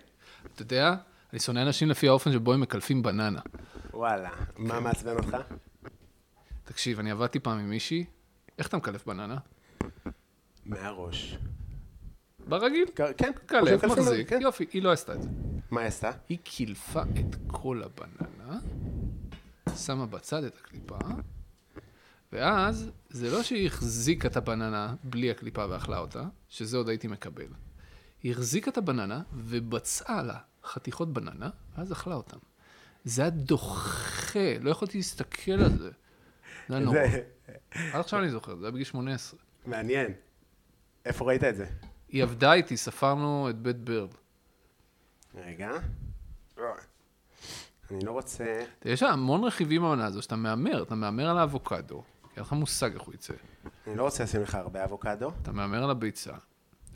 אתה יודע, אני שונא אנשים לפי האופן שבו הם מקלפים בננה. וואלה. כן. מה מעצבן אותך? תקשיב, אני עבדתי פעם עם מישהי, איך אתה מקלף בננה? מהראש. ברגיל. כן, כן. קלף, מקלפים, מחזיק, כן. יופי, היא לא עשתה את זה. מה היא עשתה? היא קילפה את כל הבננה, שמה בצד את הקליפה, ואז זה לא שהיא החזיקה את הבננה בלי הקליפה ואכלה אותה, שזה עוד הייתי מקבל. היא החזיקה את הבננה ובצעה לה חתיכות בננה, ואז אכלה אותן. זה היה דוחה, לא יכולתי להסתכל על זה. זה היה נורא. זה עד עכשיו אני זוכר, זה היה בגיל 18. מעניין. איפה ראית את זה? היא עבדה איתי, ספרנו את בית ברד. רגע. אני לא רוצה... יש לה המון רכיבים במנה הזו, שאתה מהמר, אתה מהמר על האבוקדו, כי אין לך מושג איך הוא יצא. אני לא רוצה לשים לך הרבה אבוקדו. אתה מהמר על הביצה,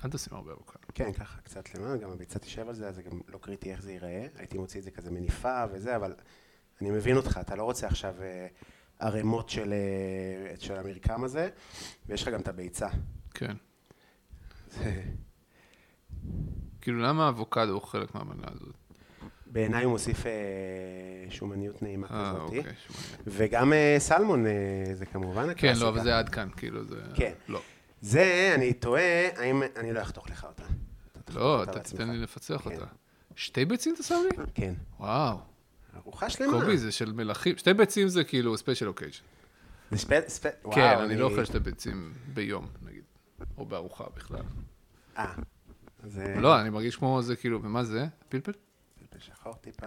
אל תשים הרבה אבוקדו. כן, ככה קצת למעלה, גם הביצה תשב על זה, אז זה גם לא קריטי איך זה ייראה. הייתי מוציא את זה כזה מניפה וזה, אבל אני מבין אותך, אתה לא רוצה עכשיו אה, ערימות של, אה, של המרקם הזה, ויש לך גם את הביצה. כן. זה- כאילו, למה האבוקדו הוא חלק מהמנה הזאת? בעיניי הוא מוסיף אה, שומניות נעימה אה, כזאת. אוקיי, שמונה. וגם אה, סלמון אה, זה כמובן כן, הקלאסיקה. לא, אבל זה עד כאן, כאילו, זה... כן. לא. זה, אני תוהה, האם... אני לא אחתוך לך אותה. אתה לא, על אתה עצמך. תיתן לי לפצח כן. אותה. שתי ביצים אתה שם לי? כן. וואו. ארוחה שלמה. קובי זה של מלכים. שתי ביצים זה כאילו ספיישל אוקייז'ן. זה ספ... ספ... וואו, כן, אני לא אוכל שתי ביצים ביום, נגיד. או בארוחה בכלל. אה. זה לא, אני מרגיש כמו זה כאילו, ומה זה? פלפל? שחור טיפה.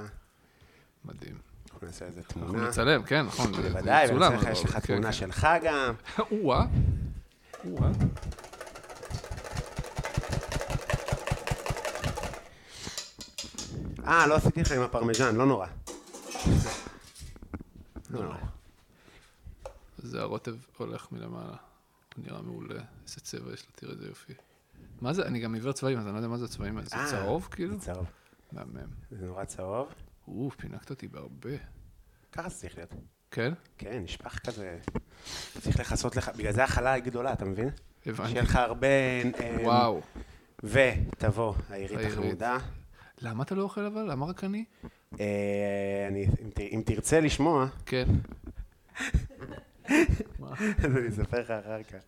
מדהים. אנחנו נעשה איזה אנחנו תמונה. נצלם, כן, נכון. זה- זה אה. בוודאי, מצולם, ונעשה לך, אבל- יש לך כן, תמונה כן. שלך גם. או-אה. או-אה. אה, לא עשיתי לך עם הפרמיז'ן, לא נורא. לא נורא. זה הרוטב הולך מלמעלה. הוא נראה מעולה. איזה צבע יש לו, תראה איזה יופי. מה זה? אני גם עיוור צבעים, אז אני לא יודע מה זה הצבעים האלה. זה אה, צהוב כאילו? זה צהוב. מהמם. זה נורא צהוב. או, פינקת אותי בהרבה. ככה זה צריך להיות. כן? כן, נשפך כזה. צריך לכסות לך, בגלל זה החלה היא גדולה, אתה מבין? הבנתי. שיהיה לך הרבה... אה, וואו. ותבוא, העירית העירית. החמודה. למה אתה לא אוכל אבל? למה רק אני? אה, אני- אם ת- אם תרצה לשמוע, כן. אז אני אספר לך אחר כך.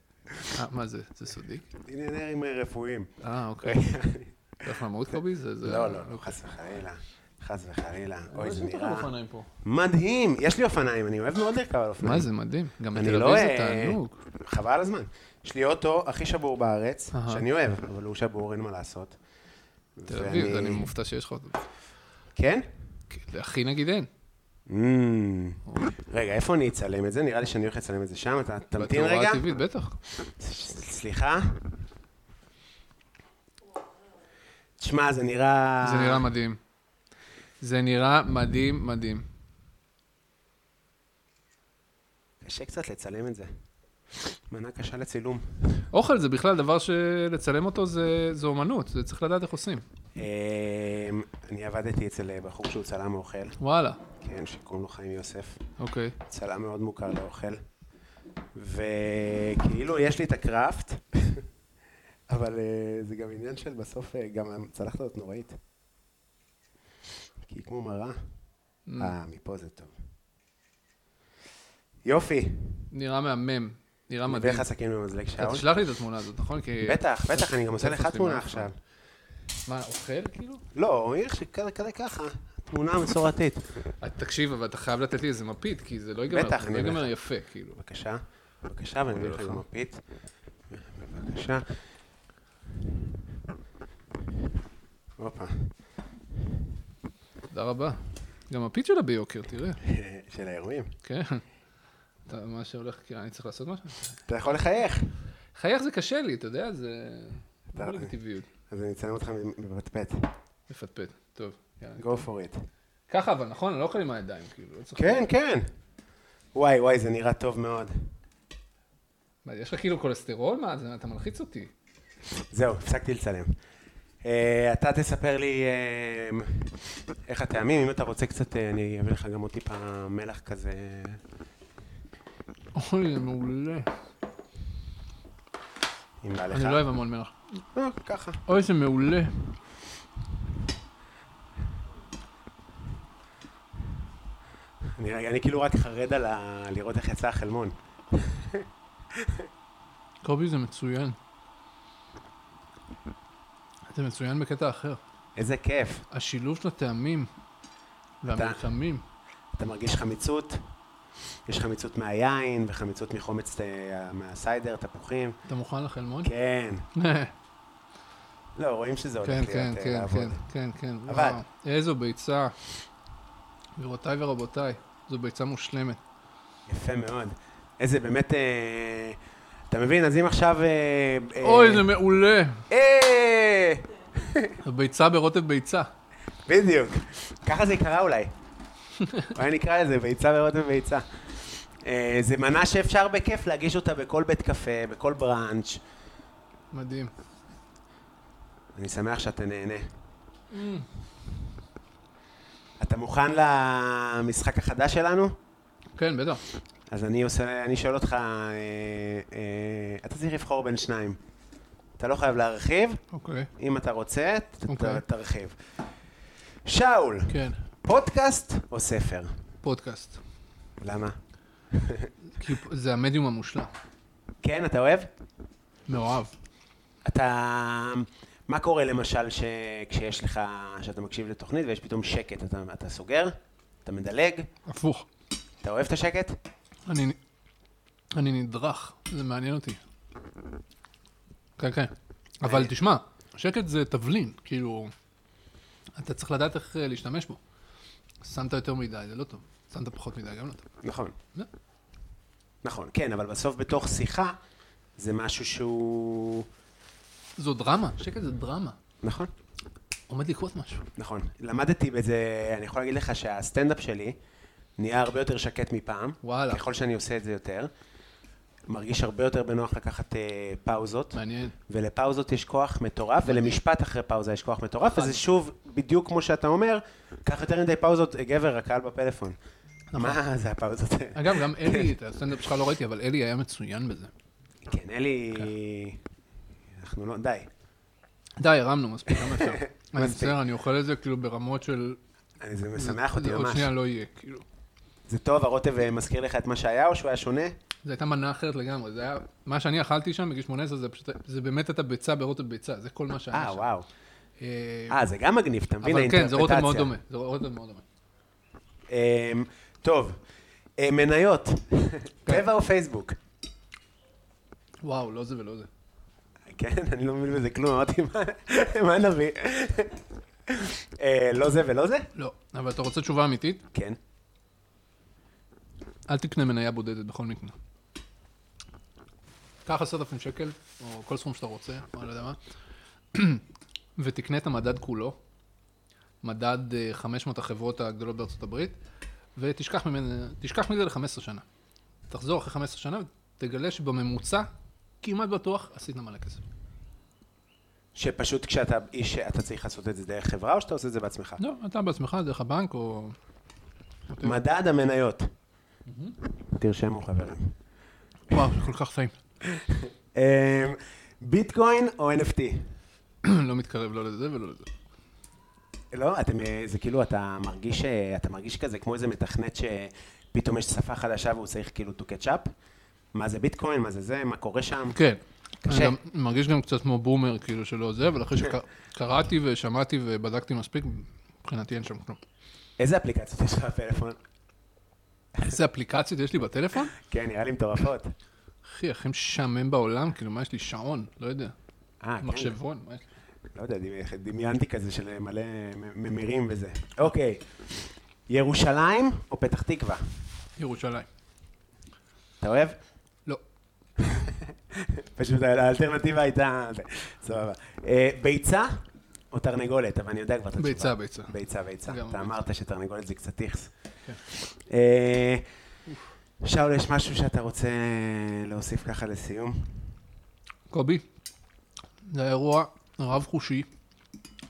אה, מה זה? זה סודי? עניינים רפואיים. אה, אוקיי. אתה הולך למות קובי? זה... זה- לא, לא, לא, חס וחלילה. חס וחלילה. אוי, יש זה לי אותך נראה... באופניים פה. מדהים! יש לי אופניים, אני אוהב מאוד לרכב על אופניים. מה זה, מדהים. גם אני בתל לא, אביב זה אה, תענוג. חבל על הזמן. יש לי אוטו הכי שבור בארץ, אהה. שאני אוהב, אבל הוא שבור, אין מה לעשות. תל אביב, אני מופתע שיש לך אותו. כן? כן, לאחי נגיד אין. אמ, רגע, איפה אני אצלם את זה? נראה לי שאני הולך לצלם את זה שם, אתה תמתין בתאורה רגע. הטבעית, בטח. ס- סליחה? תשמע, זה נראה... זה נראה מדהים. זה נראה מדהים, מדהים. קשה קצת לצלם את זה. מנה קשה לצילום. אוכל זה בכלל דבר שלצלם אותו זה, זה אומנות, זה צריך לדעת איך עושים. אמ, אני עבדתי אצל אה, בחור שהוא צלם אוכל, וואלה, כן, שקוראים לו חיים יוסף. אוקיי. צלם מאוד מוכר לאוכל. וכאילו יש לי את הקראפט, אבל אה, זה גם עניין של בסוף, אה, גם הצלחת להיות נוראית. כי היא כמו מראה. Mm. אה, מפה זה טוב. יופי. נראה מהמם, נראה אה, מדהים. ואיך הסכין במזלג אתה שעון? תשלח לי את התמונה הזאת, נכון? כי... בטח, בטח, אני גם עושה לך תפס לי תמונה מהאף. עכשיו. מה, אוכל כאילו? לא, יש לי כזה כזה ככה, תמונה מסורתית. אה, תקשיב, אבל אתה חייב לתת לי איזה מפית, כי זה לא ייגמר. בטח, זה אני לא אביא ייגמר לך. יפה, כאילו. בבקשה, בבקשה, ואני מביא לך גם מפית. בבקשה. הופה, תודה רבה. גם מפית שלה ביוקר, תראה. של האירועים. כן. אתה, מה שהולך, כאילו, אני צריך לעשות משהו? אתה יכול לחייך. חייך זה קשה לי, אתה יודע, זה... אתה- לא בטבעיות. אז אני אצלם אותך מבטפט. מפטפט. טוב, יאללה. Go for it. ככה, אבל נכון? אני לא אוכל עם הידיים, כאילו. לא צריך- כן, כן. וואי, וואי, זה נראה טוב מאוד. מה, יש לך כאילו קולסטרול? מה, זה- אתה מלחיץ אותי. זהו, הפסקתי לצלם. אה, אתה תספר לי אה, איך הטעמים, אם אתה רוצה קצת, אה, אני אביא לך גם עוד טיפה מלח כזה. אוי, זה מעולה. אם בא לך. אני לא אוהב המון מלח. לא, ככה. אוי, זה מעולה. אני, אני כאילו רק חרד על ה... לראות איך יצא החלמון. קובי, זה מצוין. זה מצוין בקטע אחר. איזה כיף. השילוב של הטעמים והמלחמים. אתה מרגיש חמיצות, יש חמיצות מהיין וחמיצות מחומץ אה, מהסיידר, תפוחים. אתה מוכן לחלמון? כן. כן, לא, רואים שזה הולך כן, להיות כן, אה, כן, לעבוד. כן, כן, כן. עבד. וואו, איזו ביצה. גבירותיי ורבותיי, זו ביצה מושלמת. כן. יפה מאוד. איזה באמת... אה, אתה מבין? אז אם עכשיו... אה, אה, אוי, זה מעולה. אה, ביצה ברוטב ביצה. בדיוק. ככה זה יקרה אולי. אולי נקרא לזה ביצה ורוטב ביצה. אה, זה מנה שאפשר בכיף להגיש אותה בכל בית קפה, בכל בראנץ'. מדהים. אני שמח שאתה נהנה. Mm. אתה מוכן למשחק החדש שלנו? כן, בטח. אז אני, עושה, אני שואל אותך, אה, אה, אתה צריך לבחור בין שניים. אתה לא חייב להרחיב, אוקיי. אם אתה רוצה, ת, ת, אוקיי. תרחיב. שאול, כן, פודקאסט או ספר? פודקאסט. למה? כי זה המדיום המושלם. כן, אתה אוהב? מאוהב. אתה... מה קורה למשל ש... כשיש לך, שאתה מקשיב לתוכנית ויש פתאום שקט, אתה, אתה סוגר, אתה מדלג, הפוך. אתה אוהב את השקט? אני, אני נדרך, זה מעניין אותי. כן, כן. אבל תשמע, שקט זה תבלין, כאילו, אתה צריך לדעת איך אה, להשתמש בו. שמת יותר מדי, זה לא טוב. שמת פחות מדי, גם לא טוב. נכון. לא. נכון, כן, אבל בסוף בתוך שיחה זה משהו שהוא... זו דרמה, שקט זה דרמה. נכון. עומד לקרות משהו. נכון. למדתי בזה, אני יכול להגיד לך שהסטנדאפ שלי נהיה הרבה יותר שקט מפעם. וואלה. ככל שאני עושה את זה יותר. מרגיש הרבה יותר בנוח לקחת אה, פאוזות. מעניין. ולפאוזות יש כוח מטורף, ולמשפט אחרי פאוזה יש כוח מטורף, נכון. וזה שוב, בדיוק כמו שאתה אומר, קח יותר מדי פאוזות, אה, גבר, הקהל בפלאפון. מה זה הפאוזות האלה? אגב, גם אלי, את הסטנדאפ שלך לא ראיתי, אבל אלי היה מצוין בזה. כן, אלי... אוקיי. אנחנו לא... די. די, הרמנו מספיק, כמה אפשר. אני מספיק. מצטער, אני אוכל את זה כאילו ברמות של... אני- זה משמח אותי זה עוד ממש. שנייה לא יהיה, כאילו. זה טוב, הרוטב אה, מזכיר לך את מה שהיה, או שהוא היה שונה? זו הייתה מנה אחרת לגמרי, זה היה... מה שאני אכלתי שם בגיל 18 זה פשוט... זה באמת הייתה ביצה ברוטב ביצה, זה כל מה שהיה אה, שם. וואו. אה, אה, זה גם מגניב, אתה מבין? אבל כן, זה רוטב מאוד האינטרפרטציה. דומה. זה רוטב מאוד דומה. אמ, טוב, אה, מניות, כן. טבע או פייסבוק? וואו, לא זה ולא זה. כן, אני לא מבין בזה כלום, אמרתי, "מה- מה נביא? אה, לא זה ולא זה? לא. אבל אתה רוצה תשובה אמיתית? כן. אל תקנה מניה בודדת בכל מקרה. קח עשרת אלפים שקל, או כל סכום שאתה רוצה, או אני לא יודע מה, ותקנה את המדד כולו, מדד אה, 500 החברות הגדולות בארצות הברית, ותשכח ממנה, תשכח מזה ל-15 שנה. תחזור אחרי 15 שנה ותגלה שבממוצע, כמעט בטוח, עשית מלא כסף. שפשוט כשאתה איש, אתה צריך לעשות את זה דרך חברה, או שאתה עושה את זה בעצמך? לא, אתה בעצמך, דרך הבנק, או... מדד המניות. תרשמו חברים. וואו, זה כל כך טעים. אמ, ביטקוין או NFT? לא מתקרב לא לזה ולא לזה. לא, אתם, אה, זה כאילו, אתה מרגיש, אה, אתה מרגיש כזה כמו איזה מתכנת שפתאום יש שפה חדשה והוא צריך כאילו to catch up? מה זה ביטקוין? מה זה זה? מה קורה שם? כן. קשה. כן. אני גם מרגיש גם קצת כמו בומר, כאילו, שלא זה, אבל אחרי שקראתי ושמעתי ובדקתי מספיק, מבחינתי אין שם כלום. איזה אפליקציות יש לך בפלאפון? איזה אפליקציות יש לי בטלפון? כן, נראה לי מטורפות. אחי, הכי משעמם בעולם, כאילו, מה יש לי? שעון, לא יודע. אה, כן. מחשבון, מה יש לי? לא יודע, דמי- דמיינתי כזה של מלא מ- ממירים וזה. אוקיי. ירושלים או פתח תקווה? ירושלים. אתה אוהב? לא. פשוט האלטרנטיבה הייתה... זה, סבבה. אה, ביצה או תרנגולת? אבל אני יודע כבר את התשובה. ביצה, ביצה. ביצה, ביצה. גם אתה ביצה. כן. אמרת שתרנגולת זה קצת איכס. אה, שאול, יש משהו שאתה רוצה להוסיף ככה לסיום? קובי, זה היה אירוע רב חושי,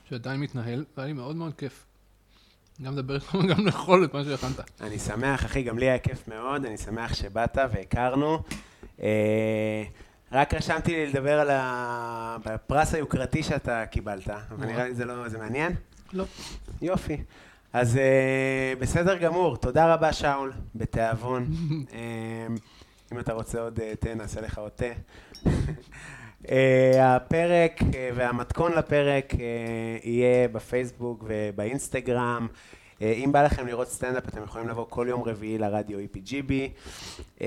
שעדיין מתנהל, והיה לי מאוד מאוד כיף. גם לדבר איתך וגם לאכול את מה שהכנת. אני שמח, אחי, גם לי היה כיף מאוד, אני שמח שבאת והכרנו. אה, רק רשמתי לי לדבר על ה- הפרס היוקרתי שאתה קיבלת, אבל נראה לי זה לא, זה מעניין? לא. יופי. אז אה, בסדר גמור, תודה רבה שאול, בתיאבון. אה, אם אתה רוצה עוד אה, תה, נעשה לך עוד תה. אה, הפרק אה, והמתכון לפרק אה, יהיה בפייסבוק ובאינסטגרם. אה, אם בא לכם לראות סטנדאפ, אתם יכולים לבוא כל יום רביעי לרדיו E EPGB, אה,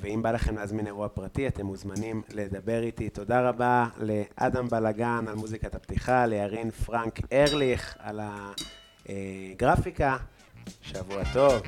ואם בא לכם להזמין אירוע פרטי, אתם מוזמנים לדבר איתי. תודה רבה לאדם בלגן על מוזיקת הפתיחה, לירין פרנק ארליך על הגרפיקה. שבוע טוב.